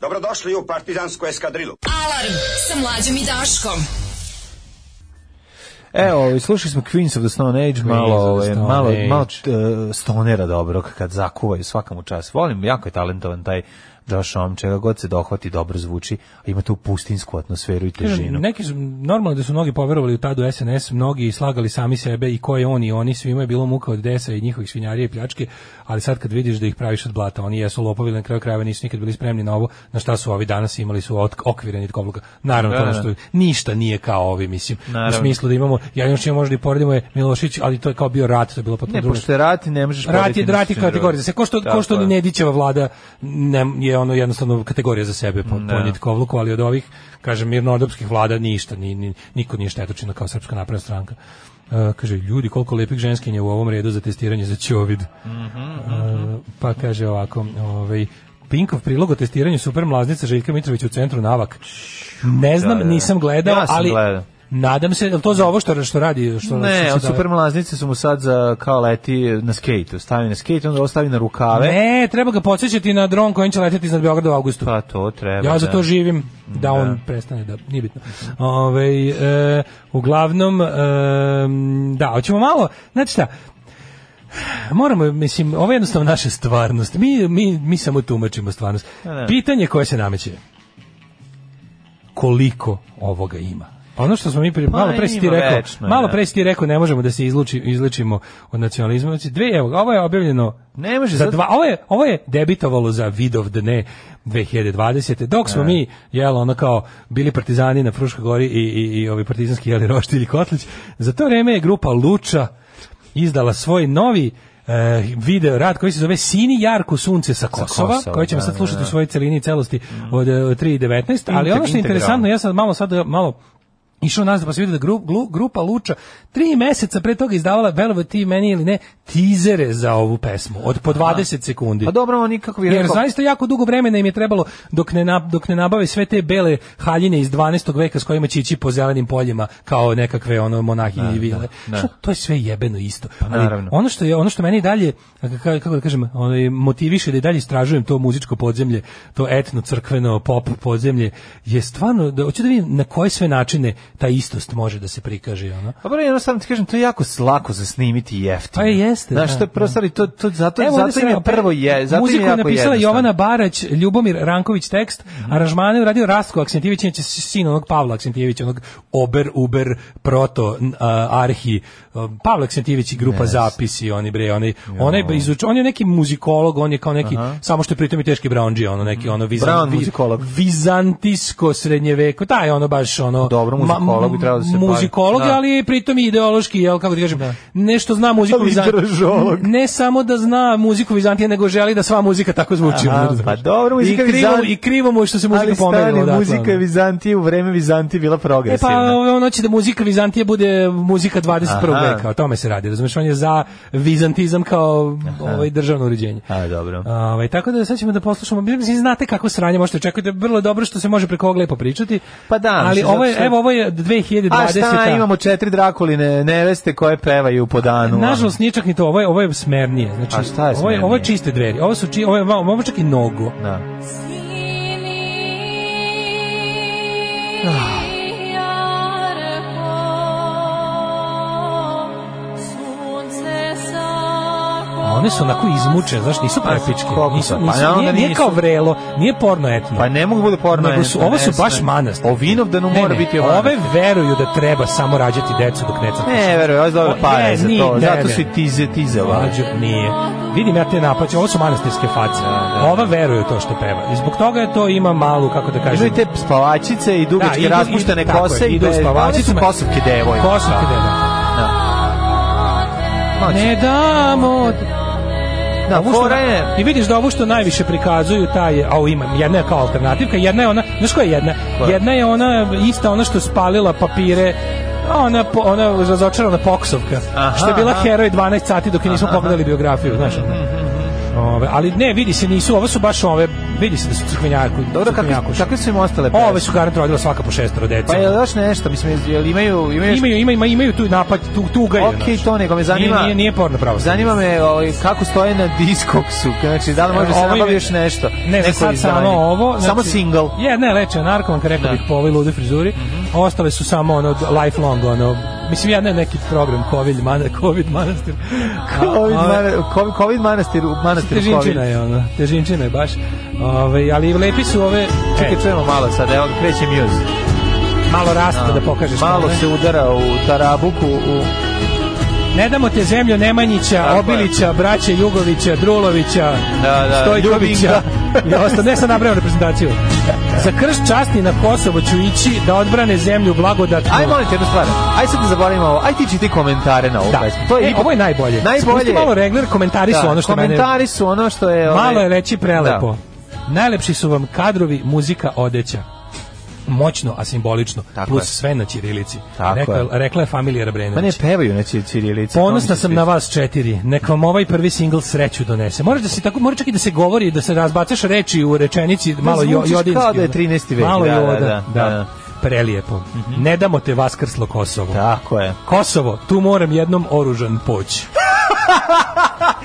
N: dobrodošli u partizansku eskadrilu.
O: Alarm sa mlađom i Daškom.
H: Evo, ovaj, slušali smo Queens of the Stone Age, malo,
G: of the
H: ovaj,
G: Stone
H: malo,
G: Age.
H: malo e, stonera dobrog kad zakuvaju svakamu čas. Volim, jako je talentovan taj Josh Om, čega god se dohvati, dobro zvuči, a ima tu pustinsku atmosferu i
G: Kažem,
H: težinu.
G: Neki su, normalno da su mnogi poverovali u tadu SNS, mnogi slagali sami sebe i ko je on i oni, svima je bilo muka od desa i njihovih svinjarija i pljačke, ali sad kad vidiš da ih praviš od blata, oni jesu lopovi, ali na kraju krajeva nisu nikad bili spremni na ovo, na šta su ovi danas imali su otk- okvireni komluka. Naravno,
H: Da,
G: to ono
H: da.
G: što ništa nije kao ovi, mislim. U
H: Naravno.
G: smislu da imamo, ja još čime možda i poredimo je Milošić, ali to je kao bio rat, to je bilo potpuno
H: Ne,
G: drugo.
H: pošto je rat, ne možeš
G: Rat je
H: porediti
G: rat je
H: ništa drugo.
G: kategorija. Se ko što ko
H: Tako
G: što
H: je.
G: ni Nedićeva vlada ne, je ono jednostavno kategorija za sebe po, po Nitkovluku, ali od ovih kažem mirnodopskih vlada ništa, ni, ni niko nije štetočina kao Srpska napredna stranka. E, kaže, ljudi, koliko lepih ženskinja u ovom redu za testiranje za ćovid.
H: Mhm,
G: E, pa kaže ovako, ovaj, Pinkov prilog o testiranju super mlaznica Željka Mitrovića u centru Navak. Ne znam,
H: da, da.
G: nisam gledao,
H: Ja sam
G: ali
H: gledao.
G: nadam se, je li to za ovo što, što radi? Što,
H: Ne,
G: što
H: od
G: se daje?
H: super mlaznice su mu sad za kao leti na skejtu. Stavi na skejtu, onda ostavi na rukave.
G: Ne, treba ga podsjećati na dron kojim će leteti iznad Beograda u augustu.
H: Pa to treba.
G: Ja za to
H: da.
G: živim, da on prestane da, nije bitno. Ovaj, e, uglavnom, e, da, hoćemo malo, znači šta, moramo, mislim, ovo je jednostavno naša stvarnost, mi, mi, mi samo tumačimo stvarnost.
H: da.
G: Pitanje koje se nameće je, koliko ovoga ima? Ono što smo mi pri,
H: Pa
G: malo pre si ti
H: ima
G: rekao,
H: večno,
G: malo
H: da.
G: pre si ti rekao ne možemo da se izluči, izličimo od nacionalizma. Znači, dve, evo, ovo je objavljeno
H: Ne može
G: za
H: sad-
G: dva, ovo je, ovo je debitovalo za vidov dne 2020. Dok smo mi, jel, ono kao, bili partizani na Fruškoj gori i, i, i ovi partizanski jeli Roštilj i Kotlić, za to vreme je grupa Luča izdala svoj novi e, video rad koji se zove Sini Jarko sunce sa Kosova,
H: Kosova,
G: koji ćemo
H: da,
G: sad
H: da,
G: slušati
H: da.
G: u svojoj celini i celosti od e, 3.19, ali
H: Inter-
G: ono što je
H: integralno.
G: interesantno, ja sad malo sad e, malo Išao nas da pa se vidi da gru, glu- grupa Luča tri meseca pre toga izdavala, verovo ti meni ili ne, tizere za ovu pesmu od po 20 sekundi.
H: Pa dobro, oni kako bi
G: Jer
H: rekao-
G: zaista jako dugo vremena im je trebalo dok ne, nab- dok ne nabave sve te bele haljine iz 12. veka s kojima će ići po zelenim poljima kao nekakve ono monahinje i vile.
H: da. Pa
G: Što- To je sve jebeno isto. Ali
H: naravno.
G: ono što je ono što meni i dalje kako, kako da kažem, onaj motiviše da i dalje istražujem to muzičko podzemlje, to etno crkveno pop podzemlje je stvarno da hoću da vidim na koje sve načine ta istost može da se prikaže ono.
H: Pa bro, jednostavno ti kažem, to je jako lako za snimiti i jeftino.
G: Pa jeste,
H: Znaš,
G: da,
H: to je prosto, ali to, to, zato,
G: Evo, ovdje
H: zato im
G: se
H: je
G: na-
H: prvo je, zato im
G: Pa muziku
H: je
G: je
H: jako
G: napisala
H: jednostavno.
G: Jovana Barać, Ljubomir Ranković tekst, aranžmane je uradio Rastko Aksentijević, inače sin onog Pavla Aksentijevića, onog Ober, Uber, Proto, n- a, Arhi, a, Pavla Aksentijević i grupa Zapisi, oni bre, oni, onaj izuč, on je neki muzikolog, on je kao neki, samo što je pritom i teški brownđija, ono neki, ono, vizan,
H: Brown
G: vi-
H: muzikolog.
G: vizantijsko srednjeveko, taj je ono baš, ono,
H: Dobro,
G: ma-
H: muzikolog bi trebalo da se bavi.
G: muzikolog,
H: Da.
G: ali pritom i ideološki, jel, kako ti kažem, nešto zna muziku
H: Ali i
G: Vizant-
H: držolog.
G: ne samo da zna muziku Vizantije, nego želi da sva muzika tako zvuči.
H: Aha,
G: ono, razumeš?
H: pa dobro, muzika
G: I krivo,
H: Vizant-
G: I krivo mu je što se muzika
H: ali
G: pomerila.
H: stani,
G: odatle,
H: muzika
G: ono.
H: je Vizantije, u vreme Vizantije bila
G: E pa
H: progresivna.
G: ovo, on hoće da muzika Vizantije bude muzika 21.
H: Aha.
G: veka, o tome se radi, razumeš, on je za vizantizam kao ovaj državno uređenje.
H: A, dobro.
G: Ovaj, tako da sad ćemo da poslušamo, mislim, znate kako sranje možete očekujete, vrlo je dobro što se može preko ovog lepo pričati.
H: Pa da,
G: ali
H: mislim,
G: ovo je,
H: zato što-
G: evo, ovo je 2020.
H: A šta, imamo četiri drakuline neveste koje pevaju po danu. ono,
G: Nažalost nije čak ni to, ovo je, ovo je smernije. Znači,
H: A šta je
G: Ovo je, ovo je
H: smernije?
G: čiste dveri, ovo su či, ovo je, ovo je čak i nogu.
H: Da.
G: A one su onako izmučene, znaš, nisu prepičke.
H: koliko
G: Nisu,
H: pa,
G: nisu,
H: pa onda
G: nije, nije
H: nisu.
G: kao vrelo, nije porno etno.
H: Pa ne mogu bude porno.
G: Nego su,
H: etno,
G: ovo su
H: ne,
G: baš
H: ne.
G: manastiri.
H: O Vinovdanu
G: Ne,
H: mora
G: ne,
H: biti ovako.
G: ove veruju da treba samo rađati decu dok ne crkne.
H: Ne, veruj, ovo je dobro
G: O,
H: pare
G: ne,
H: za
G: ni-
H: to.
G: ne,
H: Zato
G: ne.
H: su i tize, tizeva.
G: Mlađo, nije. Vidim ja te napaće, ovo su manastirske face. Ova veruje u to što peva. I zbog toga je to ima malu, kako da kažem...
H: Imaju te spavačice i dugačke
G: idu-
H: raspuštene
G: idu- tako
H: kose.
G: je,
H: i
G: idu
H: be-
G: spavačicama.
H: One su kosovke devojke.
G: Kosovke devojke. Ne damo...
H: Da,
G: Ovo što-
H: fora je...
G: I vidiš da ovo što najviše prikazuju taj je, au ima, jedna je kao alternativka, jedna je ona, znaš koja je jedna?
H: Koja?
G: Jedna je ona ista ona što je spalila papire a ona po- ona razočarana poksovka
H: Aha,
G: što je bila
H: aha. Mhm,
G: heroj 12 sati dok je nismo pogledali biografiju znaš ono. Ove, ali ne vidi se nisu ovo su baš ove vidi se da su crkvenjaku
H: Dobro, kakve,
G: crkvenjakuši.
H: kakve su im ostale pesme?
G: ove su garant rodila svaka po šestoro dece
H: Pa je li još nešto? Mislim, jel imaju... imaju
G: imaju imaju imaju tu napad tu tuga je,
H: Ok,
G: znaš.
H: to nego me zanima.
G: nije, nije, nije porno pravo
H: Zanima me ovaj, kako stoje na diskoksu. Znači, da li može da se
G: E, Ovo
H: nabavi
G: ime-
H: još nešto?
G: Ne, za
H: Neko
G: sad
H: izdanje.
G: samo ovo. znači-
H: Samo
G: [LAUGHS]
H: single. Mhm.
G: Je, ne, leče, narkomanka, rekao bih po ovoj lude frizuri. Ostale su samo ono, lifelong, ono, mislim, ja ne neki program, COVID, mana, COVID manastir.
H: [LAUGHS] Covid,
G: A, a-
H: mana- COVID, COVID manastir, manastir Covid.
G: Težinčina je ono, težinčina je baš. Ove, ali lepi su ove, čekaj,
H: Čekaj, čujemo malo sad, evo ga kreće muse.
G: malo rasta da pokažeš.
H: Malo
G: ono, ne?
H: se udara u tarabuku, u...
G: Ne damo te zemlju Nemanjića,
H: Tako je.
G: Obilića, braće Jugovića, Drulovića,
H: Da, da,
G: Stojkovića.
H: Ljubinka.
G: I osta, ne sam nabrao reprezentaciju. Za krš časni na Kosovo ću ići da odbrane zemlju blagodatno.
H: Aj, molim te jednu stvar. Aj sad da zaboravimo ovo. Aj ti čiti komentare na ovu
G: Da.
H: pesmu.
G: To je, e,
H: ipak-
G: ovo je najbolje.
H: Najbolje.
G: Spusti malo regler, komentari su
H: Da,
G: ono što mene...
H: komentari su ono što je... ovaj-
G: Malo je reći prelepo.
H: Da.
G: Najlepši su vam kadrovi, muzika, odeća. Moćno, a simbolično.
H: Tako
G: plus
H: je.
G: sve na Čirilici.
H: Tako
G: Rekla,
H: je.
G: rekla je familija
H: Ma ne,
G: Rabrenović.
H: pevaju na ćir- ćirilici.
G: Ponosna
H: to mi se
G: sam
H: sviđa.
G: na vas četiri. Nek vam ovaj prvi singl sreću donese. Moraš da se tako, mora čak i da se govori, da se razbacaš reči u rečenici, malo jo,
H: zvučiš
G: jodinski.
H: kao da je
G: ono.
H: 13. vek,
G: Malo
H: da, da,
G: joda,
H: da,
G: da.
H: da. Mhm.
G: Prelijepo. Ne damo te vaskrslo Kosovo.
H: Tako je.
G: Kosovo, tu moram jednom oružan
H: [LAUGHS]
G: poći.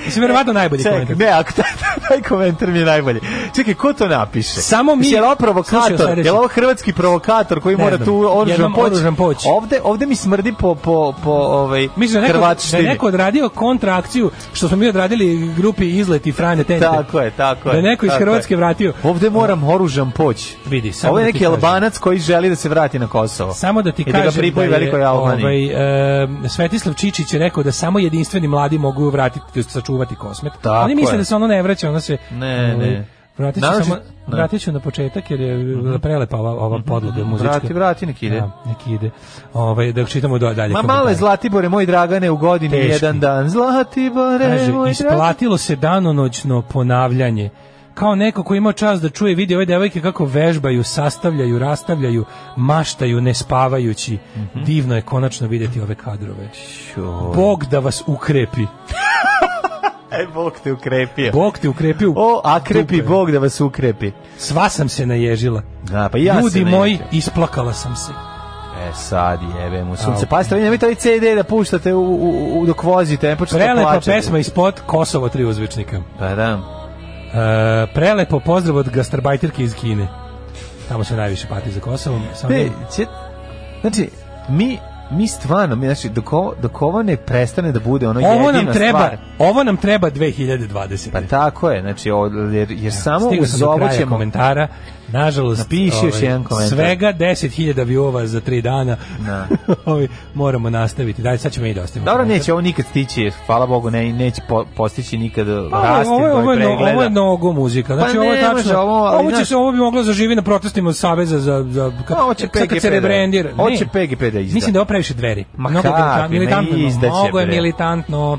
G: Mislim, verovatno najbolji
H: Čekaj,
G: komentar.
H: ne, ako taj, [LAUGHS] taj komentar mi je najbolji. Čekaj, ko to napiše?
G: Samo mi-
H: Mislim, Je li ovo
G: Slušaj,
H: provokator?
G: sledeći.
H: Je li ovo hrvatski provokator koji
G: Ne
H: mora
G: znam.
H: tu oružan
G: Jednom
H: poći?
G: oružan poći.
H: Ovde, ovde mi smrdi po, po, po ovaj,
G: Mislim da je neko, da
H: hrvatštini.
G: je neko odradio kontraakciju što smo mi odradili grupi Izlet i Franje Tente.
H: Tako je, tako je.
G: Da je neko iz
H: tako
G: Hrvatske
H: je.
G: vratio.
H: Ovde moram oružan poći.
G: Vidi, samo
H: Ovo je
G: da ti
H: neki
G: kažem.
H: albanac koji želi da se vrati na Kosovo.
G: Samo da ti
H: I
G: kažem
H: da ga pripoji
G: da je,
H: velikoj Albaniji.
G: ovaj, e, Svetislav Čičić je rekao da samo jedinstveni mladi mogu vratiti, to jest sačuvati kosmet.
H: Tako
G: Oni misle
H: je.
G: da se ono ne vraća, ono se...
H: Ne,
G: ovaj,
H: ne.
G: Vratit ću,
H: Naročit-
G: samo,
H: ne. Mhm.
G: vratit ću na početak jer je prelepa ova, ova podloga muzička.
H: Vrati, vrati, nek ide.
G: Da, nek ide. Ovaj, da čitamo do- dalje.
H: Ma
G: komentare.
H: male Zlatibore, moj Dragane, u godini
G: Teški.
H: jedan dan. Zlatibore,
G: Kaže,
H: moj Dragane.
G: isplatilo se danonoćno ponavljanje. kao neko ko ima čas da čuje vidi ove devojke kako vežbaju, sastavljaju, rastavljaju, maštaju, ne spavajući.
H: Mhm.
G: Divno je konačno vidjeti ove kadrove. Bog da vas ukrepi.
H: E, Bog te ukrepio.
G: Bog te ukrepio.
H: O, a krepi
G: Dupe.
H: Bog da vas ukrepi.
G: Sva sam se naježila.
H: Da, pa i ja
G: Ljudi
H: se
G: moji,
H: naježim.
G: isplakala sam se.
H: E, sad jebe mu sunce.
G: Au.
H: Pazite, vi nemojte ovaj CD da puštate u, u, u, dok vozite, ne počete
G: Prelepa
H: plaćati.
G: pesma ispod Kosovo tri uzvičnika.
H: Pa da.
G: E, prelepo pozdrav od gastarbajterke iz Kine. Tamo se najviše pati za Kosovom. Samo
H: Pe, će, znači, mi, mi stvarno, mi, znači, dok ovo, dok ovo ne prestane da bude ono
G: ovo
H: jedina
G: nam treba,
H: stvar,
G: ovo nam treba 2020.
H: Pa tako je, znači, od- jer, jer samo
G: Stigao sam
H: uz
G: do
H: ovo
G: kraja
H: ćemo...
G: komentara. Nažalost, ovaj,
H: Napiši još jedan komentar.
G: Svega 10.000 viova za 3 dana.
H: Da.
G: [LAUGHS] Ovi, moramo nastaviti. Daj, sad ćemo mi da ostavimo.
H: Dobro,
G: komentar.
H: neće ovo nikad stići, jer, hvala Bogu, ne, neće po, postići nikad
G: Pa,
H: rasti
G: ovo, je,
H: broj
G: ovo, je, no-
H: pregleda.
G: ovo je nogo muzika.
H: Pa
G: Znači, ovo je
H: ne
G: tačno.
H: može ovo, ali
G: ovo, će
H: znaš-
G: se, ovo bi moglo zaživi na protestima Saveza za, za
H: Pa,
G: kad,
H: Ovo će
G: sad kad
H: PGP
G: se
H: da-
G: rebrendira.
H: Ovo
G: Ne.
H: će PGP da izda.
G: Mislim da je ovo previše dveri.
H: Ma
G: mnogo je
H: kakvi,
G: militan-
H: ma
G: militantno,
H: izdaće,
G: mnogo je
H: bre.
G: militantno.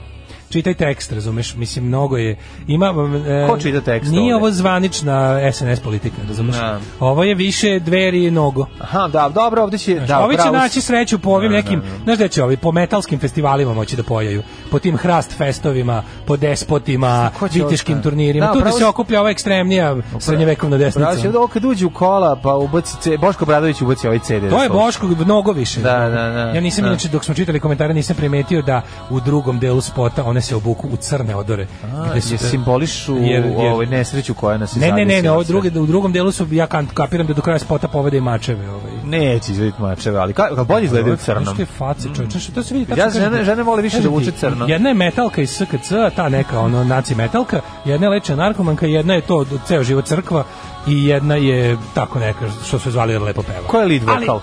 G: Čitaj tekst, razumeš? Mislim, mnogo je... Ima, e,
H: Ko čita tekst
G: Nije
H: ovde?
G: ovo zvanična SNS politika, razumeš?
H: Da.
G: Ovo je više dveri i nogo.
H: Aha, da, dobro, ovdje će...
G: Znaš,
H: da,
G: ovi će
H: pravo si.
G: naći sreću po ovim nekim, znaš gde će ovi, po metalskim festivalima moći da pojaju, po tim hrast festovima, po despotima,
H: Ko će
G: vitiškim
H: ovo-
G: turnirima,
H: Da,
G: tu gde
H: pravo
G: se
H: si-
G: okuplja ova ekstremnija srednjevekovna desnica.
H: Pravo si, ovdje ovo kad uđe u kola, pa ubaci, ce- Boško Bradović ubaci ovaj CD.
G: To je
H: Boško.
G: Boško mnogo više.
H: Da, da, da.
G: Ja nisam
H: Da.
G: inače dok smo čitali komentare nisam primetio da u drugom delu spota one se obuku u crne odore.
H: A,
G: gde su-
H: je simbolišu
G: Jer- jer-
H: ovaj nesreću koja nas je
G: Ne, ne, ne, ne,
H: zadesila
G: ovo
H: sve.
G: druge, u drugom delu su ja kan- kapiram da do kraja spota povede i mačeve, ovaj.
H: Neće izvediti mačeve, ali kako bolje izgledaju u crnom.
G: Što je face, čovječe, znaš, to se vidi
H: Ja,
G: kažem,
H: žene- žene vole više
G: kažem
H: da vuče
G: ti,
H: crno.
G: Jedna je metalka iz SKC, a ta neka ono naci metalka, jedna je leča narkomanka, jedna je to d- ceo život crkva i jedna je tako neka što su je zvali lepo peva.
H: Ko je lead
G: Ali-
H: vokal?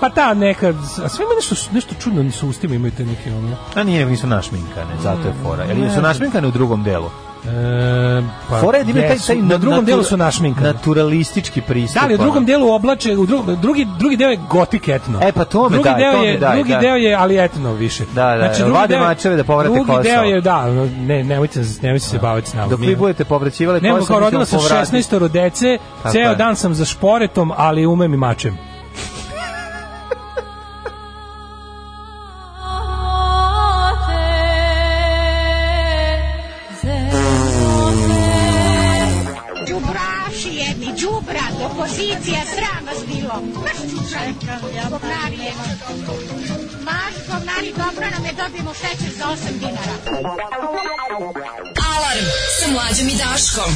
G: pa ta neka, a sve ima nešto, nešto čudno sa ustima, imaju te neke ono.
H: A nije, nego nisu našminkane, zato je fora. Ili su
G: Ne.
H: našminkane u drugom delu.
G: E, pa
H: Fora je da imaju taj,
G: jesu.
H: taj
G: na drugom
H: natura-
G: delu su našminkane.
H: Naturalistički pristup.
G: Da, ali u drugom
H: ono.
G: delu oblače, u dru- drugi, drugi deo je gotik etno.
H: E, pa to me
G: drugi
H: daj,
G: deo
H: to mi
G: je,
H: daj,
G: Drugi
H: da.
G: deo je, ali etno više. Znači,
H: Da, da, da,
G: drugi
H: vade
G: deo je-
H: mačeve da povrate
G: Drugi
H: Kosovo.
G: deo je, da, ono, ne, nemojte, nemojte se baviti s nama.
H: Dok vi
G: Mi-
H: budete povraćivali
G: Ne,
H: posao,
G: kao
H: mi ćemo
G: rodila sam
H: povratiti.
G: 16 dece,
H: Tako
G: ceo
H: je.
G: dan sam za šporetom, ali umem i mačem.
M: Đubraši jedni, đubrad, opozicija, sram vas bilo. Govnari jedni. Maš, govnari, dobro nam je, dobijemo šećer za 8 dinara.
O: Alarm sa mlađom i Daškom.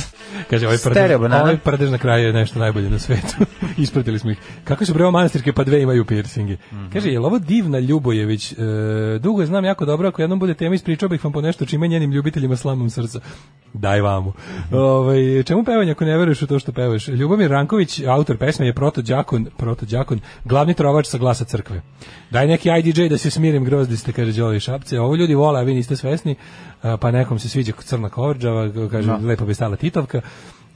G: Kaže, ovaj prdež,
H: Stereo banana.
G: ovaj prdež na kraju je nešto najbolje na svetu. [LAUGHS] Ispratili smo ih. Kako su prema manastirke, pa dve imaju piercinge. Kaže, je li ovo divna Ljubojević? E, dugo je znam jako dobro, ako jednom bude tema ispričao bih vam po nešto čime njenim ljubiteljima slamom srca. Daj vamo. Ovaj, čemu pevanje ako ne veruješ u to što pevaš? Ljubomir Ranković, autor pesme, je protođakon, protođakon, glavni trovač sa glasa crkve. Daj neki IDJ da se smirim grozdi ste, kaže Đoli Šapce. Ovo ljudi vole, a vi niste svesni, a, pa nekom se sviđa crna kovrđava, kaže, lepo bi stala Titovka.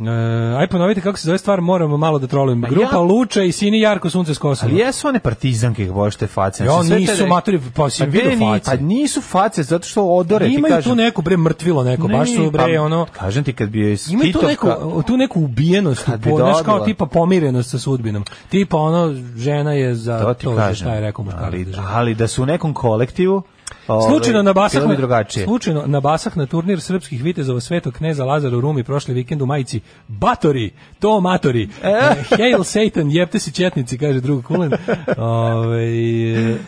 G: E, aj ponovite kako se zove stvar, moramo malo da trolujem. Grupa
H: Pa ja-
G: Luča i Sini Jarko Sunce s Kosova.
H: Ali jesu one partizanke ih boje što je face.
G: Ja,
H: Znači, sve
G: nisu
H: te-
G: maturi, pa si
H: gde
G: vidio
H: ni-
G: face.
H: Pa nisu face, zato što odore, ti
G: Imaju tu
H: kažem.
G: neku bre mrtvilo neko,
H: Ne,
G: baš su bre
H: pa,
G: ono
H: Kažem ti, kad bi joj
G: Ima tu neku,
H: Titovka...
G: tu neku ubijenost,
H: Kad bi
G: po, znaš kao
H: dobila.
G: tipa pomirenost sa sudbinom. Tipa ono, žena je za to,
H: To ti
G: za
H: kažem.
G: šta je rekao muškarac.
H: ali,
G: da žena.
H: ali da su u nekom kolektivu... ovaj,
G: Slučajno na basah
H: bilo bi
G: na,
H: drugačije.
G: slučajno na basah na turnir srpskih vitezova Svetog kneza Lazara u Rumi prošli vikend u majici Batori, to matori. E. Hail Satan, jebte si četnici, kaže drug
H: [LAUGHS]
G: Kulen. Ovaj e,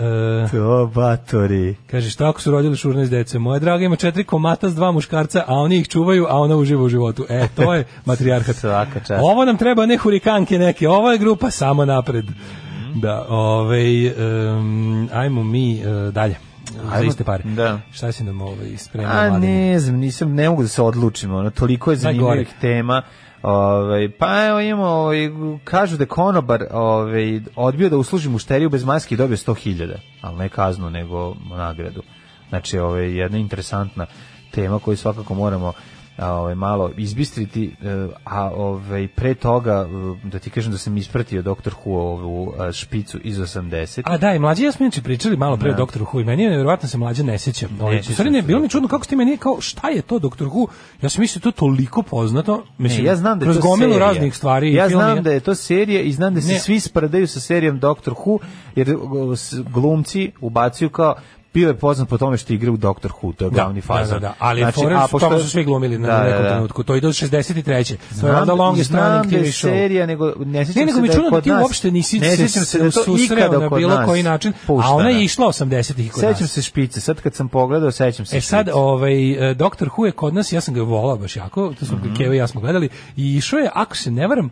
H: To, batori.
G: Kaže, šta ako su rodili 16 dece? Moja draga ima četiri komata s dva muškarca, a oni ih čuvaju, a ona uživa u životu. E, to
H: [LAUGHS]
G: je matrijarhat.
H: Svaka čast.
G: Ovo nam treba, ne hurikanke neke. Ovo je grupa samo napred.
H: Mhm.
G: Da, ovej, em, ajmo mi e, dalje. Za
H: Ajmo,
G: iste pare.
H: da.
G: Šta si nam ovaj, spremio,
H: A
G: mladine?
H: ne znam, nisam, ne mogu da se odlučim, ono, toliko je zanimljivih
G: Najgore.
H: tema. Ovaj, pa evo imamo, ovaj, kažu da je konobar ovaj, odbio da usluži mušteriju bez maske i dobio 100.000, ali ne kaznu, ovaj, nego nagradu. Znači, ovo je jedna interesantna tema koju svakako moramo ovaj malo izbistriti e, a ovaj pre toga e, da ti kažem da sam ispratio doktor Who ovu e, špicu iz 80
G: A da, i mlađi ja smo inače pričali malo pre
H: Da.
G: o doktoru Hu i meni je nevjerovatno se mlađe ne seća. Ovaj,
H: Ne
G: u
H: sjećam
G: stvari ne,
H: se
G: bilo mi čudno kako ste meni kao šta je to doktor Hu? Ja sam mislio da je to toliko poznato, mislim,
H: ne, Znači, ja znam da je
G: kroz
H: to
G: gomilu
H: serija.
G: raznih stvari i
H: Ja
G: film je-
H: znam da je to serija i znam da se
G: Ne.
H: svi sprdaju sa serijom Doctor Who jer o, s- glumci ubacuju kao bio je poznat po tome što igra u Doctor Who, to je
G: Da,
H: glavni
G: da,
H: fazon.
G: da, da, ali znači, fore,
H: pošto-
G: tamo su svi glumili na,
H: Da,
G: na
H: da,
G: nekom
H: da.
G: trenutku. To ide od 63. To je
H: Znam
G: onda
H: da-
G: longest
H: znam
G: running
H: da je
G: TV show.
H: serija, nego ne sjećam
G: ne, nego
H: se
G: mi
H: da je
G: čudno da
H: kod
G: ti
H: nas-
G: uopšte nisi
H: ne
G: se,
H: sjećam se da je to
G: susreo
H: ikada
G: na
H: kod
G: bilo
H: nas
G: koji način, a ona
H: puštana.
G: je išla 80-ih kod nas.
H: Sećam se špice, sad kad sam pogledao, sećam se
G: E sad,
H: špice.
G: ovaj, e, doktor Who je kod nas, ja sam ga volao baš jako, to smo
H: Mhm.
G: Keva i ja smo gledali, i išao je, ako se ne varam,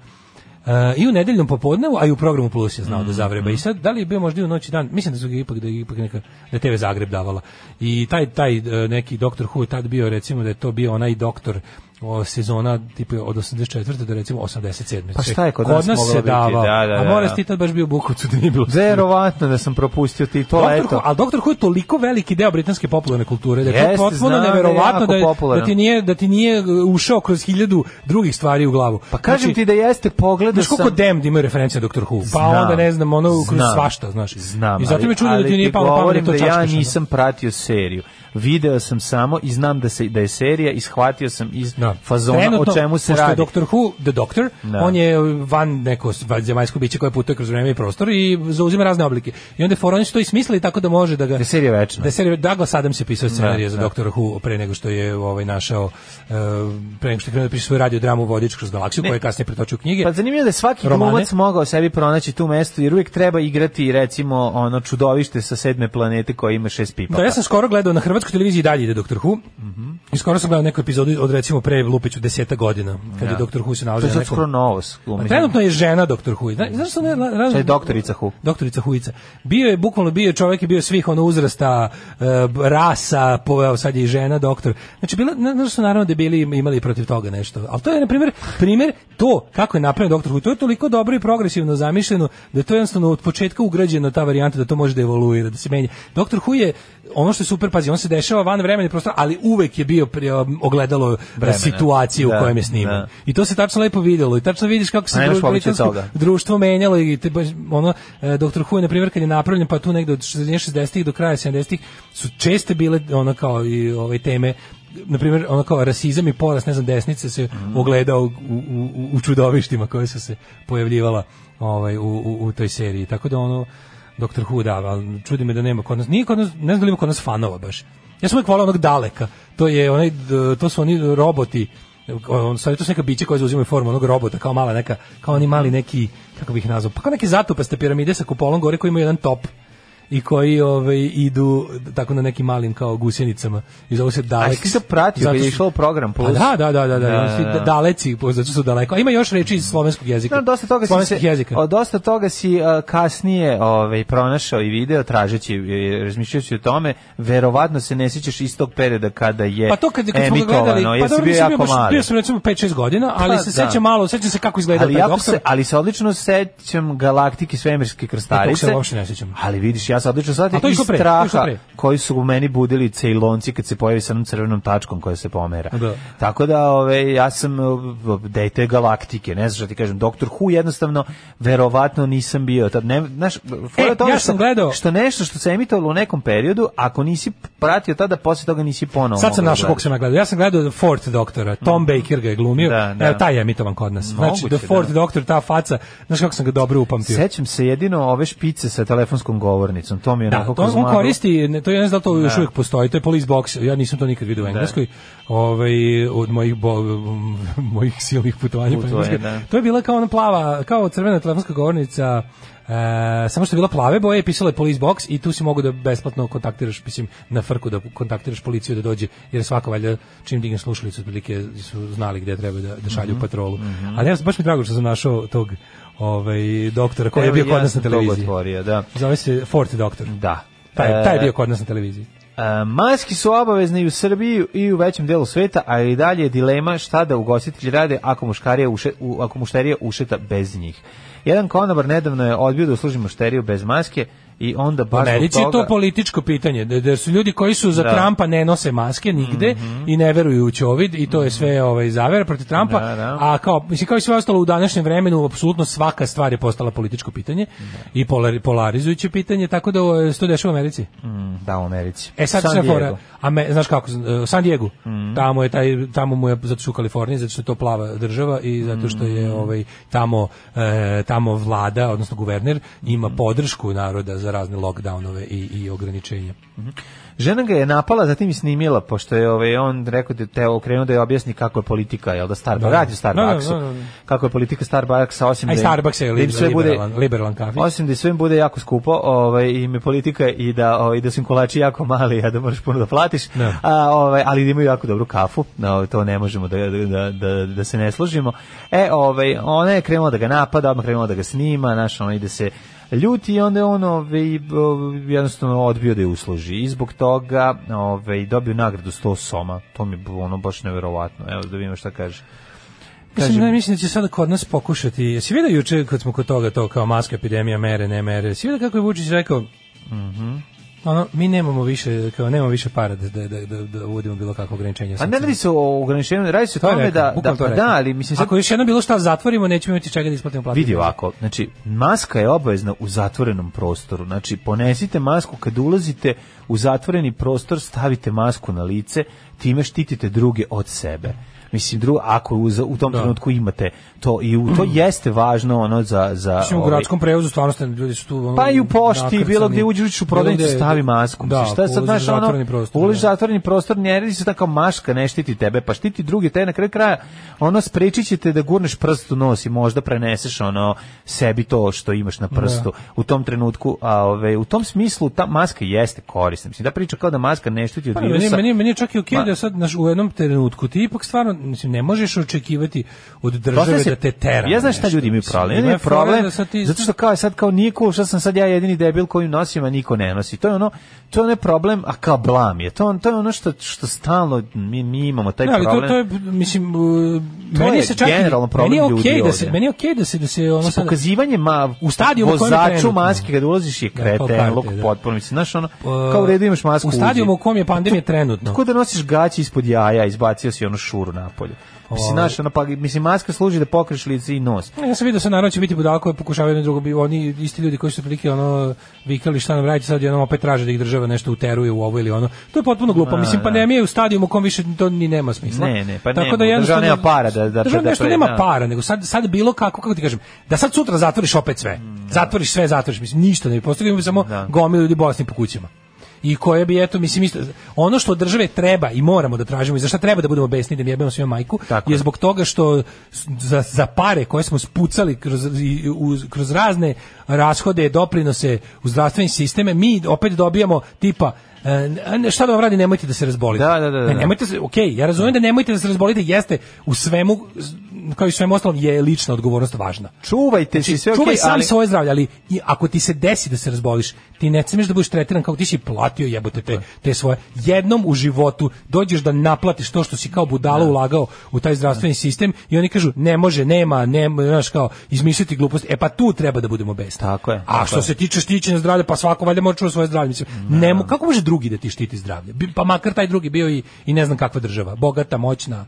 G: e, i u nedeljnom popodnevu, a i u programu Plus je
H: Mhm.
G: znao da zavreba. I sad, da li je bio možda i u noći dan? Mislim da su ga ipak, da je ipak neka, da je TV Zagreb davala. I taj, taj e, neki doktor Who je tad bio, recimo, da je to bio onaj doktor o, sezona tipa od 84. do recimo 87.
H: Pa šta je kod nas moglo
G: se
H: biti?
G: davao,
H: Da, da,
G: a
H: da,
G: mora
H: da.
G: si ti tad baš bio u Bukovcu da nije bilo.
H: Verovatno da sam propustio ti to,
G: Doktor
H: Pa eto.
G: Who, ali Doktor Who je toliko veliki deo britanske popularne kulture da je
H: Jeste,
G: to potpuno
H: znam da je
G: neverovatno
H: jako
G: da, je- da
H: popularan.
G: ti nije da ti nije uh, ušao kroz hiljadu drugih stvari u glavu.
H: Pa kažem
G: Znači,
H: ti da jeste, pogledao
G: Znaš
H: sam...
G: koliko Damned imaju referencije na Dr. Who? Pa
H: Znam,
G: onda ne znam, ono kroz
H: znam,
G: svašta, znaš.
H: Znam,
G: I zato
H: ali-
G: mi je čudno da
H: ali
G: ti nije palo na pamet
H: govorim
G: da to
H: da ja
G: čačkaš, ono.
H: nisam pratio seriju. Video sam samo i znam da, se, da je serija i shvatio sam iz fazona
G: Trenutno,
H: o čemu se
G: pošto je
H: radi.
G: Dr. Who, The Doctor,
H: Da.
G: on je van neko zemaljsko biće koje putuje kroz vreme i prostor i zauzima razne oblike. I onda je foron su to i smislili tako da može da ga...
H: Da je serija večna.
G: Da je serija, Douglas Adams je pisao scenarije za
H: da.
G: Dr. Who pre nego što je ovaj, našao, e, pre nego što je krenuo da piše svoju radiodramu Vodič kroz galaksiju,
H: Ne.
G: koju je kasnije pretočio u knjige.
H: Pa zanimljivo je da je svaki
G: romane.
H: glumac mogao sebi pronaći tu mesto, jer uvijek treba igrati, recimo, ono čudovište sa sedme planete koje ima šest pipa.
G: Da, Pa ja sam skoro gledao na hrvatskoj televiziji i dalje ide Doktor Who.
H: Mhm.
G: I skoro sam gledao neku epizodu od recimo pre Lupiću deseta godina, kad je
H: Da.
G: Doktor Who se
H: To
G: nalazi
H: je
G: na
H: sad
G: nekom...
H: skoro novo.
G: Pa trenutno je žena Doktor Who. Zna, znaš što ne... ra- ra-
H: To je doktorica Hu.
G: Doktorica Hujica. Bio je, bukvalno bio je čovjek i bio je svih ono uzrasta, e, b- rasa, po, evo sad je i žena doktor. Znači, bilo, ne, znaš što naravno da bili imali protiv toga nešto. Ali to je, na primjer, primjer to kako je napravljen doktor Who. To je toliko dobro i progresivno zamišljeno da je to jednostavno od početka ugrađeno ta varijanta da to može da evoluira, da se menja. Doktor Who je ono što je super, pazi, on se dešava van vremena i prostora, ali uvek je bio pri- um, ogledalo
H: Vremena.
G: situacije u
H: Da,
G: kojem je sniman.
H: da.
G: I to se tačno lepo vidjelo i tačno vidiš kako se
H: A nemaš
G: dru-
H: pobeći od
G: britansko
H: toga.
G: društvo menjalo i te baš ono e, doktor Who je, na primjer kad je napravljen pa tu negde od 60-ih do kraja 70-ih su česte bile ono kao i ove teme na primjer ono kao rasizam i porast ne znam desnice se
H: Mhm.
G: ogledao u, u, u čudovištima koje su se pojavljivala ovaj u, u, u toj seriji tako da ono Doktor Who da, ali čudi me da nema kod nas, nije kod nas, ne znam da li ima kod nas fanova baš. Ja sam uvijek volao onog daleka, to, je onaj, d- to su oni roboti on sad to su neka bića koja zauzimaju formu onog robota kao mala neka kao oni mali neki kako bih ih nazvao pa kao neke zatupaste piramide sa kupolom gore koji imaju jedan top i koji ovaj idu tako na nekim malim kao gusjenicama i zovu se
H: A
G: dalek.
H: jesi ti to pratio kad je
G: Zato su-
H: išlo u program?
G: Pa da, da, da, da, da,
H: Da,
G: svi
H: da, da.
G: daleci, po- zato su daleko. A ima još reči iz slovenskog jezika.
H: No, dosta toga si se,
G: slovenskih jezika.
H: o, dosta toga si a, kasnije ovaj, pronašao i video, tražeći, i razmišljajući o tome, verovatno se ne sjećaš iz tog perioda kada je
G: Pa to kad, kad smo ga
H: emitovano,
G: gledali, pa
H: jer si
G: dobro,
H: e, bio
G: nisam bio,
H: jako
G: baš-
H: mali.
G: bio sam recimo 5-6 godina, ali
H: Pa,
G: se
H: da.
G: sećam malo, sećam se kako izgleda
H: ali,
G: taj
H: jako
G: doktor.
H: se, ali se odlično sećam galaktike svemirske
G: E, tog
H: krstarice.
G: se uopšte ne sjećam.
H: Ali vidiš, ja se odlično
G: A to
H: sećam
G: je
H: i
G: išlo pre, to je išlo
H: straha
G: pre.
H: koji su u meni budili cejlonci kad se pojavi sa onom crvenom tačkom koja se pomera.
G: Da.
H: Tako da, ove, ja sam e, dete galaktike, ne znam šta ti kažem, doktor Who jednostavno, verovatno nisam bio. Tad, ne, znaš, fora
G: E,
H: je tome
G: ja
H: što-
G: sam gledao-
H: Što nešto što se emitovalo u nekom periodu, ako nisi pratio tada, posle toga nisi ponovo.
G: Sad sam
H: mogao
G: našao
H: da
G: kog sam ja gledao. Ja sam gledao The Fourth Doctora. Tom Baker ga je glumio.
H: Da, da.
G: Evo, taj je emitovan kod nas. Znači,
H: Moguće,
G: The Fourth
H: da.
G: Doctor, ta faca, znaš kako sam ga dobro upamtio.
H: Sećam se jedino ove špice sa telefonskom govornicom. To mi je
G: Da,
H: onako
G: Pa, to
H: kroz
G: on
H: maglu-
G: koristi, ne, to je ne znam da li to još
H: Da.
G: uvijek postoji, to je police box, ja nisam to nikad vidio u Engleskoj, ovaj, od mojih, bo, [LAUGHS] mojih silnih putovanja. po
H: Putovanja,
G: Engleskoj.
H: da.
G: To je bila kao ona plava, kao crvena telefonska govornica, e, samo što je bila plave boje, pisala je police box i tu si mogu da besplatno kontaktiraš, mislim, na frku da kontaktiraš policiju da dođe, jer svaka valjda čim digne slušalicu, otprilike su znali gdje treba da, da
H: Mhm,
G: šalju patrolu. Ali ja, baš mi je drago što sam našao tog ovaj, doktora koji je
H: Evo,
G: bio kod
H: ja
G: nas na
H: sam toga
G: televiziji.
H: otvorio, da.
G: Zove se Fort Doktor.
H: Da.
G: Taj, taj je
H: E,
G: bio kod nas na televiziji.
H: E, maski su obavezne i u Srbiji i u većem delu sveta, a i dalje je dilema šta da ugostitelji rade ako muškarija uše, u, ako mušterija ušeta bez njih. Jedan konobar nedavno je odbio da usluži mušteriju bez maske i onda
G: U
H: baš zbog
G: Americi je
H: toga...
G: to političko pitanje, da, da su ljudi koji su za
H: Da. Mhm.
G: Trumpa ne nose maske nigde i ne veruju u ćovid i to je sve ovaj, zavera protiv Trumpa,
H: Da, da.
G: a kao, mislim, kao i sve ostalo u današnjem vremenu, apsolutno svaka stvar je postala političko pitanje i polari- polarizujuće pitanje, tako da ovo, se to dešava u Americi.
H: Mm, da, u Americi.
G: E sad
H: San
G: se fora,
H: Diego.
G: a me, znaš kako, eh, San Diego, tamo je taj, tamo mu je, zato što je u Kaliforniji, zato što je to plava država i zato što je ovaj, tamo, eh, tamo vlada, odnosno guverner, ima podršku naroda za razne lockdownove i, i ograničenja.
H: Žena ga je napala, zatim i snimila, pošto je ovaj, on rekao da te okrenuo da je objasni kako je politika, jel da Starbucks,
G: Da.
H: radi u Starbucksu,
G: Da, da, da, da.
H: kako je politika Starbucksa, osim
G: A i
H: da im-
G: Starbucks je
H: da im sve bude,
G: liberalan, liberalan kafić.
H: osim da sve im bude jako skupo, ovaj, im je politika i da, ovaj, da su im kolači jako mali, a da moraš puno da platiš,
G: Da.
H: a, ovaj, ali da imaju jako dobru kafu, no, to ne možemo da, da, da, da se ne složimo. E, ovaj, ona je krenula da ga napada, odmah krenula da ga snima, znaš, ona ide se ljuti i onda je on ovaj, o, jednostavno odbio da je usluži i zbog toga ovaj, dobio nagradu 100 soma. To mi je bilo ono baš neverovatno. Evo da vidimo šta kaže.
G: Mislim, ne, mislim da će sada kod nas pokušati, jesi vidio juče kad smo kod toga to kao maska epidemija, mere, ne mere, jesi vidio kako je Vučić rekao, ono, mi nemamo više, kao, nemamo više para da, da, da, da, da uvodimo bilo kakvo ograničenje.
H: A Pa ne radi se o ograničenju, radi se o
G: To je
H: tome
G: rekao,
H: da, da,
G: bukvalno to je
H: pa
G: rekao.
H: da, ali mislim sad-
G: Ako još jedno bilo šta zatvorimo, nećemo imati čega da isplatimo platu.
H: Vidi ovako, znači maska je obavezna u zatvorenom prostoru. Znači ponesite masku kad ulazite u zatvoreni prostor, stavite masku na lice, time štitite druge od sebe. Mislim drugo, ako u, za- u tom trenutku imate to i u, [CLEARS THROAT] to jeste važno ono za za
G: Mislim, u
H: ovaj,
G: gradskom prevozu stvarno ste ljudi su tu... ono,
H: pa i u pošti,
G: nakrcani.
H: bilo gdje uđeš u prodavnicu,
G: Bilo gde-
H: stavi masku.
G: Da,
H: Da, šta sad, znaš, ono,
G: zatvoreni prostor.
H: ulaziš u
G: da.
H: zatvoreni prostor, ne radi se tako maška, ne štiti tebe, pa štiti druge, te na kraju kraja, ono, sprečit će te da gurneš prst u nos i možda preneseš, ono, sebi to što imaš na prstu u tom trenutku, a ove, u tom smislu ta maska jeste korisna. Mislim, da priča kao da maska ne štiti od
G: Pa, meni,
H: virusa.
G: meni, meni je čak i okej
H: Ma-
G: da sad znaš, u jednom trenutku ti ipak stvarno mislim, ne možeš očekivati od države
H: Dosta se-
G: da te tera.
H: Ja znaš šta
G: nešto.
H: ljudi imaju problem.
G: Mislim,
H: Imaju
G: fora
H: problem
G: da sad ti-
H: zato što kao je sad kao nije cool, šta sam sad ja jedini debil koji nosim, a niko ne nosi. To je ono, to je onaj problem, a kao blam je. To, on- to je ono što, što stalno mi, mi imamo taj
G: Ne, ali
H: problem.
G: to, to je, mislim, uh,
H: To
G: meni
H: je
G: se čak i-
H: generalno problem
G: meni je
H: ljudi
G: okej da se,
H: ovdje.
G: meni je okej da se, da se ono
H: Mislim,
G: sad...
H: pokazivanje ma,
G: U stadionu u kojem je
H: vozaču
G: trenutno.
H: maske kada ulaziš je
G: Da, kao
H: kreten,
G: karte,
H: luk
G: da.
H: potpuno. Mislim, znaš ono,
G: Uh,
H: kao u redu imaš masku
G: U stadionu u kom je pandemija trenutno.
H: Tako da nosiš gaće ispod jaja, izbacio si onu šuru napolje. Mislim,
G: Ovaj.
H: znaš, ono, pa, mislim, maska služi da pokriš lice i nos.
G: Ne, Ja sam vidio sa naravno će biti budala koje pokušavaju jedno drugo, bi- oni isti ljudi koji su prilike ono vikali šta nam radite, sad jednom opet traže da ih država nešto uteruje u ovo ili ono. To je potpuno glupo.
H: Da,
G: Mislim,
H: da.
G: pandemija je u stadijumu u kom više to ni nema smisla.
H: Ne, ne, pa
G: Tako
H: nema.
G: da
H: Država
G: jednostavno-
H: nema para da- da-
G: Država
H: da-
G: nešto
H: da-
G: nema
H: da.
G: para, nego sad, sad bilo kako, kako ti kažem, da sad sutra zatvoriš opet sve. Zatvoriš sve, zatvoriš, mislim, ništa ne bi postigao, imamo samo
H: Mm, Da.
G: gomilu ljudi bolesni po kućama i koje bi eto mislim isto ono što od države treba i moramo da tražimo i za šta treba da budemo besni da im jebemo svima majku
H: Tako
G: je
H: je.
G: zbog toga što s- za, za pare koje smo spucali kroz, i- uz- kroz razne rashode doprinose u zdravstveni sisteme mi opet dobijamo tipa e, n- šta da vam radi, nemojte da se razbolite.
H: Da, da, da, da.
G: Ne, nemojte se, ok, ja razumijem da nemojte da se razbolite, jeste u svemu, s- kao i svemu ostalom, je lična odgovornost važna.
H: Čuvajte se,
G: Znači,
H: sve okej,
G: čuvaj sam
H: ali...
G: svoje zdravlje, ali i ako ti se desi da se razboliš, ti ne smeš da budeš tretiran kao ti si platio jebote te, te svoje. Jednom u životu dođeš da naplatiš to što si kao budala ulagao u taj zdravstveni sistem i oni kažu ne može, nema, ne, znaš kao izmisliti gluposti. E pa tu treba da budemo besni.
H: Tako je,
G: A
H: tako
G: što
H: je.
G: se tiče štićenja zdravlja, pa svako valjda može čuvati svoje zdravlje. Mislim, ne, mo- kako može drugi da ti štiti zdravlje? Bi- Pa makar taj drugi bio i, i ne znam kakva država, bogata, moćna,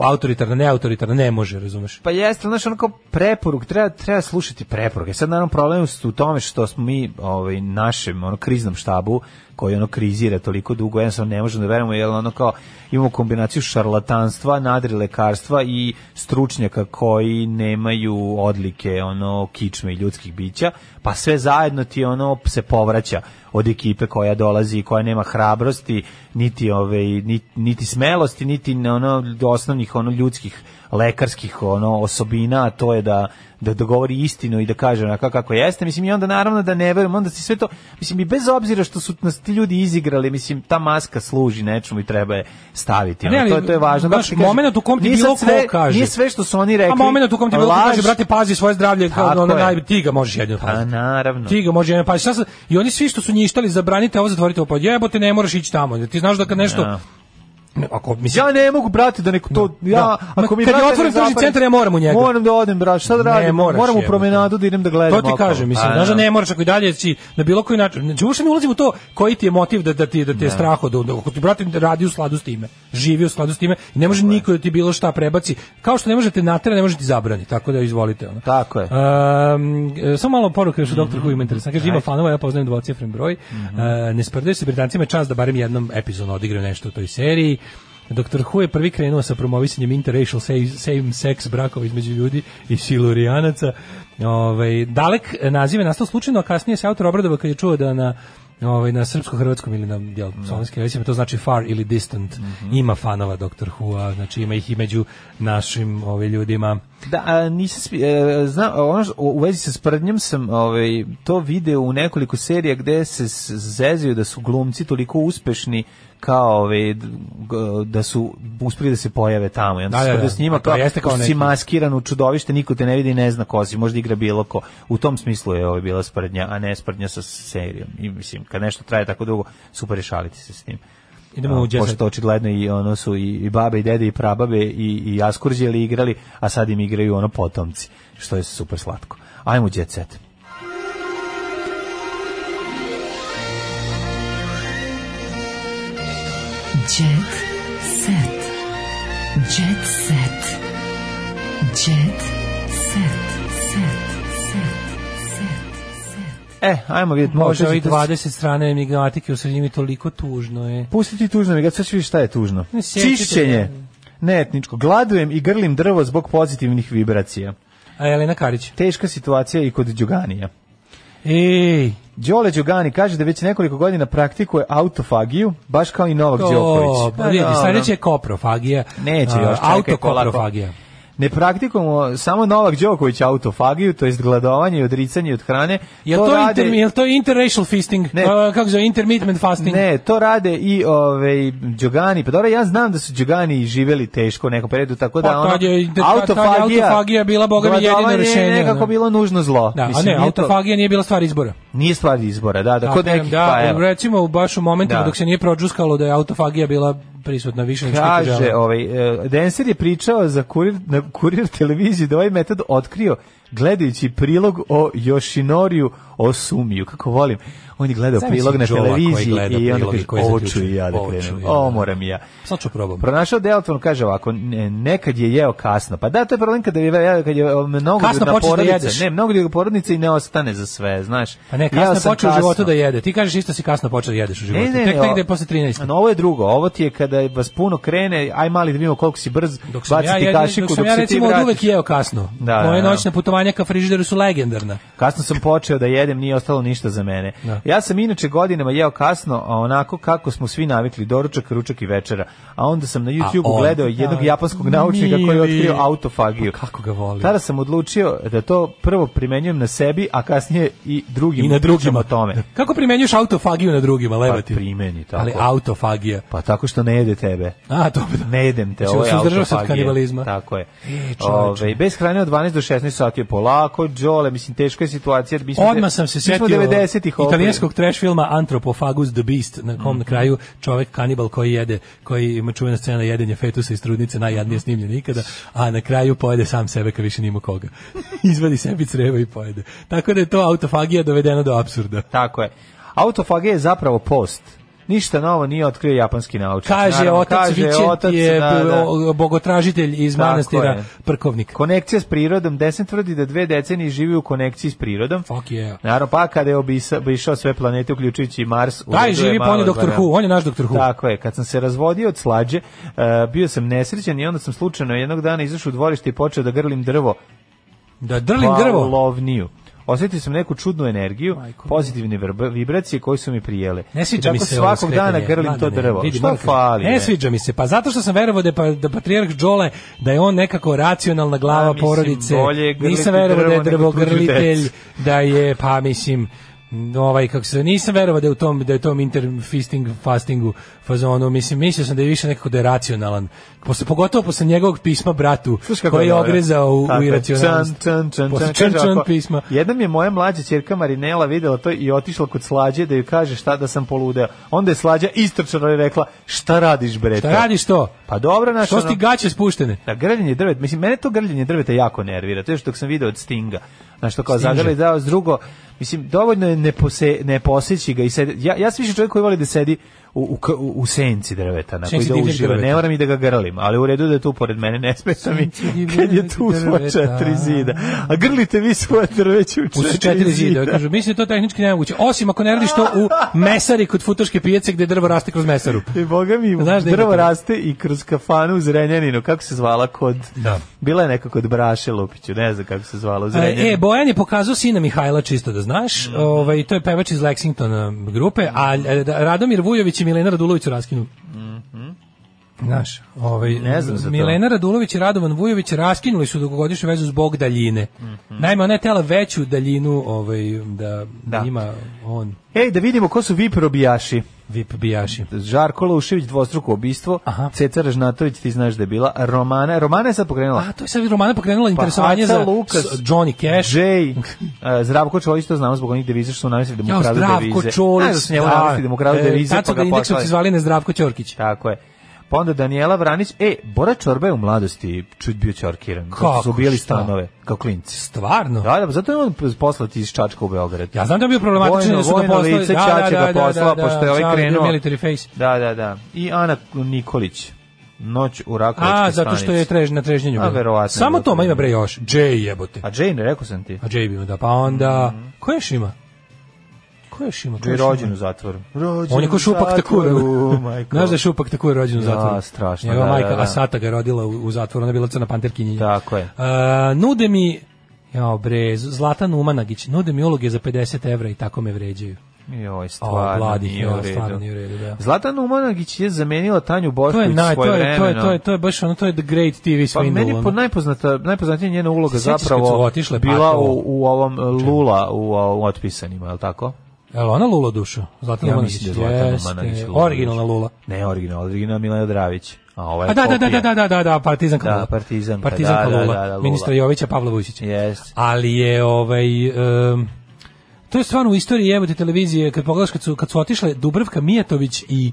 G: autoritarna, neautoritarna, ne može, razumeš?
H: Pa jeste, ali, znaš, ono kao preporuk, treba, treba slušati preporuke. Sad, naravno, problem je u tome što smo mi ovaj, našem ono, kriznom štabu, koji ono krizira toliko dugo, jednostavno ne možemo da verujemo, jer ono kao imamo kombinaciju šarlatanstva, nadri lekarstva i stručnjaka koji nemaju odlike ono kičme i ljudskih bića, pa sve zajedno ti ono se povraća od ekipe koja dolazi i koja nema hrabrosti, niti ove niti, niti smelosti, niti ono osnovnih ono ljudskih lekarskih ono osobina, a to je da da dogovori istinu i da kaže onako kako jeste. Mislim i onda naravno da ne verujem, onda si sve to mislim i bez obzira što su nas ti ljudi izigrali, mislim, ta maska služi nečemu i treba je staviti. Ono, to, je- to je važno.
G: Znaš,
H: Zato ti kažem,
G: moment u kom ti
H: nije sad
G: bilo ko
H: sve-
G: kaže.
H: Nije sve što su oni rekli.
G: A moment u kom ti bilo ko
H: laž.
G: kaže, brate, pazi svoje zdravlje, kao
H: Tako
G: ono
H: je.
G: naj, ti ga možeš jedino paziti.
H: Pa naravno.
G: Ti ga može jedan pa sad i oni svi što su njištali zabranite ovo zatvorite ovo pa jebote ne moraš ići tamo. Ti znaš da kad nešto
H: Da.
G: Ne, ako mislim
H: Ja ne mogu brati da neko to ja
G: Da.
H: ako
G: Ma,
H: mi
G: kad je
H: brate ne
G: otvoren tržni
H: zapali-
G: centar, ja moram u njega.
H: Moram da odem brate, šta da
G: Ne,
H: radim?
G: moraš,
H: moram u
G: jebote.
H: promenadu da idem da gledam.
G: To ti
H: okolo.
G: kažem, mislim,
H: Pa,
G: znaš da
H: da.
G: ne moraš ako i dalje si na bilo koji način. Znači, uopšte ne ulazim u to koji ti je motiv da, da ti, da ti je strah od od- Ako ti, brate, radi u sladu s time, živi u sladu s time, i ne može niko da ti bilo šta prebaci. Kao što ne možete natera, ne možete zabrani, tako da izvolite. Ono.
H: Tako je.
G: Um, e, samo malo poruka još u Doktor Who ima interesantno. Kaže, ima fanova, ja poznajem dvocifren broj. E, ne sprdaju se Britancima je čast da barem jednom epizodno odigraju nešto u toj seriji. Doktor Who je prvi krenuo sa promovisanjem interracial same-sex brakova između ljudi i silurijanaca. Ovaj dalek naziv je nastao slučajno, a kasnije se autor obradovao kad je čuo da na ovaj na srpsko-hrvatskom ili na jel, slovenskim jezicima to znači far ili distant ima fanova Doktor Who-a, znači ima ih i među našim ovaj, ljudima.
H: Da, a, nisam svi- e, znam, ono što- u vezi sa sprdnjom sam ovaj, to video u nekoliko serija gde se s- zezio da su glumci toliko uspešni kao ovaj, d- g- da su uspeli da se pojave tamo. I onda
G: Da,
H: se
G: da,
H: sprdio
G: da.
H: s njima
G: A to
H: kao,
G: jeste kao
H: pošto si
G: neki-
H: maskiran u čudovište, niko te ne vidi i ne zna ko si, možda igra bilo ko. U tom smislu je ovaj, bila sprdnja, a ne sprdnja sa serijom. I mislim, kad nešto traje tako dugo, super je šaliti se s tim.
G: Idemo u
H: A,
G: Jet Set.
H: Pošto očigledno i ono su i, i babe i dede i prababe i, i askurđeli igrali, a sad im igraju ono potomci, što je super slatko. Ajmo u Jet Set.
O: Jet set. Jet set. Jet set. Set. Set. Set.
H: E, ajmo vidjeti.
G: Može
H: možda
G: ovih
H: ćete-
G: 20 strane enigmatike u sredini mi toliko tužno je.
H: Pusti ti tužno, mi sad ćeš vidjeti šta je tužno.
G: Ne sjećate
H: Čišćenje. Ne etničko. Gladujem i grlim drvo zbog pozitivnih vibracija.
G: A Elena Karić.
H: Teška situacija i kod Đuganija.
G: Ej,
H: Đole Đugani kaže da već nekoliko godina praktikuje autofagiju, baš kao i Novak
G: to,
H: Đoković.
G: pa vidi,
H: dobro.
G: sledeće je koprofagija.
H: Neće
G: A,
H: još, čekaj,
G: Autokoprofagija.
H: polako. Ne praktikujemo samo Novak Đoković autofagiju, to jest gladovanje i odricanje od hrane.
G: Jel to, inter, jel to interracial feasting?
H: Ne.
G: A, kako se zove, intermittent fasting?
H: Ne, to rade i ovaj Đogani. Pa dobro, ja znam da su Đogani živeli teško u nekom periodu, tako da
G: Pa,
H: ono
G: tad je- tad je autofagija bila, boga mi, jedino
H: gladovanje je
G: rešenje, ono.
H: nekako bilo nužno zlo.
G: Da,
H: Mislim,
G: a ne,
H: nije to-
G: autofagija nije bila stvar izbora.
H: Nije stvar izbora, da, da, kod
G: Tako je,
H: nekih
G: da,
H: pa evo.
G: recimo u baš u momentima
H: Da.
G: dok se nije prođuskalo da je autofagija bila prisutna više nego što je to
H: Kaže,
G: želeo.
H: ovaj, e, Denser je pričao za kurir, na kurir televiziji da ovaj metod otkrio gledajući prilog o Yoshinoriju Osumiju, kako volim. On je gledao
G: Zamisli
H: prilog na
G: Joela koji
H: televiziji
G: gleda
H: i onda
G: prilog i
H: kaže,
G: koji
H: ovo ću
G: zaključuje,
H: i ja da
G: ovo ću
H: krenem,
G: i ja
H: ovo
G: da."
H: moram i ja.
G: Sad ću probam.
H: Pronašao Delton, kaže ovako, ne- nekad je jeo kasno. Pa da, to je problem kada je, jeo- kad je e, mnogo
G: Kasno
H: ljudna
G: počneš da
H: porodica.
G: jedeš.
H: ne, mnogo ljudi porodice i ne ostane za sve, znaš.
G: Pa ne,
H: Jeo
G: kasno je
H: sam
G: počeo u životu
H: kasno.
G: da jede. Ti kažeš isto si kasno počeo da jedeš u životu.
H: Ne, ne,
G: Tek
H: ne, o-
G: negde posle 13.
H: No, ovo je drugo. Ovo ti je kada vas puno krene, aj mali da vidimo koliko si brz,
G: Dok sam ja,
H: baciti
G: jedin,
H: kašiku
G: dok
H: dok,
G: sam ja
H: se ti
G: recimo od
H: vratiš.
G: uvek jeo kasno.
H: Da,
G: Moje
H: da, da.
G: noćne putovanja ka frižideru su legendarna.
H: Kasno sam počeo da jedem, nije ostalo ništa za mene.
G: Da.
H: Ja sam inače godinama jeo kasno, a onako kako smo svi navikli, doručak, ručak i večera. A onda sam na YouTube
G: on-
H: gledao jednog
G: da,
H: japanskog naučnika koji
G: mili.
H: je otkrio autofagiju.
G: Pa kako ga volim.
H: Tada sam odlučio da to prvo primenjujem na sebi, a kasnije i drugim
G: I na drugima.
H: o tome.
G: Kako primenjuješ autofagiju na drugima,
H: Pa
G: lebati?
H: primeni tako.
G: Ali autofagija.
H: Pa tako što ne jede tebe.
G: A, dobro.
H: Ne jedem te,
G: Znači,
H: ovo je
G: suzdržao se od
H: autofagija.
G: kanibalizma. E,
H: Tako je.
G: čoveče.
H: Ove, bez hrane od 12 do 16 sati je polako, džole, mislim, teška je situacija. Mi smo
G: Odmah
H: de-
G: sam se
H: mi smo
G: setio
H: 90-ih ovo.
G: italijanskog trash filma Anthropophagus the Beast, na kom na
H: Mhm.
G: kraju čovek kanibal koji jede, koji ima čuvena scena jedenje fetusa iz trudnice,
H: Mhm.
G: najjadnije snimljen ikada, a na kraju pojede sam sebe kad više nima koga. [LAUGHS] Izvadi sebi creva i pojede. Tako da je to autofagija dovedena do apsurda.
H: Tako je. Autofagija je zapravo post. Ništa novo nije otkrio japanski naučnik.
G: Kaže
H: Naravno,
G: otac
H: kaže otac,
G: Vičet je
H: da, da.
G: o- bogotražitelj iz
H: Tako
G: manastira
H: je.
G: Prkovnik.
H: Konekcija s prirodom. Desen tvrdi da dve decenije živi u konekciji s prirodom.
G: Fuck yeah.
H: Naravno, pa kada je obisa- obišao sve planete, uključujući i Mars... u
G: Daj,
H: redu je
G: živi, pa
H: malo
G: on je Dr.
H: varijanta.
G: Who, on je naš Dr. Who.
H: Tako je, kad sam se razvodio od slađe, e, bio sam nesrećan i onda sam slučajno jednog dana izašao u dvorište i počeo da grlim drvo.
G: Da drlim
H: Pa
G: drvo.
H: Lovniju. Osjetio sam neku čudnu energiju,
G: Majko
H: pozitivne vrb- vibracije koje su mi prijele.
G: Ne sviđa
H: I
G: mi
H: tako
G: se
H: svakog
G: ovo
H: dana
G: skretanje.
H: grlim
G: Mlade
H: to
G: me,
H: drvo.
G: vidi,
H: Što
G: moram-
H: fali?
G: Ne
H: ne?
G: sviđa mi se, pa zato što sam verovao da, je pa, da patrijarh Đole, da je on nekako racionalna glava
H: mislim,
G: porodice.
H: bolje je grliti
G: Nisam verovao [LAUGHS] da je
H: drvo nego tuđu
G: drvogrlitelj,
H: decu.
G: da je, pa mislim, ovaj kako se nisam verovao da je u tom da je u tom interfisting fastingu fazonu mislim mislio sam da je više nekako da je racionalan posle pogotovo posle njegovog pisma bratu
H: Slušaj kako
G: koji je
H: dobro.
G: ogrezao u,
H: Tako
G: u
H: je.
G: iracionalnost
H: Čan, čan, čan,
G: Posle
H: čan.
G: čan,
H: Kaže
G: čan
H: ovako,
G: pisma
H: Jednom je moja mlađa ćerka Marinela videla to i otišla kod slađe da joj kaže šta da sam poludeo. Onda je slađa istrčano i rekla šta radiš bre?
G: Šta
H: to?"
G: radiš to?
H: Pa dobro naš.
G: Što si ti gaće spuštene?
H: Da, grljenje drveta, mislim, mene to grljenje drveta jako nervira, to je što dok sam video od Stinga. Znaš, to kao
G: Stinže.
H: zagrli da s drugo, mislim, dovoljno je ne, pose, ne poseći ga i sedi, ja, ja sam više čovjek koji voli da sedi u, u, k- u, u senci drveta, na koji
G: Senci
H: da
G: divljeg
H: uživa, ne
G: drveta.
H: moram i da ga grlim, ali u redu da je tu pored mene, ne smeta mi
G: divljeg
H: kad je tu u svoje
G: drveta.
H: četiri zida. A grlite vi svoje drveće u
G: U
H: četiri,
G: četiri zida.
H: zida.
G: Kažu, mislim da je to tehnički nemoguće. Osim ako ne radiš to u mesari kod futoške pijace gde drvo raste kroz
H: [LAUGHS]
G: mesaru.
H: I boga mi,
G: Znaš da ima
H: drvo
G: to.
H: raste i kroz kafanu u Zrenjaninu, kako se zvala kod...
G: Da.
H: Bila je neka kod Braše Lupiću, ne znam kako se zvala u Zrenjaninu.
G: E, Bojan je pokazao sina Mihajla, čisto da
H: Mhm.
G: znaš. Ovaj, to je pevač iz Lexington grupe, a e, da- Radomir Vujović i Milena Radulović su raskinuli. Znaš, ovaj,
H: Mhm. Ne znam za to.
G: Milena Radulović i Radovan Vujović raskinuli su dugogodišnju vezu zbog daljine.
H: Mhm.
G: Naime, ona je tela veću daljinu ovaj, da,
H: Da.
G: ima on,
H: Ej, da vidimo ko su vi probijaši.
G: VIP bijaši.
H: Žarko Laušević dvostruko ubistvo, Ceca Ražnatović, ti znaš da je bila, Romana, Romana je sad pokrenula.
G: A, Pa, to je sad Romana pokrenula interesovanje
H: Aca
G: za
H: Pa, Lukas,
G: s- Johnny Cash.
H: Jay, e, Zdravko Čolić, to znamo zbog onih deviza što su namisli da mu
G: Ja,
H: kradu
G: Zdravko
H: devize.
G: Čolić.
H: Znaš da su njemu namisli da mu kradu
G: E,
H: devize,
G: Tad
H: pa
G: su
H: ga
G: ga
H: poslali.
G: indeksom zvali na Zdravko Ćorkić.
H: Tako je. Pa onda Daniela Vranić, e, Bora Čorba je u mladosti čut bio čorkiran.
G: Kako,
H: su ubijali
G: šta?
H: stanove, kao klinci.
G: Stvarno?
H: Da, da, zato je on poslati iz Čačka u Beograd.
G: Ja znam da je bio problematičan
H: Vojno-
G: da su ga
H: vojno
G: poslali.
H: lice
G: Da,
H: Čače
G: da,
H: ga
G: da, da,
H: poslao,
G: da,
H: pošto je ovaj
G: Charlie the
H: krenuo.
G: Military Face.
H: Da, da, da. I Ana Nikolić. Noć u Rakovičkoj
G: A,
H: stanici.
G: zato što je trež, na trežnjenju.
H: A,
G: bilo.
H: verovatno.
G: Samo to, ma ima bre još. Jay jebote.
H: A Mhm. Jane, rekao sam ti.
G: A Jay bi ima da. Pa onda, ko još ima? Ko još ima? Ko
H: Jane je
G: još ima?
H: rođen u zatvoru. Rođen
G: On je ko
H: u
G: šupak takur.
H: zatvoru,
G: [LAUGHS]
H: majko.
G: Znaš da je šupak takur rođen u
H: Ja,
G: zatvoru?
H: strašno,
G: Njegova
H: da,
G: majka
H: da, da.
G: Asata ga je rodila u, u zatvoru, ona je bila crna panterkinja.
H: Tako je.
G: Uh, nude mi, jao bre, Z- Zlatan Umanagić, nude mi uloge za 50 evra i tako me vređaju.
H: Joj,
G: O,
H: stvarno,
G: mladi,
H: Pa, nije
G: ja,
H: u
G: stvarno
H: redu.
G: nije u redu, da.
H: Zlatan Umanagić je zamenila Tanju
G: To je,
H: Bošković
G: naj, to,
H: svoje
G: je, to, je,
H: vremena.
G: to, je, to je baš ono, to je the great TV
H: Pa
G: swindle.
H: meni
G: ono.
H: po najpoznata, najpoznatija njena uloga
G: Se sjećaš kad su
H: zapravo
G: otišle, pa
H: bila
G: to-
H: u, u ovom e, Lula u, u otpisanima, je li tako?
G: Jel ona Lula dušu? Zlatan
H: Ja
G: Umanagić.
H: mislim da je Zlatan
G: Jeste,
H: Omanagić Lula.
G: Originalna Lula.
H: Ne, original, original Milena Dravić. A ovo Pa je
G: A da, da, da,
H: kopija.
G: da, da, da, da, da, Partizan
H: Da,
G: Lula.
H: Partizanka,
G: Partizanka
H: da, da,
G: Lula,
H: da, da, Lula.
G: ministra Jovića Pavla Vujčića.
H: Jest.
G: Ali je ovaj em, to je stvarno u istoriji jebote televizije kad pogledaš kad su kad su otišle Dubravka Mijatović i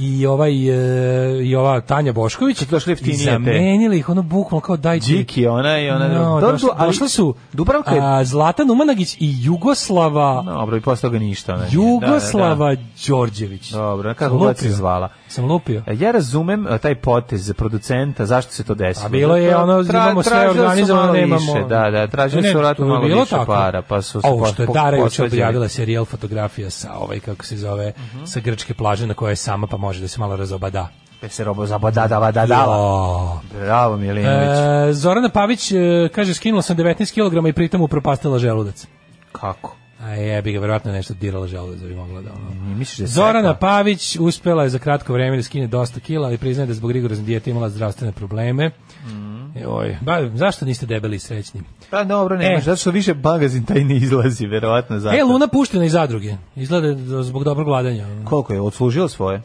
G: i ovaj e, i ova Tanja Bošković
H: Kad su došle jeftinije
G: i
H: te. ono,
G: zamenili ih ono bukvalno kao dajte
H: Điki, ona i ona
G: No,
H: druga.
G: došle,
H: Dobro, ali-
G: došle su
H: Dubravka je-
G: a, Zlatan Umanagić i Jugoslava
H: Dobro, i posle toga ništa. ona nije. Da, da,
G: Jugoslava Đorđević.
H: da. Dobro, kako
G: Sam
H: god se
G: lupio.
H: zvala.
G: Sam lupio.
H: E, Ja razumem e, taj potez za producenta, zašto se to desilo.
G: A bilo je
H: Zato
G: ono, imamo sve
H: tražili su
G: organizovano,
H: malo
G: nemamo-
H: Više, da, da, tražili
G: Ne,
H: su vratno
G: to je
H: malo
G: bilo
H: više
G: tako.
H: para, pa su se
G: Ovo što je
H: po-
G: Dara juče
H: posvađali. Mhm.
G: objavila serijal fotografija sa ovaj, kako se zove, sa grčke plaže na kojoj je sama, pa može da se malo razobada.
H: Pe se robo zabadada, badadala.
G: Jo.
H: Bravo, Milinović.
G: E, Zorana Pavić e, kaže, skinula sam 19 kg i pritom upropastila želudac.
H: Kako?
G: A jebi ga, verovatno je nešto dirala želudac da bi mogla da ono...
H: Misliš da je
G: Zorana
H: seka?
G: Pavić uspela je za kratko vreme da skine dosta kila, ali priznaje da je zbog rigorozne dijete imala zdravstvene probleme.
H: Mhm.
G: Joj, ba, zašto niste debeli i srećni?
H: Pa dobro, ne,
G: E.
H: zato što više magazin taj ne izlazi, verovatno zato.
G: E, Luna puštena iz zadruge. Izgleda da zbog dobrog vladanja.
H: Koliko je odslužila svoje?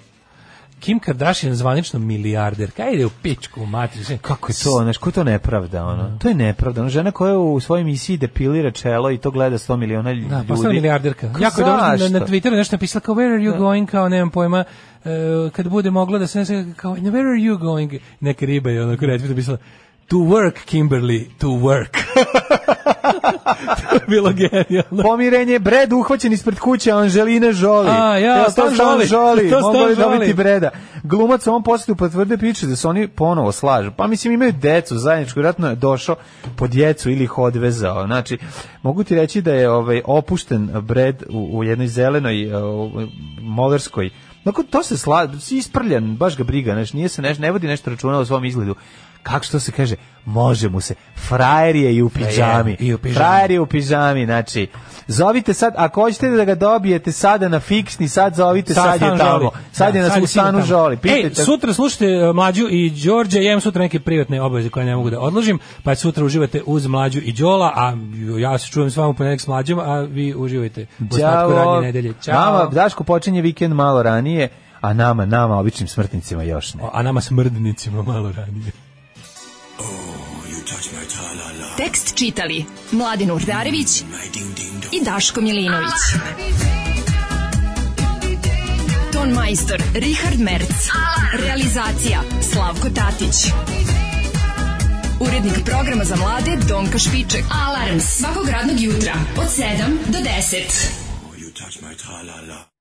G: Kim Kardashian zvanično milijarder. Kaj ide u pičku, u matrice.
H: Kako je to, znaš, koja je to nepravda, ono?
G: Mhm.
H: To je nepravda, ono, žena koja u svojoj emisiji depilira čelo i to gleda 100 miliona ljudi.
G: Da, postala milijarderka.
H: Kako,
G: jako je dobro na,
H: zašto?
G: na Twitteru nešto napisala kao where are you going, kao nemam pojma, e, kad bude mogla da se nese, kao "No, where are you going, neka riba je onako retweet napisala to work, Kimberly, to work. [LAUGHS] to je bilo genijalno.
H: Pomirenje, Bred uhvaćen ispred kuće Anželine Žoli.
G: A, ja,
H: Evo,
G: Stan
H: Stan
G: Žoli.
H: Žoli.
G: To Stan
H: Mogu li
G: Žoli.
H: dobiti Breda. Glumac on posle potvrde priče da se oni ponovo slažu. Pa mislim imaju decu zajedničku, vjerojatno je došao po djecu ili ih odvezao. Znači, mogu ti reći da je ovaj opušten Bred u, u jednoj zelenoj e, u- molerskoj Dakle, to se sla, si isprljan, baš ga briga, znaš, nije se neš, ne vodi nešto računa o svom izgledu. Kako što se kaže, može mu se. Frajer je i u pidžami.
G: E, i u pidžami.
H: Frajer je u pidžami, znači. Zovite sad, ako hoćete da ga dobijete sada na fiksni, sad zovite, sad,
G: stan
H: je tamo.
G: Žoli.
H: Sad je E,
G: Da,
H: na u
G: sigurno
H: stanu
G: tamo.
H: žoli.
G: Ej,
H: Pitajte.
G: sutra slušajte e, mlađu i Đorđe, ja imam sutra neke privatne obaveze koje ne mogu da odložim, pa sutra uživate uz mlađu i Đola, a ja se čujem s vama u ponedeljak s mlađom, a vi uživajte u ostatku
H: Ćao.
G: radnje nedelje.
H: Nama,
G: Ćao.
H: Daško počinje vikend malo ranije, a nama, nama, običnim smrtnicima još ne.
G: A nama smrdnicima malo ranije.
E: Tekst čitali Mladin Urdarević i Daško Milinović. Ton majstor Richard Merc. Realizacija Slavko Tatić. Urednik programa za mlade Donka Špiček. Alarms svakog radnog jutra od 7 do 10.
P: You touch my tra-la-la.